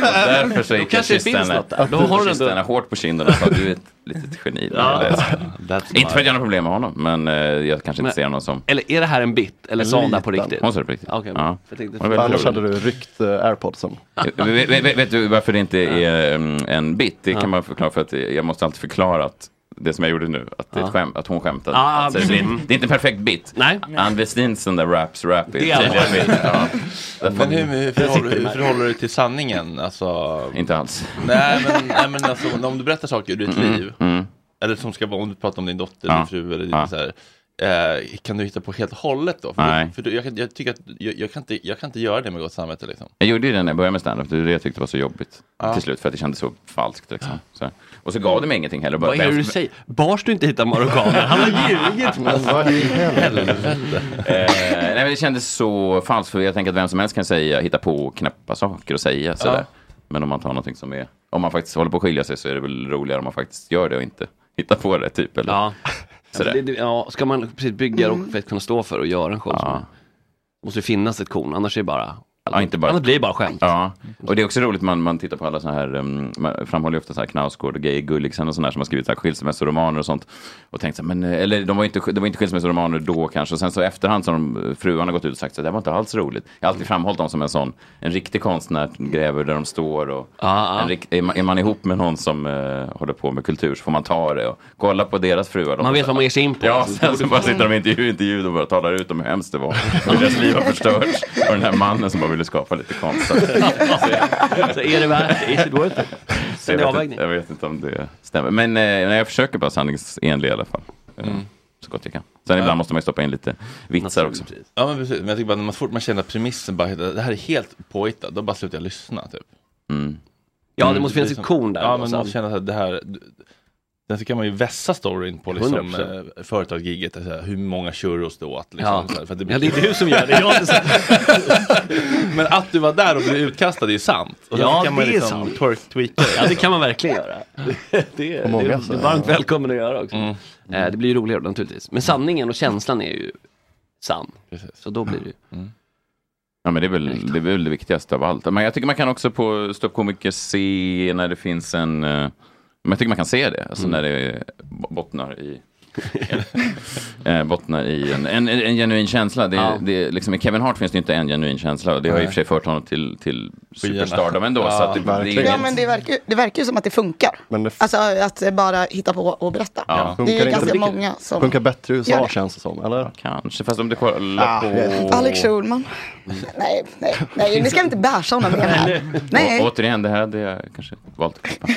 Speaker 11: därför så gick jag
Speaker 7: kanske det
Speaker 11: kysste
Speaker 7: finns
Speaker 11: henne,
Speaker 7: något där. Då har du
Speaker 11: kysste
Speaker 7: ändå-
Speaker 11: henne hårt på kinden och sa du är ett litet geni.
Speaker 7: Ja.
Speaker 11: Det är så.
Speaker 7: That's
Speaker 11: Inte för att
Speaker 7: smart.
Speaker 11: jag har några problem med honom, men eh, jag kanske inte
Speaker 7: Men-
Speaker 11: ser honom som...
Speaker 7: Eller är det här en bit? Eller sa hon det här på
Speaker 11: Liten.
Speaker 7: riktigt?
Speaker 11: Hon sa det på riktigt.
Speaker 7: Okej,
Speaker 11: Ja.
Speaker 7: jag tänkte-
Speaker 11: Hon är väldigt
Speaker 9: Annars
Speaker 11: rolig.
Speaker 9: hade du ryckt eh, airpodsen.
Speaker 11: vet, vet, vet du varför det inte är mm, en bit? Det kan man förklara för att jag måste alltid förklara att det som jag gjorde nu, att det är ett
Speaker 7: Ja.
Speaker 11: skämt, att hon skämtade.
Speaker 7: Ah,
Speaker 11: alltså, det, är
Speaker 7: mm.
Speaker 11: inte, det är inte en perfekt bit.
Speaker 7: Nej.
Speaker 11: Ann Westins den där raps rap
Speaker 1: Det
Speaker 11: är
Speaker 1: är
Speaker 11: en
Speaker 1: allvar.
Speaker 11: tydlig bit. *laughs* Ja.
Speaker 1: Men
Speaker 9: Mm.
Speaker 1: hur, hur, förhåller,
Speaker 11: sitter
Speaker 1: hur
Speaker 11: där.
Speaker 1: förhåller du dig till sanningen? Alltså...
Speaker 11: Inte alls.
Speaker 1: Nej men, nej, men alltså, om du berättar saker ur ditt
Speaker 11: Mm,
Speaker 1: liv,
Speaker 11: mm.
Speaker 1: eller som ska vara, om du pratar om din dotter,
Speaker 11: Ja.
Speaker 1: din fru eller din,
Speaker 11: Ja.
Speaker 1: så här, eh, kan du hitta på helt och hållet då? För,
Speaker 11: Nej.
Speaker 1: för du, jag, kan- jag tycker att jag, jag, kan inte, jag kan inte göra det med gott samvete liksom.
Speaker 11: Jag gjorde ju det när jag började med standup, det är det jag tyckte var så jobbigt
Speaker 1: Ja.
Speaker 11: till slut för att det kändes så falskt. Liksom. Så. här. Och så gav det mig ingenting heller.
Speaker 7: Vad är det du säger? Bars du inte hittar marockaner? Han har ljugit för oss.
Speaker 11: Vad i helvete? eh, nej, men det kändes så falskt för jag tänker att vem som helst kan säga, hitta på knäppa saker och säga sådär. Men om man tar någonting som är, om man faktiskt håller på att skilja sig så är det väl roligare om man faktiskt gör det och inte hittar på det typ. Eller?
Speaker 7: Ja.
Speaker 11: Sådär.
Speaker 7: Det, det, *laughs* ja, ska man precis bygga mm. för att kunna stå för och göra en show ja. måste det finnas ett korn, annars är det bara...
Speaker 11: Ja, inte bara...
Speaker 7: Annars blir det bara skämt.
Speaker 11: Ja, och det är också roligt, man, man tittar på alla så här, um, man framhåller ju ofta så här Knausgård och Geir Gulliksen och sådana som har skrivit så här skilsmässoromaner och sånt. Och tänkt så här, men, eh, eller de var ju inte, det var inte skilsmässoromaner då kanske, och sen så i efterhand så har de, eh, fruarna gått ut och sagt så här, det här var inte alls roligt. Jag har alltid framhållit dem som en sån, en riktig konstnär gräver där de står och
Speaker 7: Ja, ja.
Speaker 11: En rik, är, man, är man ihop med någon som eh, håller på med kultur så får man ta det och kolla på deras fruar. De
Speaker 7: Man vet vad man ger sig in på.
Speaker 11: Ja, sen så bara sitter de i intervju, intervju och bara talar ut om hur hemskt det var. Och deras liv har förstörts. Och den här mannen som bara vill ville skapa lite konstnär.
Speaker 7: Så är det värt Is it worth it? Så
Speaker 11: jag,
Speaker 7: det är
Speaker 11: vet
Speaker 7: avvägning.
Speaker 11: inte, jag vet inte om det stämmer. Men eh, nej, jag försöker vara sanningsenlig i alla fall. Eh,
Speaker 1: Mm.
Speaker 11: Så gott jag kan. Sen
Speaker 1: Ja.
Speaker 11: ibland måste man ju stoppa in lite vitsar också.
Speaker 1: Ja men precis, men jag tycker bara när man så fort man känner att premissen bara, det här är helt påhittat, då bara slutar jag lyssna typ.
Speaker 11: Mm.
Speaker 7: Ja, det
Speaker 1: Mm.
Speaker 7: måste finnas
Speaker 1: är
Speaker 7: ett
Speaker 1: som-
Speaker 7: korn där alltså.
Speaker 1: Ja, men man
Speaker 7: någonstans.
Speaker 1: måste känna att det här, den så kan man ju vässa storyn på liksom,
Speaker 7: 100%.
Speaker 1: eh, företagsgiget, så här, hur många churros du åt. Liksom,
Speaker 7: Ja.
Speaker 1: så här, att
Speaker 7: Ja, det är inte du som gör det,
Speaker 1: *laughs*
Speaker 7: jag har inte
Speaker 1: men att du var där och blev utkastad är ju sant. Och sen
Speaker 7: Ja,
Speaker 1: så kan man
Speaker 7: det är
Speaker 1: liksom
Speaker 7: sant.
Speaker 1: Twerk, tweaka.
Speaker 7: Ja, det kan man verkligen göra. Det, det,
Speaker 1: Och många
Speaker 7: det,
Speaker 1: så-
Speaker 7: det är varmt välkommen att göra också. Eh, Det blir ju roligare då, naturligtvis. Men sanningen och känslan är ju sann. Så då blir det ju...
Speaker 11: Ja, men det är, väl, det är väl det viktigaste av allt. Men jag tycker man kan också på ståuppkomiker se när det finns en... eh, Men jag tycker man kan se det, alltså
Speaker 9: Mm.
Speaker 11: när det bo- bottnar i... *laughs* eh, bottnar i en, en, en genuin känsla. Det,
Speaker 7: Ja.
Speaker 11: det, liksom, I Kevin Hart finns det ju inte en genuin känsla. Och det har ju i
Speaker 7: Nej.
Speaker 11: och för sig fört honom till, till
Speaker 7: Skyarna.
Speaker 11: superstardom ändå. så att det, det
Speaker 10: Ja
Speaker 11: är inget-
Speaker 10: men det verkar, ju- det verkar ju som att det funkar.
Speaker 9: Men det
Speaker 10: Alltså att eh, bara hitta på och berätta.
Speaker 11: Ja.
Speaker 10: Det är ju ganska många som...
Speaker 9: Funkar bättre i USA
Speaker 10: gör det.
Speaker 9: känns det som, eller?
Speaker 11: Kanske, fast om du kollar
Speaker 9: Ah,
Speaker 11: på...
Speaker 9: jag vet inte.
Speaker 10: Alex Schulman. Nej, nej, nej, ni ska inte bärsa honom mer
Speaker 11: *laughs*
Speaker 10: här.
Speaker 11: Å-
Speaker 10: Nej.
Speaker 11: återigen, det här hade jag kanske valt att
Speaker 10: *laughs*
Speaker 11: klippa.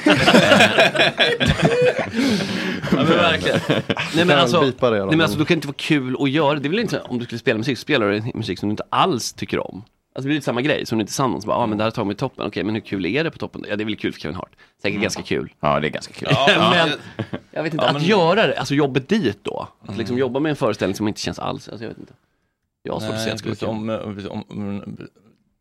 Speaker 7: Ja, men verkligen. Nej, men
Speaker 11: Kan
Speaker 7: alltså, nej,
Speaker 11: bipa det, då.
Speaker 7: men alltså, då kan det inte vara kul att göra det. är väl inte så- om du skulle spela musik, så spelar du musik som du inte alls tycker om. Alltså det blir lite samma grej, som du inte är sann om. Så bara, ah, men det här tar mig till toppen. Okej, men hur kul är det på toppen? Ja, det är väl kul för Kevin Hart. Säkert ganska kul.
Speaker 11: Mm. Ja, det är ganska kul.
Speaker 7: *laughs* men jag vet inte,
Speaker 11: Ja,
Speaker 7: att
Speaker 11: men-
Speaker 7: göra det, alltså jobbet dit då.
Speaker 1: Mm.
Speaker 7: Att liksom jobba med en föreställning som inte känns alls, alltså jag vet inte. Jag har svårt att
Speaker 1: Nej,
Speaker 7: se att det skulle vara
Speaker 1: precis.
Speaker 7: kul.
Speaker 1: om, om, om, eh, om,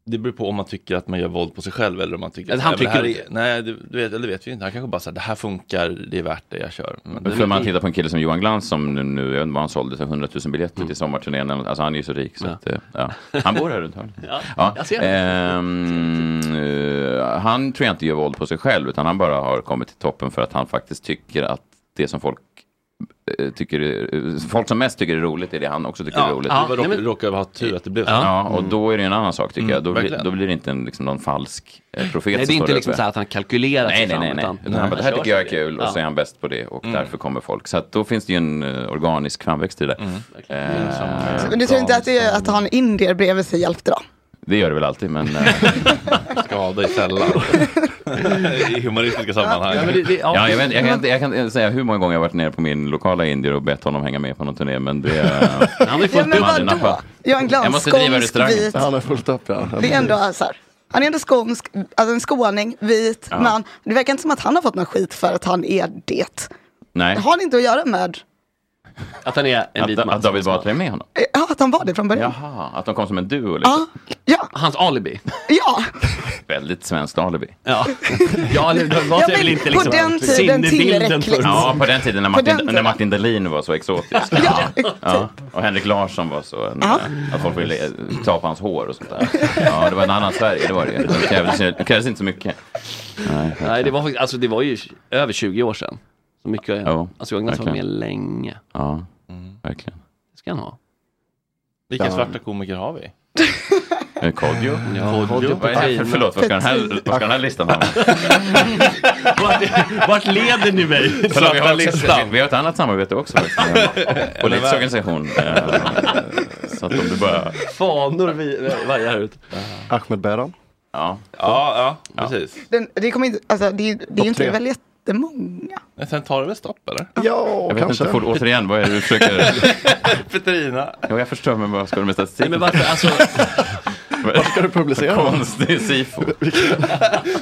Speaker 1: Det beror på om man tycker att man gör våld på sig själv eller om man tycker
Speaker 7: Eller
Speaker 1: att
Speaker 7: han
Speaker 1: "Nej, men det
Speaker 7: tycker
Speaker 1: här är, Nej, det, du vet, eller det vet vi inte. Han kanske bara säger det här funkar, det är värt det, jag kör. Men det,
Speaker 11: För man tittar på en kille som Johan Glans som nu, nu jag vet inte vad han sålde, så 100 000 biljetter
Speaker 7: Mm.
Speaker 11: till sommarturnén. Alltså han är ju så rik så att, eh, ja. Han bor här runt hörnet.
Speaker 7: *laughs* Ja, jag ser det.
Speaker 11: Ehm, eh, han tror jag inte gör våld på sig själv, utan han bara har kommit till toppen för att han faktiskt tycker att det som folk eh, tycker är, eh, folk som mest tycker är roligt är det han också tycker
Speaker 1: Ja,
Speaker 11: är roligt.
Speaker 1: det var rock- råkar ha tur att det blev så.
Speaker 11: Ja,
Speaker 1: Ja.
Speaker 7: Mm.
Speaker 11: och då är det en annan sak tycker
Speaker 1: Mm,
Speaker 11: jag. Då, blir-
Speaker 1: verkligen.
Speaker 11: då blir det inte en, liksom, någon falsk eh, profet
Speaker 7: Nej, det
Speaker 11: som
Speaker 7: är
Speaker 11: står
Speaker 7: inte
Speaker 11: där
Speaker 7: liksom
Speaker 11: uppe.
Speaker 7: så här att han kalkylerar sig
Speaker 11: nej, nej,
Speaker 7: fram,
Speaker 11: nej, nej.
Speaker 7: utan-
Speaker 11: Utan,
Speaker 7: Nej.
Speaker 11: han bara, det här
Speaker 7: Han kör
Speaker 11: tycker jag är
Speaker 7: sin grej.
Speaker 11: kul och så
Speaker 7: Ja.
Speaker 11: är han bäst på det och
Speaker 7: Mm.
Speaker 11: därför kommer folk. Så att då finns det ju en eh, organisk framväxt i det där.
Speaker 7: Mm.
Speaker 11: Eh,
Speaker 10: Men du tror inte att, det, är- att han indier bredvid sig hjälpte då?
Speaker 11: Det gör det väl
Speaker 7: *laughs*
Speaker 11: alltid, men... eh,
Speaker 1: Skada i sällan. I humoristiska sammanhang.
Speaker 11: Ja, jag, vet, jag, kan, inte- jag kan inte säga hur många gånger jag har varit nere på min lokala indier och bett honom hänga med på någon turné, men det... *laughs* Han
Speaker 10: Ja, men vadå? Johan
Speaker 11: Jag
Speaker 10: Glans,
Speaker 11: måste driva
Speaker 10: skånsk,
Speaker 11: restaurang.
Speaker 10: vit.
Speaker 11: har fullt upp, ja.
Speaker 10: Det är ändå så här. Han är ändå skånsk, alltså en skåning, vit
Speaker 11: Ja.
Speaker 10: man. Det verkar inte som att han har fått någon skit för att han är det.
Speaker 11: Nej,
Speaker 10: Har det inte att göra med
Speaker 7: Att han är en vit
Speaker 11: att,
Speaker 7: man.
Speaker 11: att David Batra är med honom.
Speaker 10: Eh, ja, att han var det från början?
Speaker 11: Jaha, att de kom som en duo
Speaker 10: Ja,
Speaker 11: liksom.
Speaker 10: ja,
Speaker 7: Hans alibi.
Speaker 10: ja.
Speaker 11: Väldigt svenskt alibi.
Speaker 7: Ja, ja eller det var
Speaker 10: Ja,
Speaker 7: det
Speaker 10: men
Speaker 7: väl inte
Speaker 10: på
Speaker 7: liksom.
Speaker 10: den tiden
Speaker 7: sinnebilden
Speaker 10: tillräckligt.
Speaker 7: för-
Speaker 11: Ja, på den tiden när
Speaker 7: På
Speaker 11: Martin,
Speaker 7: den
Speaker 11: när
Speaker 7: tiden.
Speaker 11: Martin Dahlin var så exotisk.
Speaker 10: ja.
Speaker 11: Ja, och Henrik Larsson var så, en,
Speaker 10: Ja.
Speaker 11: att folk ville eh, ta på hans hår och sånt där. Ja, det var en annan Sverige, det var det ju. Det krävdes, det krävdes inte så mycket. Nej,
Speaker 7: Nej, det var faktiskt, alltså det var ju över 20 år sedan. Så mycket,
Speaker 11: Ja,
Speaker 7: alltså Johan Glans var med
Speaker 11: verkligen.
Speaker 7: länge.
Speaker 11: Ja, verkligen.
Speaker 7: Det ska han ha.
Speaker 1: Vilka
Speaker 7: Ja.
Speaker 1: svarta komiker har vi?
Speaker 11: Eh, Kodjo?
Speaker 7: Ja, Kodjo
Speaker 11: Vad är det för- Förlåt, vad ska den här, vad ska den här listan *laughs* ha?
Speaker 7: vart, vart leder ni mig?
Speaker 11: Förlåt, vi, har också, vi har ett annat samarbete också. faktiskt, *laughs* med en Politisk organisation. eh, Så att om du bara...
Speaker 7: Fanor vi vajar ut.
Speaker 9: Ahmed Beran.
Speaker 11: Ja.
Speaker 1: Ja, ja, precis.
Speaker 10: Den, det kommer inte, alltså det, det är ju inte
Speaker 1: tre.
Speaker 10: väl jättemånga.
Speaker 1: Men sen tar det väl stopp eller?
Speaker 10: Ja,
Speaker 11: Jag vet inte, för, återigen, vad är det du försöker...
Speaker 1: Petrina.
Speaker 11: Jo, jag förstår, men vad ska du med statistik?
Speaker 7: Nej, men varför, alltså,
Speaker 11: *laughs* Vad ska du publicera? Konstig sifo.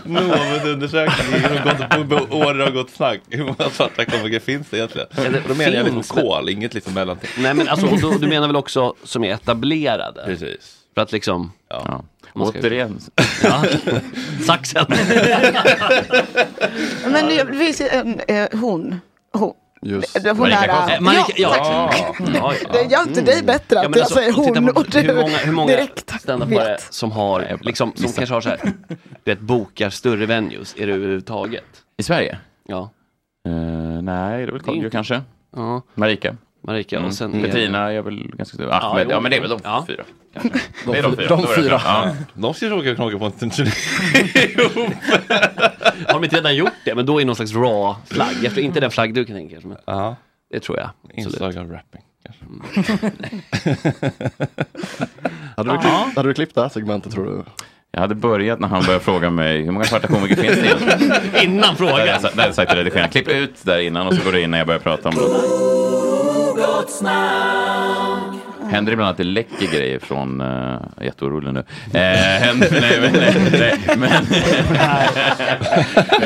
Speaker 1: Novemberundersökning, hur gått- hur många år det har gått snack. Hur många svarta komiker finns det egentligen?
Speaker 7: Eller
Speaker 1: Då menar jag liksom
Speaker 7: finns det?
Speaker 1: kol, inget liksom mellanting.
Speaker 7: Nej men alltså, och då, du menar väl också som är etablerade?
Speaker 1: Precis.
Speaker 7: För att liksom...
Speaker 1: Ja.
Speaker 7: man ska-
Speaker 11: Återigen.
Speaker 7: Ja. Saxen.
Speaker 10: Men det det finns ju en, eh, hon. Hon,
Speaker 7: Just.
Speaker 10: hon
Speaker 7: Marika
Speaker 10: där.
Speaker 7: Karlsson.
Speaker 10: eh,
Speaker 7: Eh, Marika- ja.
Speaker 10: tack.
Speaker 7: Ja, ja. Mm.
Speaker 10: Det gör inte dig bättre att
Speaker 7: Ja, men alltså,
Speaker 10: jag säger
Speaker 7: titta
Speaker 10: hon
Speaker 7: på
Speaker 10: och du
Speaker 7: hur många, hur många
Speaker 10: direkt.
Speaker 7: standupare som har, liksom, som kanske har så här, du vet, bokar större venues, är det överhuvudtaget?
Speaker 11: I Sverige?
Speaker 7: Ja.
Speaker 11: Eh, nej, det är väl
Speaker 7: Det är
Speaker 11: Kodjo
Speaker 7: inte-
Speaker 11: kanske.
Speaker 7: Ja.
Speaker 11: Marika.
Speaker 7: Marika och sen...
Speaker 11: Mm. Petrina är väl ganska stor. Ah, men,
Speaker 7: jo.
Speaker 11: ja, men det är väl de
Speaker 7: Ja.
Speaker 11: fyra.
Speaker 7: De
Speaker 11: Det är de
Speaker 7: fyra.
Speaker 11: fyra.
Speaker 7: De
Speaker 11: Då är det
Speaker 7: fyra.
Speaker 11: klart. Ja.
Speaker 1: De ska ju åka och knåka på en turné.
Speaker 7: Har de inte redan gjort det? Men då är någon slags raw-flagg. Jag tror inte den flagg du kan tänka dig. men Det tror jag.
Speaker 1: Inslag av rapping.
Speaker 7: kanske.
Speaker 6: *laughs* Hade du, klippt, hade du klippt det här segmentet tror du?
Speaker 11: Jag hade börjat när han började fråga mig hur många svarta komiker finns det egentligen?
Speaker 7: Innan
Speaker 11: Där hade jag
Speaker 7: frågan.
Speaker 1: Alltså,
Speaker 11: sa- där hade jag sagt till redigeringen, klipp ut där innan och så går det in när jag börjar prata om det. Händer ibland att det läcker grejer från, eh, jag är jätteorolig nu. Eh, händer, nej, men, nej, nej, men,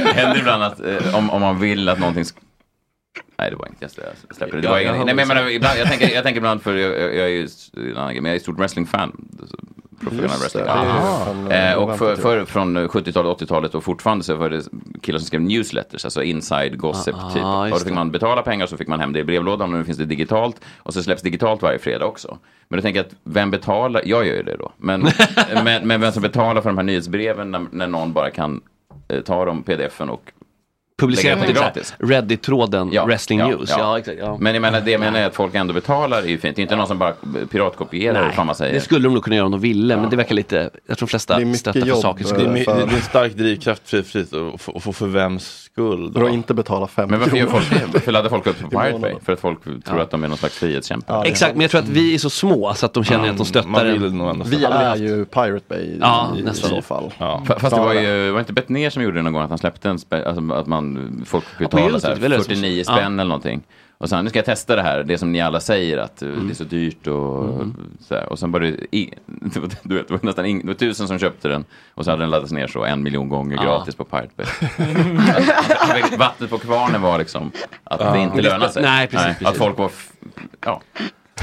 Speaker 11: *laughs* händer ibland att eh, om, om man vill att någonting sk- Nej, det var inte jag släpper- släpper det. det var
Speaker 7: Ja,
Speaker 11: ingen,
Speaker 7: jag
Speaker 11: nej, men jag, menar,
Speaker 7: hoppas.
Speaker 11: ibland, jag, tänker, jag tänker ibland för jag, jag, jag är ju s- en annan grej, men jag är stort wrestlingfan. så- Professionell
Speaker 7: Just det, det är
Speaker 11: wrestling.
Speaker 7: ju Aha. fan,
Speaker 11: Eh, och för,
Speaker 7: oväntat,
Speaker 11: för, från 70-talet, 80-talet och fortfarande så var det killar som skrev newsletters, alltså inside gossip
Speaker 7: Ah,
Speaker 11: typ.
Speaker 7: just
Speaker 11: Och då fick
Speaker 7: det.
Speaker 11: man betala pengar så fick man hem det i brevlådan och nu finns det digitalt. Och så släpps digitalt varje fredag också. Men då tänker jag att vem betalar? Jag gör ju det då.
Speaker 7: *laughs*
Speaker 11: Men, men, men vem som betalar för de här nyhetsbreven när, när någon bara kan eh, ta dem, pdf-en och
Speaker 7: Publicera
Speaker 11: lägga
Speaker 7: på
Speaker 11: ut
Speaker 7: typ
Speaker 11: det
Speaker 7: så här,
Speaker 11: gratis.
Speaker 7: Reddit-tråden, wrestling news. Ja, exakt. Ja. Mm.
Speaker 11: Men jag menar, det jag menar är att folk ändå betalar är ju fint. Det är inte någon som bara piratkopierar, hur fan man säger.
Speaker 7: Det skulle de nog kunna göra om de ville, men det verkar lite, jag tror de flesta stöttar för sakens
Speaker 6: eh,
Speaker 1: Det är,
Speaker 7: skull.
Speaker 1: my- det är en stark drivkraft för, för, för, för, för vems skull?
Speaker 6: För att inte betala 50
Speaker 11: Men varför gör folk det? Varför laddar folk upp på
Speaker 1: I
Speaker 11: Pirate Bay?
Speaker 1: månaden.
Speaker 11: För att folk tror att de är någon slags frihetskämpar.
Speaker 7: Exakt, men jag tror att vi är så små så att de känner att
Speaker 6: Mm,
Speaker 7: de stöttar en.
Speaker 6: Vi är ju Pirate Bay i,
Speaker 7: Ja,
Speaker 6: i
Speaker 7: nästan.
Speaker 6: så fall.
Speaker 11: Fa- Fast det var ju, var inte Bettner som gjorde det någon gång att han släppte en spä, alltså att man, folk betalade
Speaker 7: Youtube,
Speaker 11: så här,
Speaker 7: eller?
Speaker 11: 49 spänn
Speaker 7: Ja.
Speaker 11: eller någonting. Och sen, nu ska jag testa det här, det som ni alla säger att eh,
Speaker 7: Mm.
Speaker 11: det är så dyrt och så här. Och sen bara, det i- *laughs* det var- du vet, det var nästan ing, det var tusen som köpte den. Och så hade den laddats ner så en miljon gånger
Speaker 7: Ja.
Speaker 11: gratis på Pirate
Speaker 7: *laughs*
Speaker 11: Bay. Alltså, Vattnet på kvarnen var liksom att
Speaker 7: Ja.
Speaker 11: det inte lönar sig.
Speaker 7: Nej, precis,
Speaker 11: Att
Speaker 7: precis.
Speaker 11: folk var, f- ja.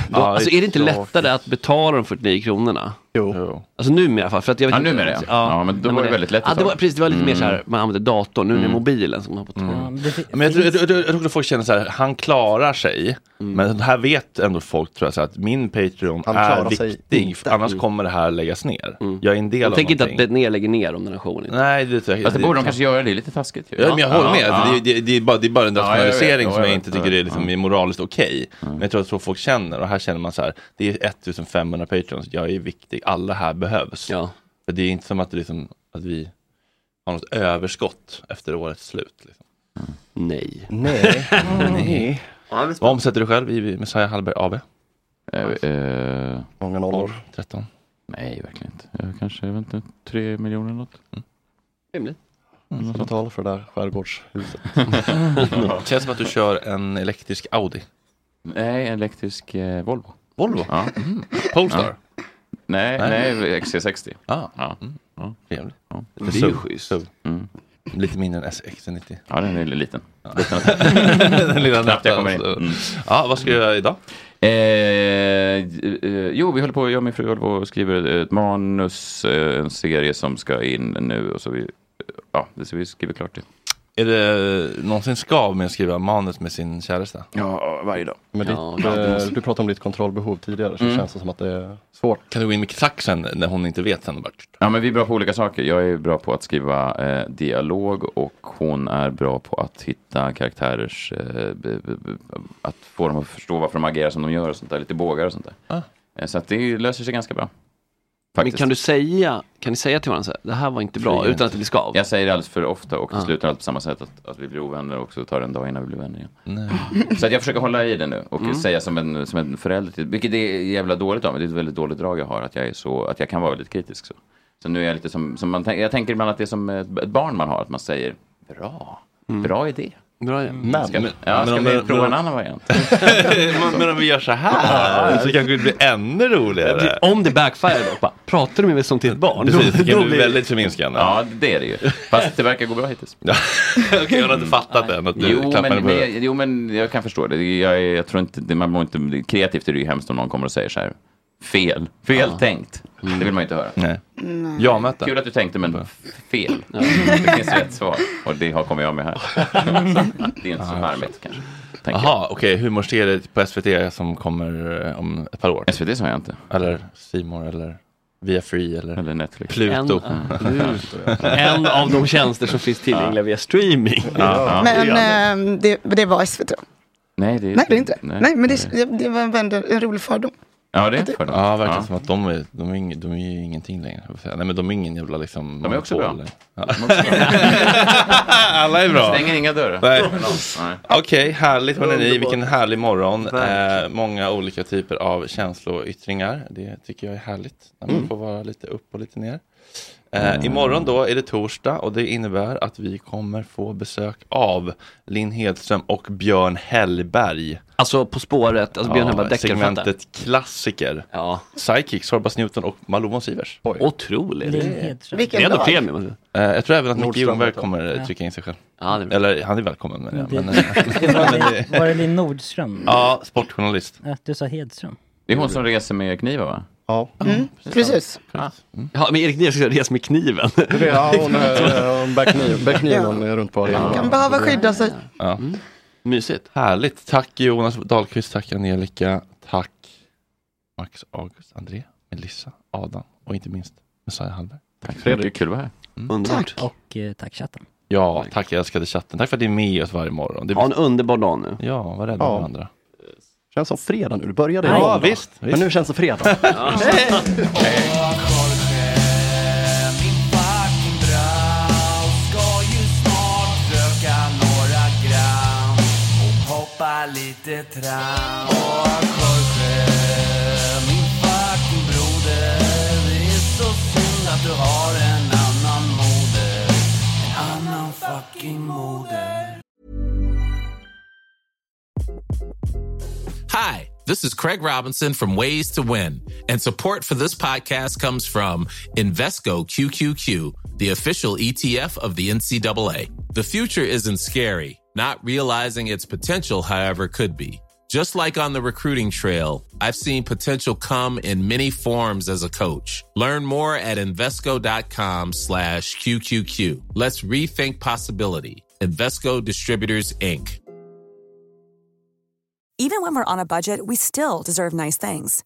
Speaker 7: Då, alltså är det inte lättare att betala de 49 kronorna?
Speaker 6: Jo.
Speaker 7: Alltså numera i alla fall. För att jag vet
Speaker 11: Ja,
Speaker 7: inte-
Speaker 11: numera, ja. Ja, men då
Speaker 7: när
Speaker 11: var
Speaker 7: man
Speaker 11: det
Speaker 7: är-
Speaker 11: väldigt lätt
Speaker 7: Ja,
Speaker 11: ett
Speaker 7: det var,
Speaker 11: tag.
Speaker 7: precis, det var lite mer så här,
Speaker 11: Mm.
Speaker 7: man använder datorn, nu är det
Speaker 1: Mm.
Speaker 7: mobilen som man har på tårna.
Speaker 5: Mm.
Speaker 1: Men jag tror, jag, tror- jag tror att folk känner så här, han klarar sig. Men här vet ändå folk tror jag så här, att min Patreon
Speaker 7: Mm. Han
Speaker 1: är
Speaker 7: klarar sig
Speaker 1: viktig.
Speaker 7: inte.
Speaker 1: För annars
Speaker 7: Mm.
Speaker 1: kommer det här läggas ner. Jag är en del
Speaker 7: Jag
Speaker 1: av
Speaker 7: tänker inte
Speaker 1: någonting.
Speaker 7: att Bettner lägger ner om den här showen. Inte.
Speaker 1: Nej, det tror jag
Speaker 11: Fast det borde de kanske göra, det är lite taskigt ju.
Speaker 1: Ja, men jag håller med. Alltså, det, är- det, är- det, är bara, det är bara en
Speaker 11: Ja, jag vet.
Speaker 1: rationalisering
Speaker 11: Ja, jag
Speaker 1: som jag
Speaker 11: vet.
Speaker 1: inte
Speaker 11: Jag
Speaker 1: tycker
Speaker 11: vet.
Speaker 1: är liksom,
Speaker 11: Ja.
Speaker 1: är moraliskt okej.
Speaker 7: Mm.
Speaker 1: Men jag tror att så folk känner, och här känner man så här, det är 1500 patreons, jag är viktig, alla här behövs. För det är inte som att, det liksom, att vi har något överskott efter årets slut. Liksom.
Speaker 7: Nej.
Speaker 6: Nej.
Speaker 1: Nej. Vad omsätter du själv i Messiah Hallberg AB?
Speaker 6: Många nollor.
Speaker 1: 13.
Speaker 11: eh, Nej, verkligen inte. Jag kanske, jag vet inte, tre miljoner eller något.
Speaker 7: Rimligt.
Speaker 6: Jag får betala för det där skärgårdshuset.
Speaker 1: *laughs* Känns som att du kör en elektrisk Audi.
Speaker 11: Nej, en elektrisk eh, Volvo.
Speaker 1: Volvo?
Speaker 11: Ja. *laughs*
Speaker 1: Polestar?
Speaker 11: Ja. Nej, nej,
Speaker 1: Nej.
Speaker 11: XC60.
Speaker 1: Ah.
Speaker 11: Ja.
Speaker 1: Ja, trevligt.
Speaker 11: Ja.
Speaker 1: Det är ju
Speaker 7: schysst.
Speaker 1: Lite mindre än SX90.
Speaker 11: Ja, den är liten. Ja.
Speaker 1: Den lilla
Speaker 11: Knappt jag kommer in.
Speaker 1: nätten.
Speaker 11: Mm.
Speaker 1: Ja, vad ska du göra idag?
Speaker 11: Eh, eh, jo, vi håller på, jag och min fru håller på och skriver ett manus, eh, en serie som ska in nu och så vi, ja, det så vi skriver klart det.
Speaker 1: Är det någonsin skav med att skriva manus med sin käresta?
Speaker 11: Ja, varje dag.
Speaker 6: Men ditt, eh, du pratade om ditt kontrollbehov tidigare, så
Speaker 1: Mm.
Speaker 6: känns det som att det är svårt.
Speaker 1: Kan du gå in med saxen när hon inte vet sen? och Bara...
Speaker 11: Ja, men vi är bra på olika saker. Jag är bra på att skriva eh, dialog och hon är bra på att hitta karaktärers, eh, b- b- b- att få dem att förstå varför de agerar som de gör och sånt där, lite bågar och sånt där.
Speaker 1: Ah.
Speaker 11: Eh, så att det löser sig ganska bra.
Speaker 7: Men
Speaker 11: Faktiskt.
Speaker 7: kan du säga, kan ni säga till varandra så här, det här var inte bra, utan att det blir skav?
Speaker 11: Jag säger det alldeles för ofta och till
Speaker 7: Ah.
Speaker 11: slut är allt på samma sätt att, att vi blir ovänner och så tar det en dag innan vi blir vänner igen.
Speaker 1: Nej.
Speaker 11: *laughs* Så att jag försöker hålla i det nu och
Speaker 7: Mm.
Speaker 11: säga som en, som en förälder till, vilket är jävla dåligt av mig, det är ett väldigt dåligt drag jag har, att jag, är så, att jag kan vara väldigt kritisk. Så, så nu är jag lite som, som man tänker, jag tänker ibland att det är som ett ett barn man har, att man säger bra, bra idé.
Speaker 7: Mm. Bra idé.
Speaker 11: Men, ska,
Speaker 1: Men-
Speaker 11: ja,
Speaker 1: men
Speaker 11: ska
Speaker 1: om-
Speaker 11: vi
Speaker 1: men-
Speaker 11: prova
Speaker 1: men-
Speaker 11: en annan variant?
Speaker 1: *laughs* men, men om vi gör så här så kanske det blir ännu roligare.
Speaker 7: Om *laughs* det backfire då, bara, pratar du med mig som till ett barn?
Speaker 1: Precis,
Speaker 7: Då- då
Speaker 1: det kan bli
Speaker 7: blir-
Speaker 1: väldigt förminskande.
Speaker 11: Ja, det är det ju. Fast det verkar gå bra hittills.
Speaker 1: *laughs* Okej, jag har inte fattat än att du
Speaker 11: Jo
Speaker 1: klappar henne
Speaker 11: men,
Speaker 1: på huvudet.
Speaker 11: men, jo, men jag kan förstå det. Det- Jag, är- jag tror inte, det, man mår inte, det- kreativt är det ju hemskt om någon kommer och säger så här, fel, fel tänkt.
Speaker 1: Mm.
Speaker 11: Det vill man ju inte höra.
Speaker 1: Nej. Jag möter.
Speaker 11: Kul att du tänkte, men f- fel. Det finns rätt svar. Och det har kommer jag
Speaker 1: *laughs*
Speaker 11: med här. Det är inte så charmigt kanske. tänker
Speaker 1: Jaha, okej, humorsteget på SVT som kommer eh, om ett par år?
Speaker 11: SVT sa jag inte.
Speaker 1: Eller Simor eller Via Free eller,
Speaker 11: eller eh. Netflix.
Speaker 1: Pluto.
Speaker 7: En, en av de tjänster som finns tillgängliga via streaming.
Speaker 1: Ja.
Speaker 10: Men ehm, det, det var SVT.
Speaker 11: Nej, det är
Speaker 10: Nej, det är inte. Nej, men
Speaker 11: det
Speaker 10: det, det var en, vänd- en rolig fördom.
Speaker 11: Ja, det är en
Speaker 1: det-
Speaker 11: fördom.
Speaker 1: Ja, verkar
Speaker 11: Ja.
Speaker 1: som att de är, de är, ing- de är ju ingenting längre. jag vill säga. Nej, men de är ingen jävla liksom...
Speaker 11: De är också
Speaker 1: monopol.
Speaker 11: bra. *laughs*
Speaker 1: Ja.
Speaker 11: De är också bra.
Speaker 1: Alla är bra.
Speaker 11: Stänger inga dörrar.
Speaker 1: Nej.
Speaker 11: Nej.
Speaker 1: Okej, härligt hörni.
Speaker 11: Underbart.
Speaker 1: Vilken härlig morgon.
Speaker 11: Verkligen.
Speaker 1: Eh, många olika typer av känsloyttringar. Det tycker jag är härligt. När man
Speaker 11: Mm.
Speaker 1: får vara lite upp och lite ner. Eh,
Speaker 7: Mm.
Speaker 1: Imorgon då är det torsdag och det innebär att vi kommer få besök av Linn Hedström och Björn Hellberg.
Speaker 7: Alltså På spåret, alltså Björn Hellberg, deckarförfattare.
Speaker 1: Segmentet klassiker.
Speaker 7: Ja.
Speaker 1: Sidekicks, Sorbas Newton och Malou von Sivers.
Speaker 7: Otroligt.
Speaker 1: Det
Speaker 7: Linn
Speaker 1: är-
Speaker 7: Hedström. Vilken Det är ändå dag. premium.
Speaker 1: Eh, jag tror även att Micke
Speaker 7: Nordström
Speaker 1: Ljungberg
Speaker 7: heter
Speaker 1: kommer
Speaker 7: han.
Speaker 1: eh, trycka in sig själv.
Speaker 7: Ja,
Speaker 1: Eller han är välkommen
Speaker 7: Mm,
Speaker 1: men,
Speaker 5: Det-
Speaker 1: men,
Speaker 7: *laughs*
Speaker 1: men,
Speaker 5: Var
Speaker 1: men
Speaker 5: det-
Speaker 1: det-
Speaker 5: Var det Linn Nordström?
Speaker 1: *laughs* Ja, sportjournalist.
Speaker 5: Ja, Du sa Hedström.
Speaker 11: Det är hon som reser med knivar va?
Speaker 9: Ja.
Speaker 10: Precis.
Speaker 7: Ah.
Speaker 1: Mm.
Speaker 7: Ja, men Erik Niva ska resa med kniven.
Speaker 9: Ja, hon, eh, hon bär kniv- bär kniven runt på arenan.
Speaker 10: Kan behöva skydda sig.
Speaker 1: *laughs* Ja.
Speaker 7: Mm.
Speaker 1: Mysigt. Härligt. Tack Jonas Dahlqvist, tack Angelica, tack Max, August, André, Melissa, Adam och inte minst Messiah Hallberg. Tack
Speaker 11: Fredrik, kul att vara här.
Speaker 7: Underbart.
Speaker 5: Och eh, tack chatten.
Speaker 1: Ja, tack älskade chatten. Tack för att ni är med oss varje morgon. Det
Speaker 7: Ha en underbar dag nu.
Speaker 1: Ja, var rädda om varandra.
Speaker 9: Känns som fredag nu, det började
Speaker 1: Ja,
Speaker 9: måndag.
Speaker 1: visst,
Speaker 9: Men
Speaker 1: visst.
Speaker 9: nu känns det fredag.
Speaker 15: Hoppa lite tram Åh Jorge, min fucking broder Det är så synd att du har en annan moder En annan fucking moder
Speaker 16: Hi, this is Craig Robinson from Ways to Win, and support for this podcast comes from Invesco QQQ, the official ETF of the NCAA. The future isn't scary, not realizing its potential, however, could be. Just like on the recruiting trail, I've seen potential come in many forms as a coach. Learn more at Invesco.com slash QQQ. Let's rethink possibility. Invesco Distributors, Inc.
Speaker 17: Even when we're on a budget, we still deserve nice things.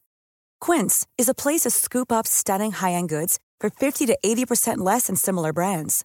Speaker 17: Quince is a place to scoop up stunning high end goods for 50 to 80% less than similar brands.